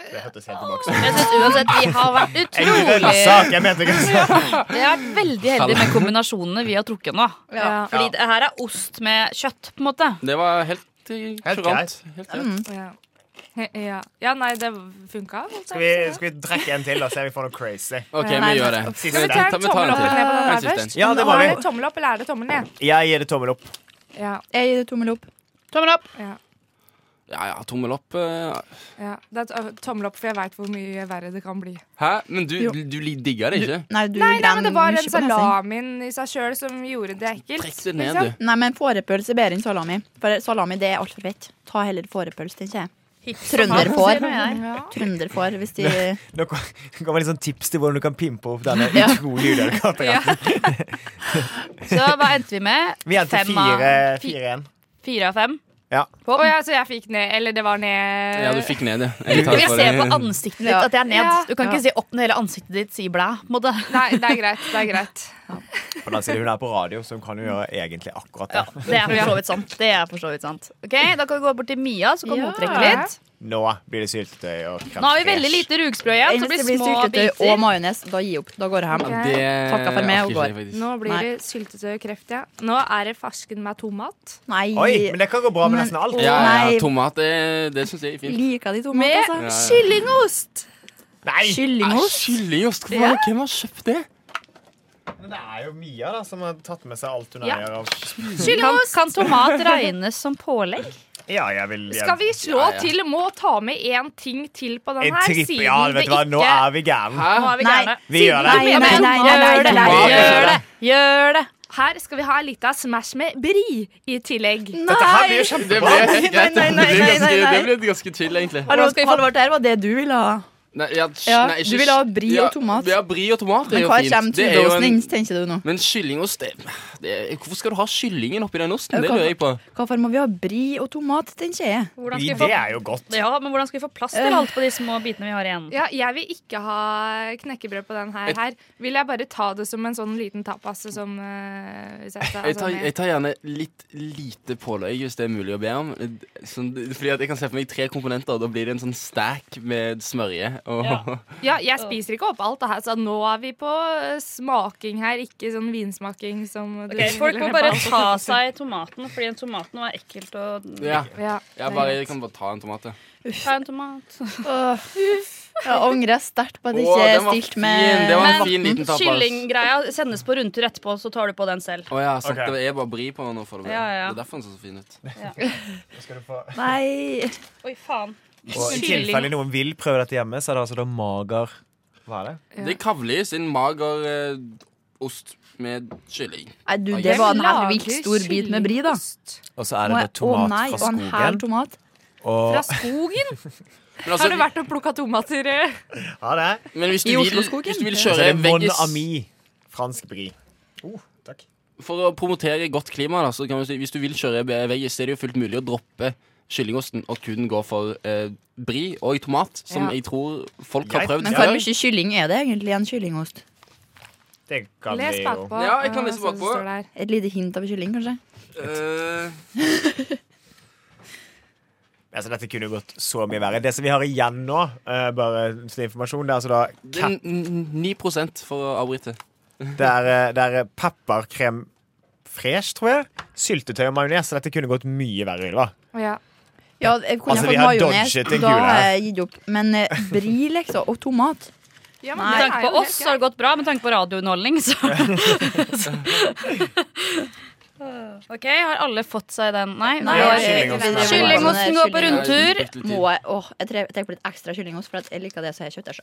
Speaker 7: Det hørtes helt tilbake ut.
Speaker 6: Jeg synes uansett vi har vært utrolig
Speaker 7: Grønnsak! Jeg mente grønnsak.
Speaker 6: Vi har vært veldig heldige med kombinasjonene vi har trukket nå.
Speaker 4: Ja.
Speaker 6: Fordi det her er ost med kjøtt, på en måte.
Speaker 1: Det var helt eh,
Speaker 7: Helt
Speaker 1: kurant. Helt greit.
Speaker 5: ja. ja. ja, nei, det funka.
Speaker 7: Skal vi, skal vi drikke en til og se om vi får noe crazy?
Speaker 1: OK,
Speaker 4: Nei,
Speaker 1: vi gjør det.
Speaker 5: Skal vi ta en
Speaker 1: vi tar
Speaker 5: tommel
Speaker 1: en
Speaker 5: opp eller
Speaker 1: til.
Speaker 5: ned på den
Speaker 1: Jeg
Speaker 5: her
Speaker 1: synes
Speaker 5: først?
Speaker 1: det.
Speaker 7: Ja, det var
Speaker 5: Nå
Speaker 7: det
Speaker 5: er
Speaker 7: jo.
Speaker 5: det tommel opp, eller er det tommel ned?
Speaker 7: Jeg gir det tommel opp.
Speaker 5: Ja,
Speaker 4: Jeg gir det tommel opp.
Speaker 6: Tommel opp.
Speaker 1: Ja, ja, tommel opp. eh,
Speaker 5: ja. Det er to- tommel opp, for jeg veit hvor mye verre det kan bli.
Speaker 1: Hæ? Men du,
Speaker 4: Jo.
Speaker 1: du li- digga det ikke?
Speaker 4: Nei, du
Speaker 5: Nei, nei, men det
Speaker 4: brenner
Speaker 5: var
Speaker 4: mye
Speaker 5: den
Speaker 4: på nesen.
Speaker 5: salamien i seg sjøl som gjorde det ekkelt.
Speaker 1: Trekk det ned,
Speaker 5: liksom.
Speaker 1: du.
Speaker 4: Nei, men fårepølse er bedre enn salami. For salami det er altfor fett. Ta heller fårepølse, tenker jeg.
Speaker 6: Sier
Speaker 4: Trønderfår.
Speaker 6: nå jeg.
Speaker 4: Trønderfår, hvis de
Speaker 7: Nå kom- kommer litt sånn tips til hvordan du kan pimpe opp denne utrolig udeligaten.
Speaker 6: Så hva endte vi med?
Speaker 7: Vi er til
Speaker 6: Fem av-
Speaker 7: fire-
Speaker 6: fi-
Speaker 7: 4-1.
Speaker 6: Fire av fem.
Speaker 5: Å ja, så jeg fikk ned Eller det var ned
Speaker 1: Ja, du fikk ned det. Jeg tar
Speaker 6: Jeg
Speaker 1: for
Speaker 6: ser på
Speaker 1: det.
Speaker 6: ansiktet ditt at det er
Speaker 5: Ja.
Speaker 6: ned. Du kan ikke si opp når hele ansiktet ditt sier blæ. på en måte.
Speaker 5: Nei, det er greit. Det er greit.
Speaker 7: På den siden hun er på radio, så hun kan jo gjøre egentlig akkurat det.
Speaker 6: Det er for så vidt sant. Det er for så vidt sant. Ok, Da kan vi gå bort til Mia, så kan
Speaker 4: Ja.
Speaker 6: hun trekke litt.
Speaker 7: Nå blir det syltetøy og
Speaker 6: Nå
Speaker 7: krem
Speaker 6: har vi
Speaker 7: fresh.
Speaker 6: veldig lite rugsprø igjen, så det
Speaker 4: Hvis
Speaker 6: blir
Speaker 4: det blir
Speaker 6: små
Speaker 4: syltetøy og
Speaker 6: biter.
Speaker 4: majones, da gi opp. Da går jeg hjem.
Speaker 1: Ja, det
Speaker 4: Takka for meg og
Speaker 1: orker ikke
Speaker 4: går.
Speaker 1: jeg faktisk.
Speaker 5: Nå blir
Speaker 4: Nei.
Speaker 5: det syltetøy og kreft, ja. Nå er det farsken med tomat.
Speaker 4: Nei.
Speaker 7: Oi, men det kan gå bra med
Speaker 4: Men-
Speaker 7: nesten alt.
Speaker 1: Ja, ja,
Speaker 4: Nei.
Speaker 1: ja, tomat, det, det syns jeg er fint.
Speaker 4: Liker de
Speaker 5: Med
Speaker 4: tomat, altså?
Speaker 5: kyllingost!
Speaker 7: Nei,
Speaker 4: Kyllingost?
Speaker 1: Kyllingost? Hvorfor har- Hvem har kjøpt det?
Speaker 7: men det er jo Mia da som har tatt med seg alt hun
Speaker 5: Ja.
Speaker 7: eier. av-
Speaker 5: Mm.
Speaker 6: Kan, kan tomat regnes som pålegg?
Speaker 7: Ja, jeg vil jeg,
Speaker 5: Skal vi slå
Speaker 1: Ja, ja.
Speaker 5: til må ta med én ting til på den
Speaker 7: En
Speaker 5: her,
Speaker 7: tripp,
Speaker 5: siden
Speaker 7: ja, vet
Speaker 5: det
Speaker 7: du hva,
Speaker 5: ikke
Speaker 7: nå er vi gærne.
Speaker 5: Nå er vi
Speaker 4: Nei.
Speaker 5: gærne.
Speaker 7: Vi gjør det.
Speaker 4: Nei, nei, nei, nei,
Speaker 6: Gjør det!
Speaker 4: nei, nei, nei.
Speaker 6: Gjør det! Gjør det!
Speaker 5: Her skal vi ha en liten smash med brie i tillegg.
Speaker 7: Dette her blir jo
Speaker 1: Det
Speaker 7: kjempebra.
Speaker 1: blir helt greit.
Speaker 4: nei, nei,
Speaker 1: Det blir
Speaker 4: nei,
Speaker 1: ganske-
Speaker 4: nei, nei.
Speaker 1: Det blir ganske chill, egentlig.
Speaker 4: Halvor,
Speaker 6: skal vi få-
Speaker 4: Halvor, det her var det du ville ha.
Speaker 1: Nei, ja, sh-
Speaker 4: Ja,
Speaker 1: nei, ikke
Speaker 4: du vil ha
Speaker 1: sh-
Speaker 4: brie
Speaker 1: ja,
Speaker 4: og tomat.
Speaker 1: Ja, brie og tomat er
Speaker 4: Men
Speaker 1: jo
Speaker 4: hva
Speaker 1: fint.
Speaker 4: kommer
Speaker 1: Det er jo en-
Speaker 4: tuddeosten, tenker du nå?
Speaker 1: Men kyllingost det, det, Hvorfor skal du ha kyllingen oppi den osten?
Speaker 4: Ja,
Speaker 1: Det
Speaker 4: hva-
Speaker 1: lurer jeg på.
Speaker 4: Hvorfor må vi ha bri og tomat, tenker jeg.
Speaker 6: Hvordan skal
Speaker 7: Brie,
Speaker 6: vi
Speaker 7: Det
Speaker 6: få,
Speaker 7: er jo godt.
Speaker 6: ja, men hvordan skal vi få plass til alt på de små bitene vi har igjen?
Speaker 5: Ja, jeg vil ikke ha knekkebrød på den her. her. Vil jeg bare ta det som en sånn liten tapas som eh, hvis jeg, tar-
Speaker 1: Jeg tar,
Speaker 5: altså, med-
Speaker 1: jeg tar gjerne litt lite pålegg, hvis det er mulig å be om. Sånn, fordi at jeg kan se for meg tre komponenter, og da blir det en sånn stack med smørje. Og,
Speaker 6: Ja.
Speaker 5: Ja, jeg spiser ikke opp alt det her, så nå er vi på eh, smaking her, ikke sånn vinsmaking som du
Speaker 6: Ok, Folk må
Speaker 5: ville
Speaker 6: bare
Speaker 5: på.
Speaker 6: ta seg tomaten, fordi en tomat nå er ekkelt. Og
Speaker 1: ja.
Speaker 5: ja,
Speaker 1: Jeg, bare, jeg kan bare ta en tomat. ja.
Speaker 6: ta en tomat.
Speaker 4: Åh, Jeg angrer sterkt på at jeg
Speaker 1: Å,
Speaker 4: ikke
Speaker 1: den var
Speaker 4: stilte
Speaker 1: fin.
Speaker 4: med
Speaker 1: Det var en
Speaker 6: Men
Speaker 1: fin liten tapas.
Speaker 6: Kyllinggreia sendes på rundtur etterpå, så tar du på den selv.
Speaker 1: Å ja, sant.
Speaker 7: Ok.
Speaker 1: Det er bare bri på nå. For det,
Speaker 6: Ja, ja.
Speaker 1: det er derfor den ser så fin ut.
Speaker 7: Skal du få-
Speaker 4: Nei.
Speaker 6: Oi, faen.
Speaker 7: Og I tilfelle noen vil prøve dette hjemme, så er det altså da mager Hva er det?
Speaker 1: Det er kavli sin mager eh, ost med kylling.
Speaker 4: Nei, du,
Speaker 1: Oi.
Speaker 4: det var en helt
Speaker 5: Lager
Speaker 4: vilt stor bit med bri, da.
Speaker 5: kyllingost.
Speaker 7: Og så er det da
Speaker 4: Må jeg- Å
Speaker 7: tomat
Speaker 4: nei,
Speaker 7: fra
Speaker 4: og en hel
Speaker 7: skogen.
Speaker 4: tomat.
Speaker 10: Og
Speaker 6: Fra skogen?
Speaker 1: Men, altså,
Speaker 6: Har du vært og plukka tomater? eh?
Speaker 7: Ha det.
Speaker 1: men hvis, du
Speaker 6: i
Speaker 1: vil,
Speaker 6: Osloskogen?
Speaker 1: hvis du vil
Speaker 7: Så det
Speaker 1: kjøre
Speaker 7: er Mon
Speaker 1: veggis
Speaker 7: Ami. Fransk bri. Oh, takk.
Speaker 1: For å promotere godt klima, da, så kan vi si, hvis du vil kjøre veggis, så er det jo fullt mulig å droppe kyllingosten og kun gå for eh, brie og tomat, som
Speaker 6: Ja.
Speaker 1: jeg tror folk
Speaker 7: Jeg-
Speaker 1: har prøvd
Speaker 4: Men
Speaker 1: før.
Speaker 4: hvor mye kylling er det egentlig i en kyllingost?
Speaker 7: Det kan
Speaker 5: Les
Speaker 7: vi jo.
Speaker 5: bakpå.
Speaker 1: Ja, jeg kan
Speaker 5: eh,
Speaker 1: lese
Speaker 5: sånn som
Speaker 1: bakpå.
Speaker 5: står der.
Speaker 4: Et lite hint av kylling, kanskje?
Speaker 1: Eh,
Speaker 7: Altså, dette kunne jo gått så mye verre. Det som vi har igjen nå, eh, bare til informasjon, det er altså da
Speaker 1: det er n- n- 9 for å avbryte.
Speaker 7: Det er, eh, det er pepperkrem fresh, tror jeg. Syltetøy og majones. Så dette kunne gått mye verre, Ylva.
Speaker 5: Ja.
Speaker 4: Ja, jeg kunne
Speaker 7: Altså,
Speaker 4: fått
Speaker 7: vi har
Speaker 4: majones.
Speaker 7: dodget en
Speaker 4: Da
Speaker 7: kule
Speaker 4: har
Speaker 7: her.
Speaker 4: jeg gitt opp. Men eh, brie, liksom, og tomat
Speaker 5: Ja, men
Speaker 6: Med
Speaker 5: det
Speaker 6: tanke
Speaker 5: er
Speaker 6: på
Speaker 5: jo
Speaker 6: oss
Speaker 5: helt
Speaker 6: har det gått bra, med tanke på radiounderholdning, så OK, har alle fått seg den? Nei. nei.
Speaker 7: Ja,
Speaker 4: jeg-
Speaker 7: kyllingosten er-
Speaker 6: Kyllingosten går på
Speaker 4: Kylling-
Speaker 6: rundtur.
Speaker 4: Må jeg åh, jeg tre- trekker på litt ekstra kyllingost, for at jeg liker det som er kjøttdeig.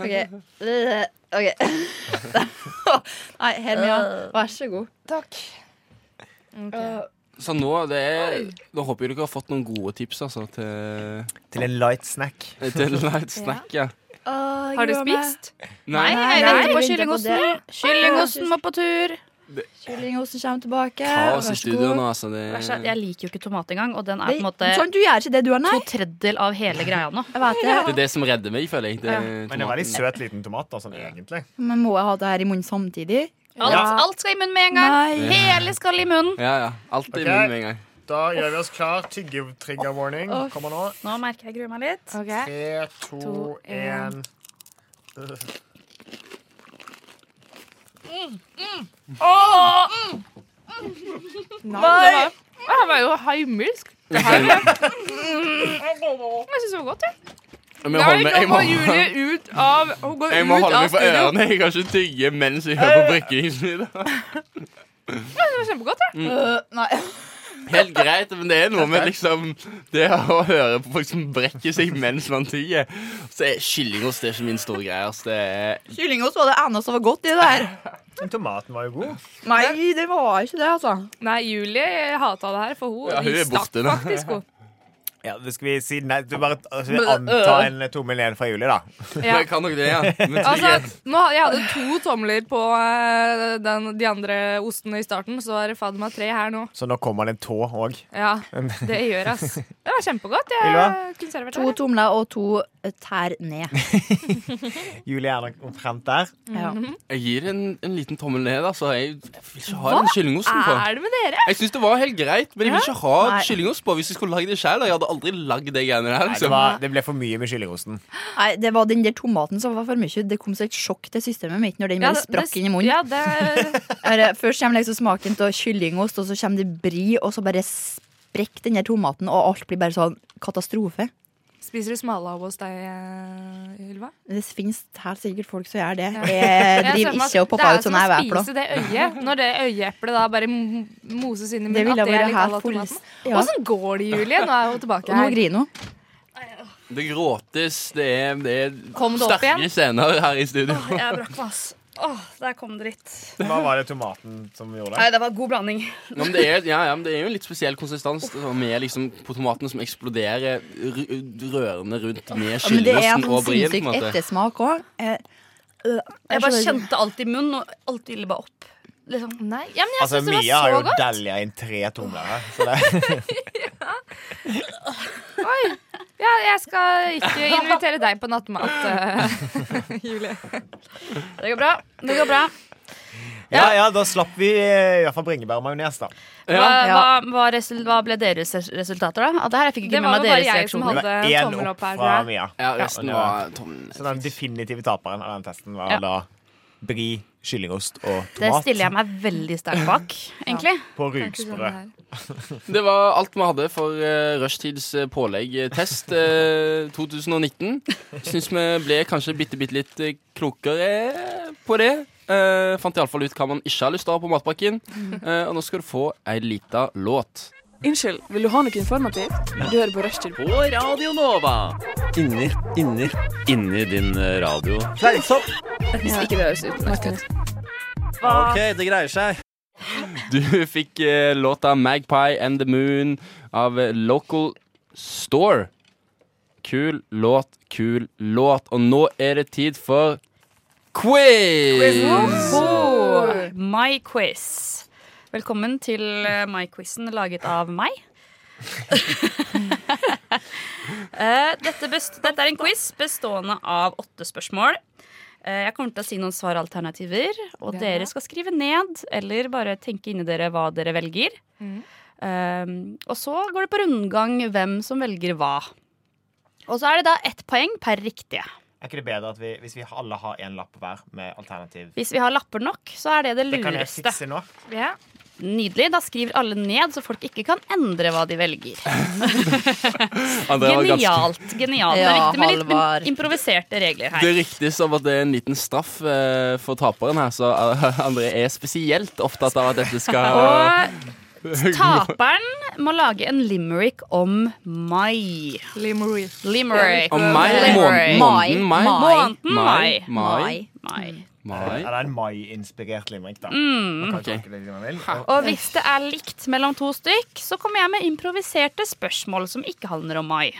Speaker 4: Okay. Øh, ok. Nei, Hermia, vær så god.
Speaker 5: Takk. Ok.
Speaker 1: Så nå, det er, nå håper jeg dere har fått noen gode tips altså, til, eh,
Speaker 7: Til en light snack.
Speaker 1: til light snack. Ja.
Speaker 6: Har du spist?
Speaker 1: Nei,
Speaker 6: Nei, jeg venter
Speaker 4: Nei,
Speaker 6: på
Speaker 4: jeg venter på
Speaker 6: kyllingosten. Kyllingosten må på tur.
Speaker 1: Eh.
Speaker 4: Kyllingosten kommer tilbake.
Speaker 1: kaos i
Speaker 4: vær så
Speaker 1: studio
Speaker 4: god.
Speaker 1: nå, altså. Det,
Speaker 6: Vær så- Jeg liker jo ikke tomat engang, og den er på
Speaker 4: Det-
Speaker 6: en måte
Speaker 4: Sånn, du gjør ikke det du har,
Speaker 6: to
Speaker 4: nei?
Speaker 6: tredjedel av hele greia nå.
Speaker 4: Jeg vet det.
Speaker 1: det er det som redder meg, føler jeg. Det,
Speaker 7: Men det er veldig søt liten tomat, da, sånn egentlig.
Speaker 4: Men må jeg ha det her i munnen samtidig?
Speaker 6: Alt,
Speaker 7: Ja.
Speaker 6: alt skal i munnen med en gang.
Speaker 4: Nei.
Speaker 6: Hele skal i munnen.
Speaker 1: ja, ja. Alt er i
Speaker 7: Ok.
Speaker 1: munnen med en gang.
Speaker 7: Da gjør vi oss klar. Tygge-trigger warning kommer nå.
Speaker 6: Nå merker jeg gruer meg litt.
Speaker 7: Tre, to,
Speaker 5: To, en.
Speaker 7: én.
Speaker 5: Nei!
Speaker 6: Det her var jo heimilsk.
Speaker 5: Jeg syns det var godt, jeg.
Speaker 1: Men
Speaker 5: Nei,
Speaker 1: jeg holder meg-
Speaker 5: nå
Speaker 1: jeg
Speaker 5: må
Speaker 1: må-
Speaker 5: Julie ut av Hun går
Speaker 1: Jeg må
Speaker 5: ut
Speaker 1: holde
Speaker 5: av
Speaker 1: meg for
Speaker 5: studio.
Speaker 1: ørene. Jeg kan ikke tygge mens jeg hører på brekkingslyder.
Speaker 5: Det var kjempegodt,
Speaker 1: Mm.
Speaker 5: jeg.
Speaker 4: Øh, nei.
Speaker 1: Helt greit, men det er noe med liksom det å høre på folk som brekker seg mens man tygger. Så er kyllingost det er ikke min store greie. Altså, det er
Speaker 4: Kyllingost var det eneste som var godt i det her.
Speaker 7: Men tomaten var jo god.
Speaker 4: Nei, det var ikke det, altså.
Speaker 5: Nei, Julie hata det her, for hun,
Speaker 1: Ja, hun
Speaker 5: hun
Speaker 1: er
Speaker 5: stakk
Speaker 1: borte nå.
Speaker 5: faktisk, hun.
Speaker 7: Ja, det skal vi si nei, du bare altså, vi anta en tommel ned fra Julie, da.
Speaker 5: Ja.
Speaker 1: Jeg kan nok det, ja. Men trygghet.
Speaker 5: Altså, nå, jeg hadde to tomler på eh, den, de andre ostene i starten, så er det fader meg tre her nå.
Speaker 7: Så nå kommer det en tå òg.
Speaker 5: Ja, det gjør ass. Det var kjempegodt.
Speaker 7: Ylva?
Speaker 5: Jeg kunne servert
Speaker 4: To
Speaker 5: det.
Speaker 4: tomler og to eh, tær ned.
Speaker 7: Julie er nok omtrent der.
Speaker 4: Ja.
Speaker 6: Mhm.
Speaker 1: Jeg gir en, en liten tommel ned. Altså. Jeg, jeg vil ikke ha den kyllingosten på.
Speaker 5: Er det med dere?
Speaker 1: Jeg syns det var helt greit, men jeg vil ikke ha
Speaker 4: Nei.
Speaker 1: kyllingost på hvis jeg skulle lagd det sjøl. Jeg hadde aldri lagd de greiene der.
Speaker 7: Nei, det,
Speaker 1: Liksom.
Speaker 7: var, det ble for mye med kyllingosten.
Speaker 4: Nei, det var den der tomaten som var for mye. Det kom så et sjokk til systemet mitt når den bare sprakk inn i munnen.
Speaker 5: Ja, det,
Speaker 4: Eller, Først kommer liksom smaken av kyllingost, og så kommer det bri, og så bare sprekker den der tomaten, og alt blir bare sånn katastrofe.
Speaker 5: spiser du smalahove hos deg, eh, Ylva?
Speaker 4: Det finnes helt sikkert folk som gjør det. Jeg
Speaker 5: Jeg ser for meg
Speaker 4: driver ikke og
Speaker 5: det
Speaker 4: popper
Speaker 5: er
Speaker 4: ut sånn
Speaker 5: som å
Speaker 4: jeg er på.
Speaker 5: Spise det øyet, når det øyeeplet da bare m- moses inn i
Speaker 4: Det
Speaker 5: munnen.
Speaker 4: ville
Speaker 5: at er
Speaker 4: vært
Speaker 5: litt à la
Speaker 4: helt
Speaker 5: tomaten.
Speaker 4: politisk. Ja.
Speaker 5: Åssen går det, Julie? Nå er hun tilbake
Speaker 4: Og nå
Speaker 5: her.
Speaker 4: griner hun.
Speaker 1: Det gråtes, det er, det er
Speaker 5: Kom det opp
Speaker 1: sterke
Speaker 5: igjen?
Speaker 1: scener her i studio.
Speaker 6: Jeg brakk meg, ass. Åh, der kom det litt.
Speaker 7: Hva var det tomaten som gjorde det?
Speaker 6: Nei, det var god blanding.
Speaker 1: Ja, men det, er, ja, ja, men det er jo en litt spesiell konsistens da, med liksom, på tomatene som eksploderer ru- rørende rundt med
Speaker 4: Ja, Men det er en
Speaker 1: skyllosen og brien. på
Speaker 4: sånn
Speaker 1: en
Speaker 4: sinnssyk
Speaker 1: måte.
Speaker 4: ettersmak Eh, òg.
Speaker 6: Jeg bare kjente alt i munnen, og alt ille bare opp. Liksom.
Speaker 5: Nei, ja, men jeg
Speaker 7: Altså,
Speaker 5: synes det
Speaker 7: Mia
Speaker 5: var
Speaker 7: har
Speaker 5: så
Speaker 7: jo
Speaker 5: godt.
Speaker 7: delja inn tre tomler her. Så det,
Speaker 5: Ja, jeg skal ikke invitere deg på nattmat, eh, Julie.
Speaker 6: Det går bra. Det går bra.
Speaker 7: ja, ja, da slapp vi eh, i hvert fall bringebær og majones, da.
Speaker 6: Hva, hva,
Speaker 4: Ja.
Speaker 6: hva, resul, hva ble deres res- resultater, da? Ah, det her jeg fikk
Speaker 5: Det
Speaker 6: ikke med
Speaker 5: var
Speaker 6: meg
Speaker 5: jo bare
Speaker 6: deres
Speaker 5: jeg som
Speaker 6: reaksjoner.
Speaker 7: Det var
Speaker 5: Hadde
Speaker 7: én
Speaker 5: tommel
Speaker 7: opp
Speaker 5: opp her,
Speaker 7: fra
Speaker 5: tror jeg.
Speaker 7: Mia.
Speaker 1: Ja, resten
Speaker 7: Ja,
Speaker 1: var tom.
Speaker 7: Så den definitive taperen av den testen var
Speaker 6: Ja.
Speaker 7: da bri, kyllingost og
Speaker 6: Det
Speaker 7: tomat
Speaker 6: stiller jeg meg veldig sterkt bak, egentlig.
Speaker 7: på
Speaker 5: sånn
Speaker 7: rugsprø.
Speaker 1: Det var alt vi hadde for uh, rushtids eh, pålegg-test eh, 2019. Syns vi ble kanskje bitte, bitte litt eh, klokere eh, på det. Uh, fant iallfall ut hva man ikke har lyst til å ha på matpakken.
Speaker 4: Mm.
Speaker 1: Eh, og nå skal du få ei lita låt.
Speaker 11: Unnskyld, vil du ha noe informativt? Du hører på Rushtid.
Speaker 2: På Radio Nova. Inni, inni, inni din eh, radio. Fleisopp.
Speaker 11: Hvis ikke det høres ut. Markus.
Speaker 12: OK, det greier seg.
Speaker 1: Du fikk eh, låta 'Magpie and the Moon' av eh, Local Store. Kul låt, kul låt. Og nå er det tid for quiz!
Speaker 6: Oho, My quiz. Velkommen til eh, my quizen laget av meg. Eh, dette, best, dette er en quiz bestående av åtte spørsmål. Eh, Jeg kommer til å si noen svaralternativer, og
Speaker 13: Ja.
Speaker 6: dere skal skrive ned eller bare tenke inni dere hva dere velger. Um, og så går det på rundgang hvem som velger hva. Og så er det da ett poeng per riktige.
Speaker 14: Er ikke det bedre at vi, hvis vi alle har en lapp hver med alternativ?
Speaker 6: Hvis vi har lapper nok, så er det det
Speaker 14: Det kan jeg
Speaker 6: lureste.
Speaker 14: fikse nå.
Speaker 6: Nydelig. Da skriver alle ned, så folk ikke kan endre hva de velger.
Speaker 1: Andrea var ganske-
Speaker 6: Genialt. genialt. Det er
Speaker 1: Ja,
Speaker 6: viktig med litt
Speaker 1: Halvard.
Speaker 6: im- improviserte regler
Speaker 1: Det
Speaker 6: her.
Speaker 1: er riktig som at det er en liten straff eh, for taperen her, så eh, André er spesielt opptatt av at dette skal
Speaker 6: Og taperen må lage en limerick om mai. Limerick.
Speaker 1: Om mai? Måneden mai?
Speaker 6: Måneden mai.
Speaker 14: Mai. Mai.
Speaker 6: Mai.
Speaker 14: Ja, det er en mai-inspirert limerick, da.
Speaker 6: Mm.
Speaker 14: Man kan tolke det som man vil.
Speaker 6: Og hvis det er likt mellom to stykk, så kommer jeg med improviserte spørsmål som ikke handler om mai.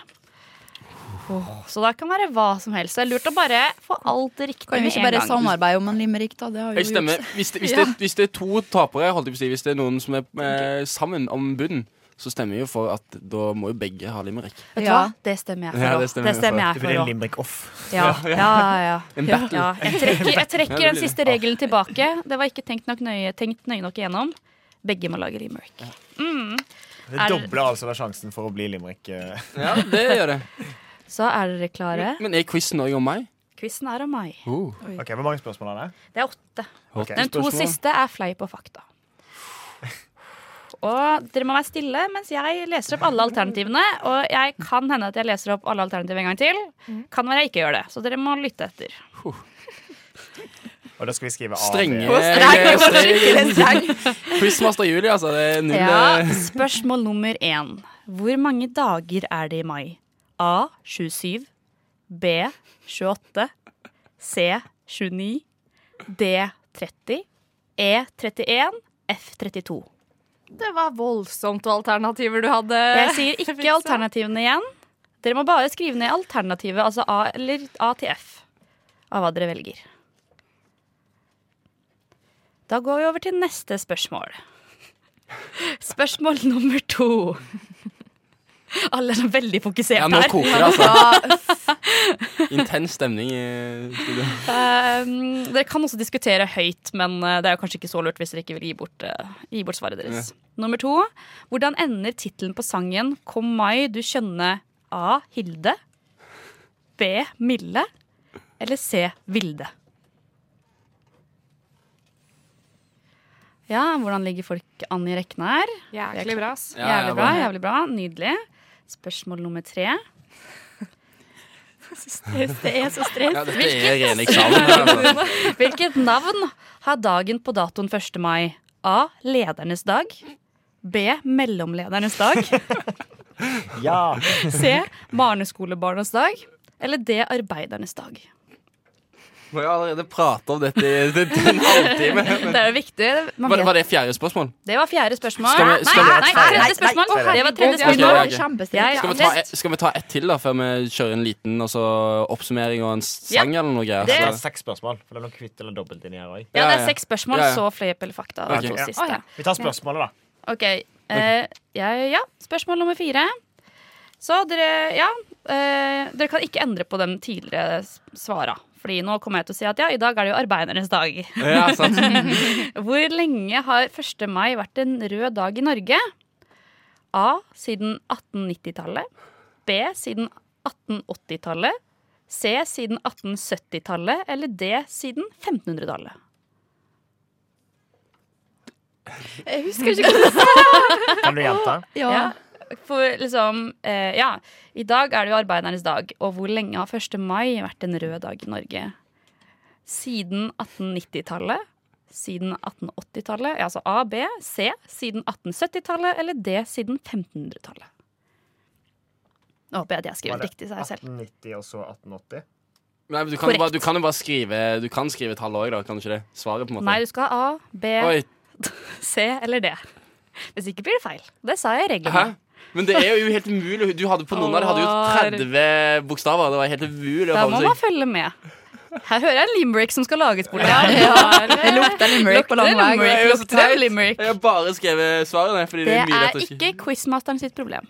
Speaker 6: Så det kan være hva som helst. Det er lurt å bare få alt riktig
Speaker 4: Kan vi ikke bare samarbeide om en limerick, da? Det har vi
Speaker 1: Jeg
Speaker 4: jo
Speaker 1: stemmer.
Speaker 4: gjort.
Speaker 1: Hvis det, hvis,
Speaker 4: Ja.
Speaker 1: det, hvis det er to tapere, holdt jeg på å si, hvis det er noen som er eh, sammen om bunn, så stemmer jeg jo for at da må jo begge ha limerick.
Speaker 6: Vet du hva? Det stemmer jeg for.
Speaker 1: Ja,
Speaker 6: også.
Speaker 1: det stemmer
Speaker 6: det
Speaker 1: jeg for.
Speaker 6: stemmer jeg
Speaker 1: Det blir
Speaker 6: for.
Speaker 1: en
Speaker 6: også.
Speaker 14: limerick-off.
Speaker 6: Ja, ja, ja. ja.
Speaker 1: En battle.
Speaker 6: Ja, jeg trekker, jeg
Speaker 1: Ja, det
Speaker 6: trekker
Speaker 1: blir
Speaker 6: den
Speaker 1: det.
Speaker 6: siste regelen tilbake. Det var ikke tenkt, nok nøye, tenkt nøye nok igjennom. Begge må lage limerick. Mm.
Speaker 14: Det
Speaker 6: Er-
Speaker 14: dobler altså da sjansen for å bli limerick. eh.
Speaker 1: Ja, det gjør det.
Speaker 6: Så er dere klare?
Speaker 1: Men er quizen òg om meg?
Speaker 6: Quizen er om meg.
Speaker 1: Oh.
Speaker 14: Ok, Hvor mange spørsmål er det?
Speaker 6: Det er åtte.
Speaker 1: Åtte
Speaker 6: De to
Speaker 1: spørsmål.
Speaker 6: siste er fleip og fakta. Og dere må være stille mens jeg leser opp alle alternativene. Og jeg kan hende at jeg leser opp alle alternativene en gang til. Kan være jeg ikke gjør det, så dere må lytte etter.
Speaker 14: Og da skal vi
Speaker 1: Ah,
Speaker 14: skrive A.
Speaker 1: Strenge
Speaker 14: B.
Speaker 1: eh, Quizmaster Julie, altså. Det er null
Speaker 6: Ja,
Speaker 1: eh,
Speaker 6: spørsmål nummer én. Hvor mange dager er det i mai? A. 27. B. 28. C. 29. D. 30. E. 31. F. 32.
Speaker 5: Det var voldsomt alternativer du hadde.
Speaker 6: Jeg sier ikke alternativene igjen. Dere må bare skrive ned alternativet, altså A, eller A til F, av hva dere velger. Da går vi over til neste spørsmål. Spørsmål nummer to. Alle er så veldig fokusert
Speaker 1: Ja, nå
Speaker 6: her.
Speaker 1: koker det, altså. Intens stemning i studio.
Speaker 6: Um, dere kan også diskutere høyt, men uh, det er jo kanskje ikke så lurt hvis dere ikke vil gi bort, uh, gi bort svaret deres. Nummer to. Hvordan ender tittelen på sangen 'Kom mai, du skjønne' A. Hilde. B. Mille. Eller C. Vilde. Ja, hvordan ligger folk an i rekkene her?
Speaker 5: Jæklig bra, ass.
Speaker 6: Jævlig
Speaker 5: Ja,
Speaker 6: bra,
Speaker 5: ja, bra.
Speaker 6: jævlig bra. Nydelig. Spørsmål nummer tre. Det er så stress.
Speaker 1: Ja, dette er
Speaker 6: Hvilket-
Speaker 1: ren eksamen her, altså.
Speaker 6: Hvilket navn har dagen på datoen 1. mai? A. Ledernes dag. B. Mellomledernes dag.
Speaker 14: Ja.
Speaker 6: C. Barneskolebarnas dag. Eller D. Arbeidernes dag.
Speaker 1: Må jo allerede prate om dette i det, det, en halvtime.
Speaker 6: Det er jo viktig. Man
Speaker 1: Var, det-
Speaker 6: vet-
Speaker 1: var det fjerde spørsmål?
Speaker 6: Det var fjerde spørsmål.
Speaker 1: Skal vi- skal vi-
Speaker 6: nei, nei,
Speaker 1: Tredje
Speaker 6: tredje spørsmål. Det var tredje spørsmål. Jeg-
Speaker 1: Skal, vi ta, et- skal vi ta ett til, da, før vi kjører en liten og så oppsummering og en sang
Speaker 6: Ja.
Speaker 1: eller noe greier?
Speaker 6: Det-
Speaker 1: så-
Speaker 14: Det er seks spørsmål, for det er noe kvitt eller dobbelt inni her òg.
Speaker 6: Ja, det er seks spørsmål, så fleip eller fakta.
Speaker 14: Ok.
Speaker 6: Okay. To siste.
Speaker 14: Ja. Vi tar spørsmålet, da.
Speaker 6: Ok, eh, ja, ja, spørsmål nummer fire. Så dere, ja, eh, dere kan ikke endre på de tidligere s- svara. Fordi nå kommer jeg til å si at ja, i dag er det jo arbeidernes dag.
Speaker 1: Ja, sant.
Speaker 6: Hvor lenge har 1. mai vært en rød dag i Norge? A. Siden 1890-tallet. B. Siden 1880-tallet. C. Siden 1870-tallet. Eller D. Siden 1500-tallet.
Speaker 4: Jeg husker ikke hva du sa.
Speaker 14: Kan du gjenta?
Speaker 4: Ja.
Speaker 6: For liksom, eh, ja, i dag er det jo arbeidernes dag, og hvor lenge har 1. mai vært en rød dag i Norge? Siden 1890-tallet, siden 1880-tallet, ja, altså A, B, C, siden 1870-tallet, eller D, siden 1500-tallet. Nå håper jeg at jeg skriver riktig, sa jeg selv.
Speaker 14: 1890 og så 1880?
Speaker 1: Nei, men du, kan jo bare, du kan jo bare skrive Du kan skrive tallet òg, da. Kan du ikke det? Svaret, på en måte.
Speaker 6: Nei, du skal ha A, B,
Speaker 1: Oi.
Speaker 6: C eller D. Hvis ikke blir det feil. Det sa jeg i
Speaker 1: Hæ?
Speaker 6: reglene.
Speaker 1: Men det er jo helt umulig. Du hadde på noen av dere hadde jo 30 bokstaver. Det var helt umulig å
Speaker 6: Da
Speaker 1: holde
Speaker 6: må man
Speaker 1: seg
Speaker 6: følge med. Her hører jeg en limerick som skal lages bort. Ja,
Speaker 4: Det lukter limerick på lang vei.
Speaker 1: Jeg er jo så
Speaker 6: Lukter
Speaker 1: teit.
Speaker 6: limerick.
Speaker 1: Jeg har bare skrevet svarene. Fordi det,
Speaker 6: Det
Speaker 1: er mye
Speaker 6: er
Speaker 1: lettere å skrive.
Speaker 6: ikke quizmasteren sitt problem.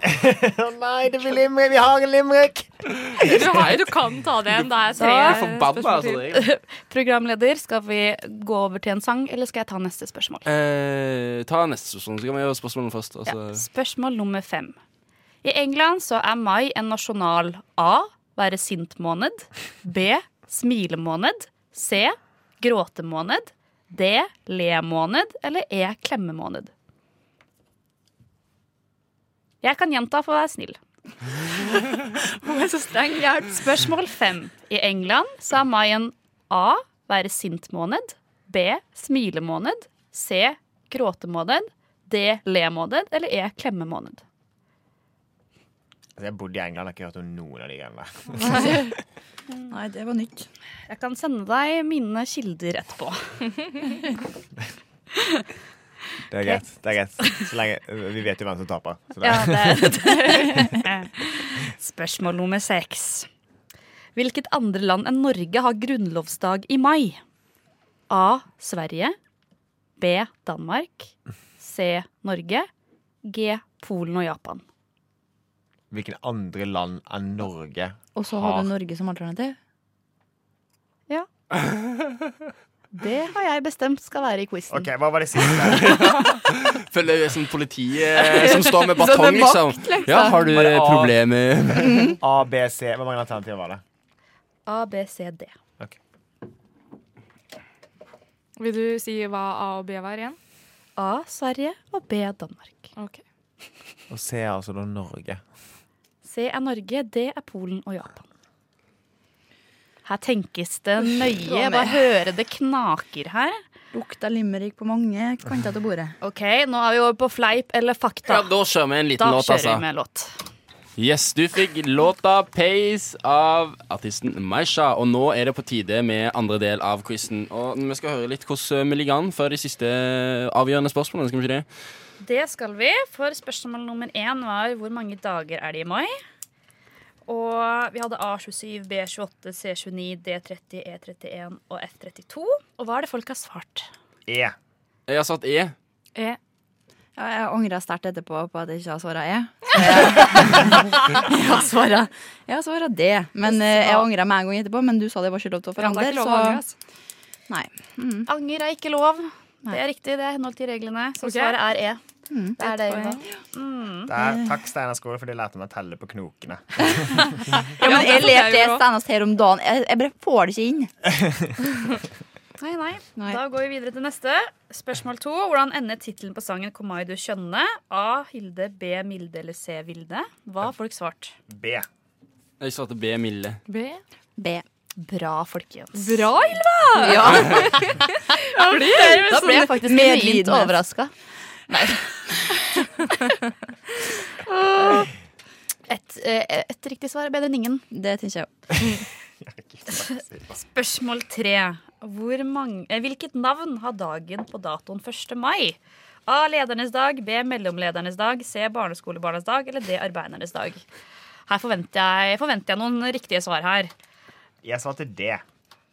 Speaker 14: Nei, det blir limerick. Vi har en limerick.
Speaker 6: Du, har, du kan ta det igjen. Det er tre
Speaker 1: Jeg er forbanna,
Speaker 6: spørsmål
Speaker 1: altså,
Speaker 6: til.
Speaker 1: det er
Speaker 6: Programleder, skal vi gå over til en sang, eller skal jeg ta neste spørsmål?
Speaker 1: Eh, ta neste spørsmål, så kan vi gjøre spørsmålene først. altså. og så-
Speaker 6: Spørsmål nummer fem. I England så er mai en nasjonal A. Være sint-måned. B. Smilemåned. C. Gråtemåned. D. Le-måned. Eller E. Klemmemåned. Jeg kan gjenta for å være snill. Hun er så streng. Spørsmål fem. I England så er mai en A. Være sint-måned. B. Smilemåned. C. Gråtemåned. D. Le-måned. Eller E. Klemmemåned.
Speaker 14: Altså, jeg bodde i England, jeg har ikke hørt om noen av de greiene der.
Speaker 6: Nei, det var nytt. Jeg kan sende deg mine kilder etterpå.
Speaker 14: Det er greit. det er greit Så lenge, Vi vet jo hvem som taper. Så det.
Speaker 6: ja, det, det. Spørsmål nummer seks. Hvilket andre land enn Norge har grunnlovsdag i mai? A. Sverige. B. Danmark. C. Norge. G. Polen og Japan.
Speaker 14: Hvilken andre land enn Norge
Speaker 4: Og så
Speaker 1: Ah.
Speaker 4: har du Norge som alternativ?
Speaker 6: Ja. Det har jeg bestemt skal være i quizen.
Speaker 14: Ok, Hva var det siste?
Speaker 1: Føler jeg som politiet som står med
Speaker 6: Sånn
Speaker 1: batong,
Speaker 6: med makt,
Speaker 1: liksom.
Speaker 6: liksom.
Speaker 1: Ja, har du
Speaker 14: Var det A?
Speaker 1: problemer?
Speaker 14: A, B, C. Hvor mange alternativer var det?
Speaker 6: A, B, C, D.
Speaker 5: Vil du si hva A og B var igjen?
Speaker 6: A, Sverige og B, Danmark.
Speaker 14: Og C er altså da Norge.
Speaker 6: C er Norge, D er Polen og Japan. Her tenkes det nøye. Jeg bare hører det knaker her.
Speaker 4: Lukta limerick på mange kanter av bordet.
Speaker 6: OK, nå er vi over på fleip eller fakta.
Speaker 1: Ja, da kjører vi en liten
Speaker 6: Da
Speaker 1: låt,
Speaker 6: kjører
Speaker 1: altså.
Speaker 6: vi med låt.
Speaker 1: Yes, du fikk låta 'Pace' av artisten Maisha. Og nå er det på tide med andre del av quizen. Og vi skal høre litt hvordan vi ligger an før de siste avgjørende spørsmålene. Skal vi ikke det?
Speaker 6: Det skal vi, for spørsmål nummer én var hvor mange dager er det i mai? Og vi hadde A27, B28, C29, D30, E31 E og F32. Og hva er det folk har svart?
Speaker 14: E.
Speaker 1: Jeg har satt E.
Speaker 6: E.
Speaker 4: Ja, jeg angra sterkt etterpå på at jeg ikke har svara E. Så jeg- Jeg har svara- jeg har svara D. Men eh, jeg angra meg en gang etterpå, men du sa det var ikke lov til å
Speaker 6: Ja, det
Speaker 4: forandre.
Speaker 6: er ikke lov å angre,
Speaker 4: så
Speaker 6: altså.
Speaker 4: nei.
Speaker 6: Anger er ikke lov. Det er riktig, det er i henhold til reglene. Så
Speaker 5: Ok.
Speaker 6: svaret er E. Det er det,
Speaker 5: Ett poeng.
Speaker 6: Jonna. Mm.
Speaker 14: Der, takk, Steinar Skole, for de lærte meg å telle på knokene.
Speaker 4: Ja,
Speaker 6: E
Speaker 4: men
Speaker 5: det er
Speaker 4: jeg
Speaker 5: jeg
Speaker 4: lærte det
Speaker 5: også.
Speaker 4: senest her om dagen. Jeg, jeg bare får det ikke inn.
Speaker 6: Nei, nei, Da går vi videre til neste. Spørsmål to. Hvordan ender tittelen på sangen 'Kom mai du skjønne'? A. Hilde. B. Milde. Eller C. Vilde. Hva har folk svart?
Speaker 14: B.
Speaker 1: Jeg svarte B, Mille.
Speaker 6: B.
Speaker 4: B.
Speaker 6: Bra, folkens.
Speaker 5: Bra, Ylva!
Speaker 6: Ja.
Speaker 5: Jeg blir
Speaker 6: Da ble jeg
Speaker 5: sånn
Speaker 6: faktisk genuint
Speaker 5: medlidenhet.
Speaker 6: overraska. Et, eh, et riktig svar er bedre enn ingen.
Speaker 4: Det tenker jeg
Speaker 6: Spørsmål tre. Hvor mange, eh, hvilket navn har dagen på datoen 1. mai? A. Ledernes dag. B. Mellomledernes dag. C. Barneskolebarnas dag. Eller D. Arbeidernes dag. Her forventer jeg, forventer jeg noen riktige svar her.
Speaker 14: Jeg svarte D.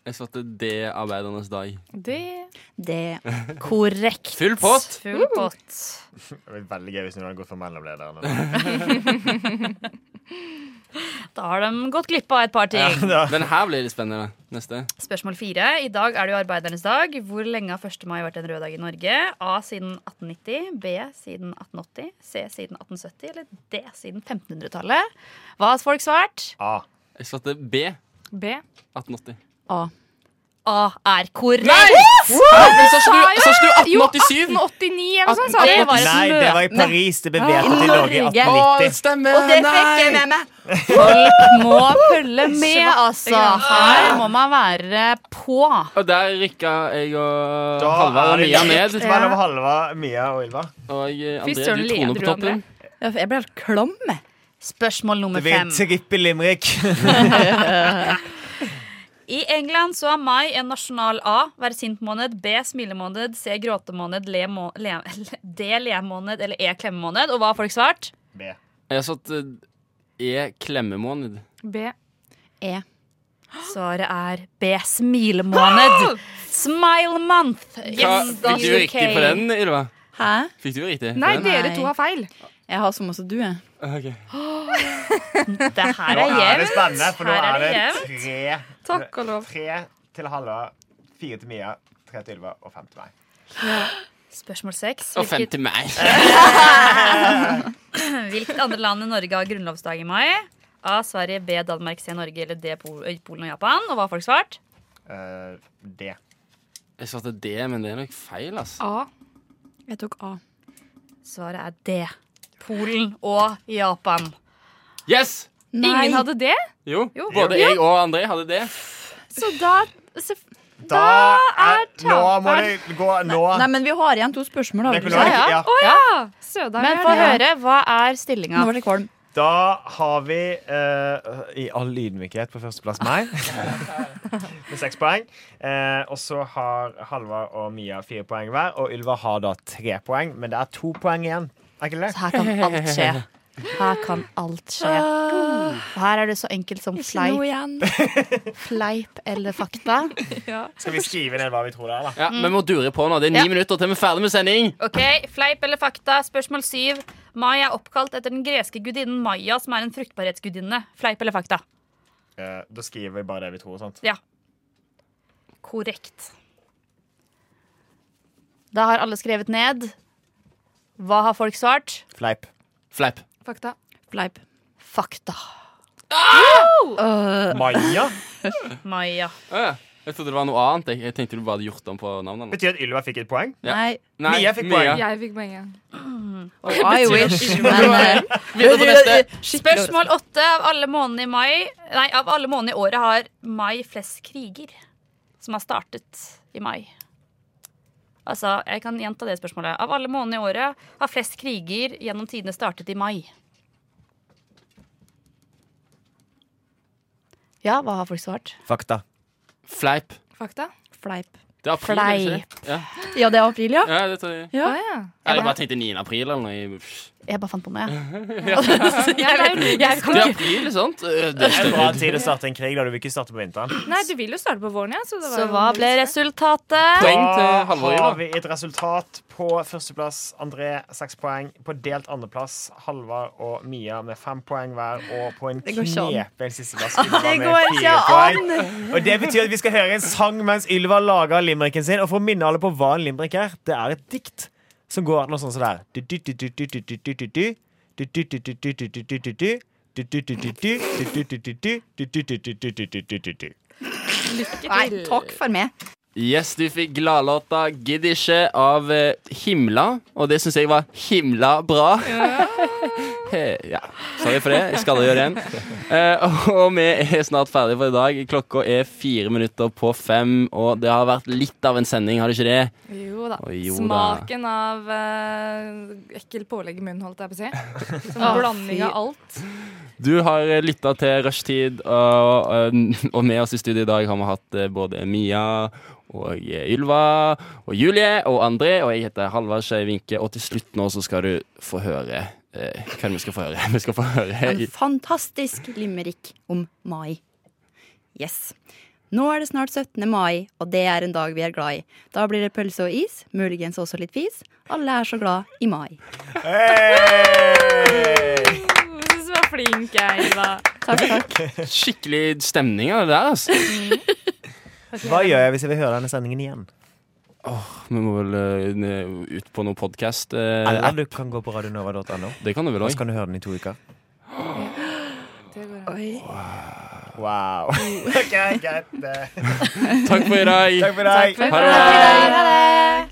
Speaker 1: Jeg svarte D, Arbeidernes dag.
Speaker 6: Det
Speaker 4: Det
Speaker 6: Korrekt.
Speaker 1: Full pott.
Speaker 6: Full pott.
Speaker 14: Det blir veldig gøy hvis noen hadde gått for mellomlederen.
Speaker 6: Da har de gått glipp av et par ting.
Speaker 1: Den her blir litt spennende. Neste.
Speaker 6: Spørsmål fire. I dag er det jo arbeidernes dag. Hvor lenge har 1. mai vært en rød dag i Norge? A. Siden 1890. B. Siden 1880. C. Siden 1870. Eller D. Siden 1500-tallet. Hva har folk svart?
Speaker 14: A.
Speaker 1: Jeg svarte B.
Speaker 6: B.
Speaker 1: 1880.
Speaker 4: A.
Speaker 6: A er korrekt.
Speaker 1: Nei! Wow! Men sa ikke du- sa ikke du
Speaker 5: Jo,
Speaker 1: 1887?
Speaker 5: 1889 eller noe sånt. sa
Speaker 14: Nei,
Speaker 5: du.
Speaker 14: det var i Paris. Det ble vedtatt i Norge i
Speaker 4: Norge.
Speaker 1: Å, det
Speaker 14: 1890.
Speaker 1: stemmer!
Speaker 4: Og det fikk jeg
Speaker 1: Nei!
Speaker 4: med meg.
Speaker 6: Folk må følge med, altså. Her må man være på.
Speaker 1: Og der rykka jeg og
Speaker 14: Da
Speaker 1: Halvard og
Speaker 14: er det
Speaker 1: Mia
Speaker 14: likt
Speaker 1: ned.
Speaker 14: Mellom Halva, Mia og Ylva.
Speaker 1: Og eh,
Speaker 6: Fy
Speaker 1: André,
Speaker 6: søren,
Speaker 1: du
Speaker 6: leder
Speaker 1: troner
Speaker 6: du,
Speaker 1: på toppen.
Speaker 4: Ja, for Jeg ble helt klam. jeg.
Speaker 6: Spørsmål nummer
Speaker 14: Det blir
Speaker 6: fem.
Speaker 14: en trippel limerick.
Speaker 6: I England så er mai en nasjonal A. Være sint-måned. B. Smilemåned. C. Gråtemåned. Le må- le- D. Le-måned. Eller E. Klemmemåned. Og hva har folk svart?
Speaker 14: B.
Speaker 1: Jeg har satt eh, E klemmemåned.
Speaker 5: B.
Speaker 6: E. Svaret er B. Smilemåned. Smile month.
Speaker 1: Hva-
Speaker 6: Yes,
Speaker 1: Fikk du riktig på den, Ylva?
Speaker 4: Hæ?
Speaker 1: Fikk du riktig? på
Speaker 5: Nei,
Speaker 1: den?
Speaker 5: dere to har feil.
Speaker 4: Jeg har som også du, jeg.
Speaker 1: Ok.
Speaker 6: Det her
Speaker 7: Nå
Speaker 6: er
Speaker 7: er det
Speaker 6: jevnt.
Speaker 7: spennende, for nå
Speaker 6: Her er
Speaker 7: er
Speaker 6: det
Speaker 7: det
Speaker 6: jevnt.
Speaker 7: tre
Speaker 5: Takk og lov.
Speaker 7: Tre til Halva, fire til Mia, tre til Ylva og fem til meg.
Speaker 6: Spørsmål seks.
Speaker 1: Og fem til meg.
Speaker 6: Hvilket andre land i Norge har grunnlovsdag i mai? A. Sverige, B. Danmark, C. Norge eller D. Pol Polen og Japan. Og hva har folk svart?
Speaker 14: Eh,
Speaker 7: D.
Speaker 1: Jeg svarte D, men det er nok feil, altså.
Speaker 5: A.
Speaker 4: Jeg tok A.
Speaker 6: Svaret er D. Polen og Japan.
Speaker 1: Yes!
Speaker 5: Ingen hadde det?
Speaker 1: Jo,
Speaker 6: Jo.
Speaker 1: både
Speaker 6: Jo.
Speaker 1: jeg og André hadde det.
Speaker 5: Så da
Speaker 7: Da er Nå må det gå nå.
Speaker 4: Nei, men vi har igjen to spørsmål.
Speaker 7: Det
Speaker 4: Har vi
Speaker 7: kunne
Speaker 4: ikke?
Speaker 7: vært- ja.
Speaker 5: Å ja! Sødal.
Speaker 6: Men
Speaker 5: ja.
Speaker 6: få høre, hva er stillinga?
Speaker 4: Nå ble jeg kvalm.
Speaker 7: Da har vi eh, i all ydmykhet på førsteplass meg med seks poeng. Eh, og så har Halvard og Mia fire poeng hver, og Ylva har da tre poeng. Men det er to poeng igjen. Er ikke det?
Speaker 6: Her kan alt skje. Her kan alt skje. Og her er det så enkelt som
Speaker 4: Ikke noe
Speaker 6: fleip,
Speaker 4: igjen.
Speaker 6: fleip eller fakta.
Speaker 7: Skal vi skrive ned hva vi tror det er, da?
Speaker 1: Ja, Vi må dure på nå. Det er ni
Speaker 6: Mm. Ja.
Speaker 1: minutter til vi er ferdig med sending.
Speaker 6: Ok, Fleip eller fakta? Spørsmål syv. Mai er oppkalt etter den greske gudinnen Maia, som er en fruktbarhetsgudinne. Fleip eller fakta?
Speaker 7: Eh, da skriver vi bare det vi tror. sant?
Speaker 6: Ja. Korrekt. Da har alle skrevet ned. Hva har folk svart?
Speaker 7: Fleip.
Speaker 1: Fleip.
Speaker 5: Fakta.
Speaker 4: Fleip.
Speaker 6: Fakta.
Speaker 7: Maja
Speaker 6: Maia.
Speaker 1: Å, ja. Jeg trodde det var noe annet. Jeg, jeg tenkte du bare hadde gjort om på navnene.
Speaker 7: betyr at Ylva fikk et poeng.
Speaker 1: Ja.
Speaker 4: Nei.
Speaker 1: Nei,
Speaker 7: Mia fikk poeng.
Speaker 5: Jeg fikk poenget.
Speaker 4: I wish. Men eh,
Speaker 1: Videre til neste.
Speaker 4: skikkelig overraskende.
Speaker 6: Spørsmål åtte. Av alle månedene i mai Nei, av alle månedene i året har mai flest kriger. Som har startet i mai. Altså, jeg kan gjenta det spørsmålet. Av alle månedene i året har flest kriger gjennom tidene startet i mai. Ja, hva har folk svart?
Speaker 7: Fakta.
Speaker 1: Fleip.
Speaker 5: Fakta?
Speaker 4: Fleip.
Speaker 1: Det er april. er det ikke det? Ja.
Speaker 4: Ja, det er april, ja.
Speaker 1: ja, det tror jeg.
Speaker 4: Ja.
Speaker 5: Å ja.
Speaker 1: Eller bare tenkte 9. april eller noe. i-
Speaker 6: Jeg bare fant på noe, jeg.
Speaker 5: Ja, det er jo logisk.
Speaker 6: Jeg
Speaker 1: Det
Speaker 6: kan
Speaker 1: er
Speaker 6: ikke
Speaker 1: april, sant? Eh, Det
Speaker 7: En bra tid å starte en krig da du vil ikke starte på vinteren.
Speaker 5: Nei, du vil jo starte på våren, ja. Så, det var
Speaker 6: Så
Speaker 5: jo
Speaker 6: hva ble
Speaker 5: logisk,
Speaker 6: resultatet?
Speaker 1: Poeng til
Speaker 7: Da
Speaker 1: Halvor
Speaker 7: har
Speaker 1: Ylva.
Speaker 7: vi et resultat på førsteplass. André seks poeng. På delt andreplass Halvard og Mia med fem poeng hver. Og på en
Speaker 4: Det går ikke an.
Speaker 7: knepen sisteplass Ylva
Speaker 4: Det
Speaker 7: med
Speaker 4: går
Speaker 7: fire
Speaker 4: ikke
Speaker 7: poeng. Og det betyr at vi skal høre en sang mens Ylva lager limericken sin. Og for å minne alle på hva en limerick er, det er et dikt som går noe sånn som det her. Du-du-du-du-du-du-du-du-du. Du-du-du-du-du-du-du-du-du. Du-du-du-du-du-du-du-du-du-du-du-du-du-du-du-du.
Speaker 4: Nei, takk for meg.
Speaker 1: Yes, du fikk gladlåta 'Gidd ikke' av eh, Himla, og det syns jeg var himla bra. Eh, ja. Sorry for det. Jeg skal aldri gjøre det igjen. Eh, og vi er snart ferdige for i dag. Klokka er fire minutter på fem, og det har vært litt av en sending, har det ikke det?
Speaker 5: det. Jo da.
Speaker 1: Å, jo da.
Speaker 5: Smaken av eh, ekkel pålegg i munnen, holdt jeg på å si. Sånn
Speaker 4: Å,
Speaker 5: blanding
Speaker 4: fy.
Speaker 5: av alt.
Speaker 1: Du har lytta til Rushtid, og, og- og med oss i studio i dag har vi hatt eh, både Mia og eh, Ylva og Julie og André, og jeg heter Halvard Skei Vinke. Og til slutt nå så skal du få høre eh, hvem vi skal få høre. Vi skal få høre
Speaker 4: En fantastisk limerick om mai. Yes. Nå er det snart 17. mai, og det er en dag vi er glad i. Da blir det pølse og is, muligens også litt fis. Alle er så glad i mai.
Speaker 7: Hey!
Speaker 5: Du var flink, jeg, Ylva.
Speaker 4: Takk, takk.
Speaker 1: skikkelig stemning av det der, altså.
Speaker 7: Hva gjør jeg hvis jeg vil høre denne sendingen igjen?
Speaker 1: Vi må vel eh, ned- ut på noe podkast.
Speaker 7: Eller du kan gå på radionova.no.
Speaker 1: det kan du vel
Speaker 7: Og
Speaker 1: òg.
Speaker 7: så kan du høre den i to uker.
Speaker 5: Det går an.
Speaker 4: Oi.
Speaker 7: Wow. ok, greit.
Speaker 1: Takk for i dag.
Speaker 7: Takk for i dag.
Speaker 1: Ha det.
Speaker 5: Ha det.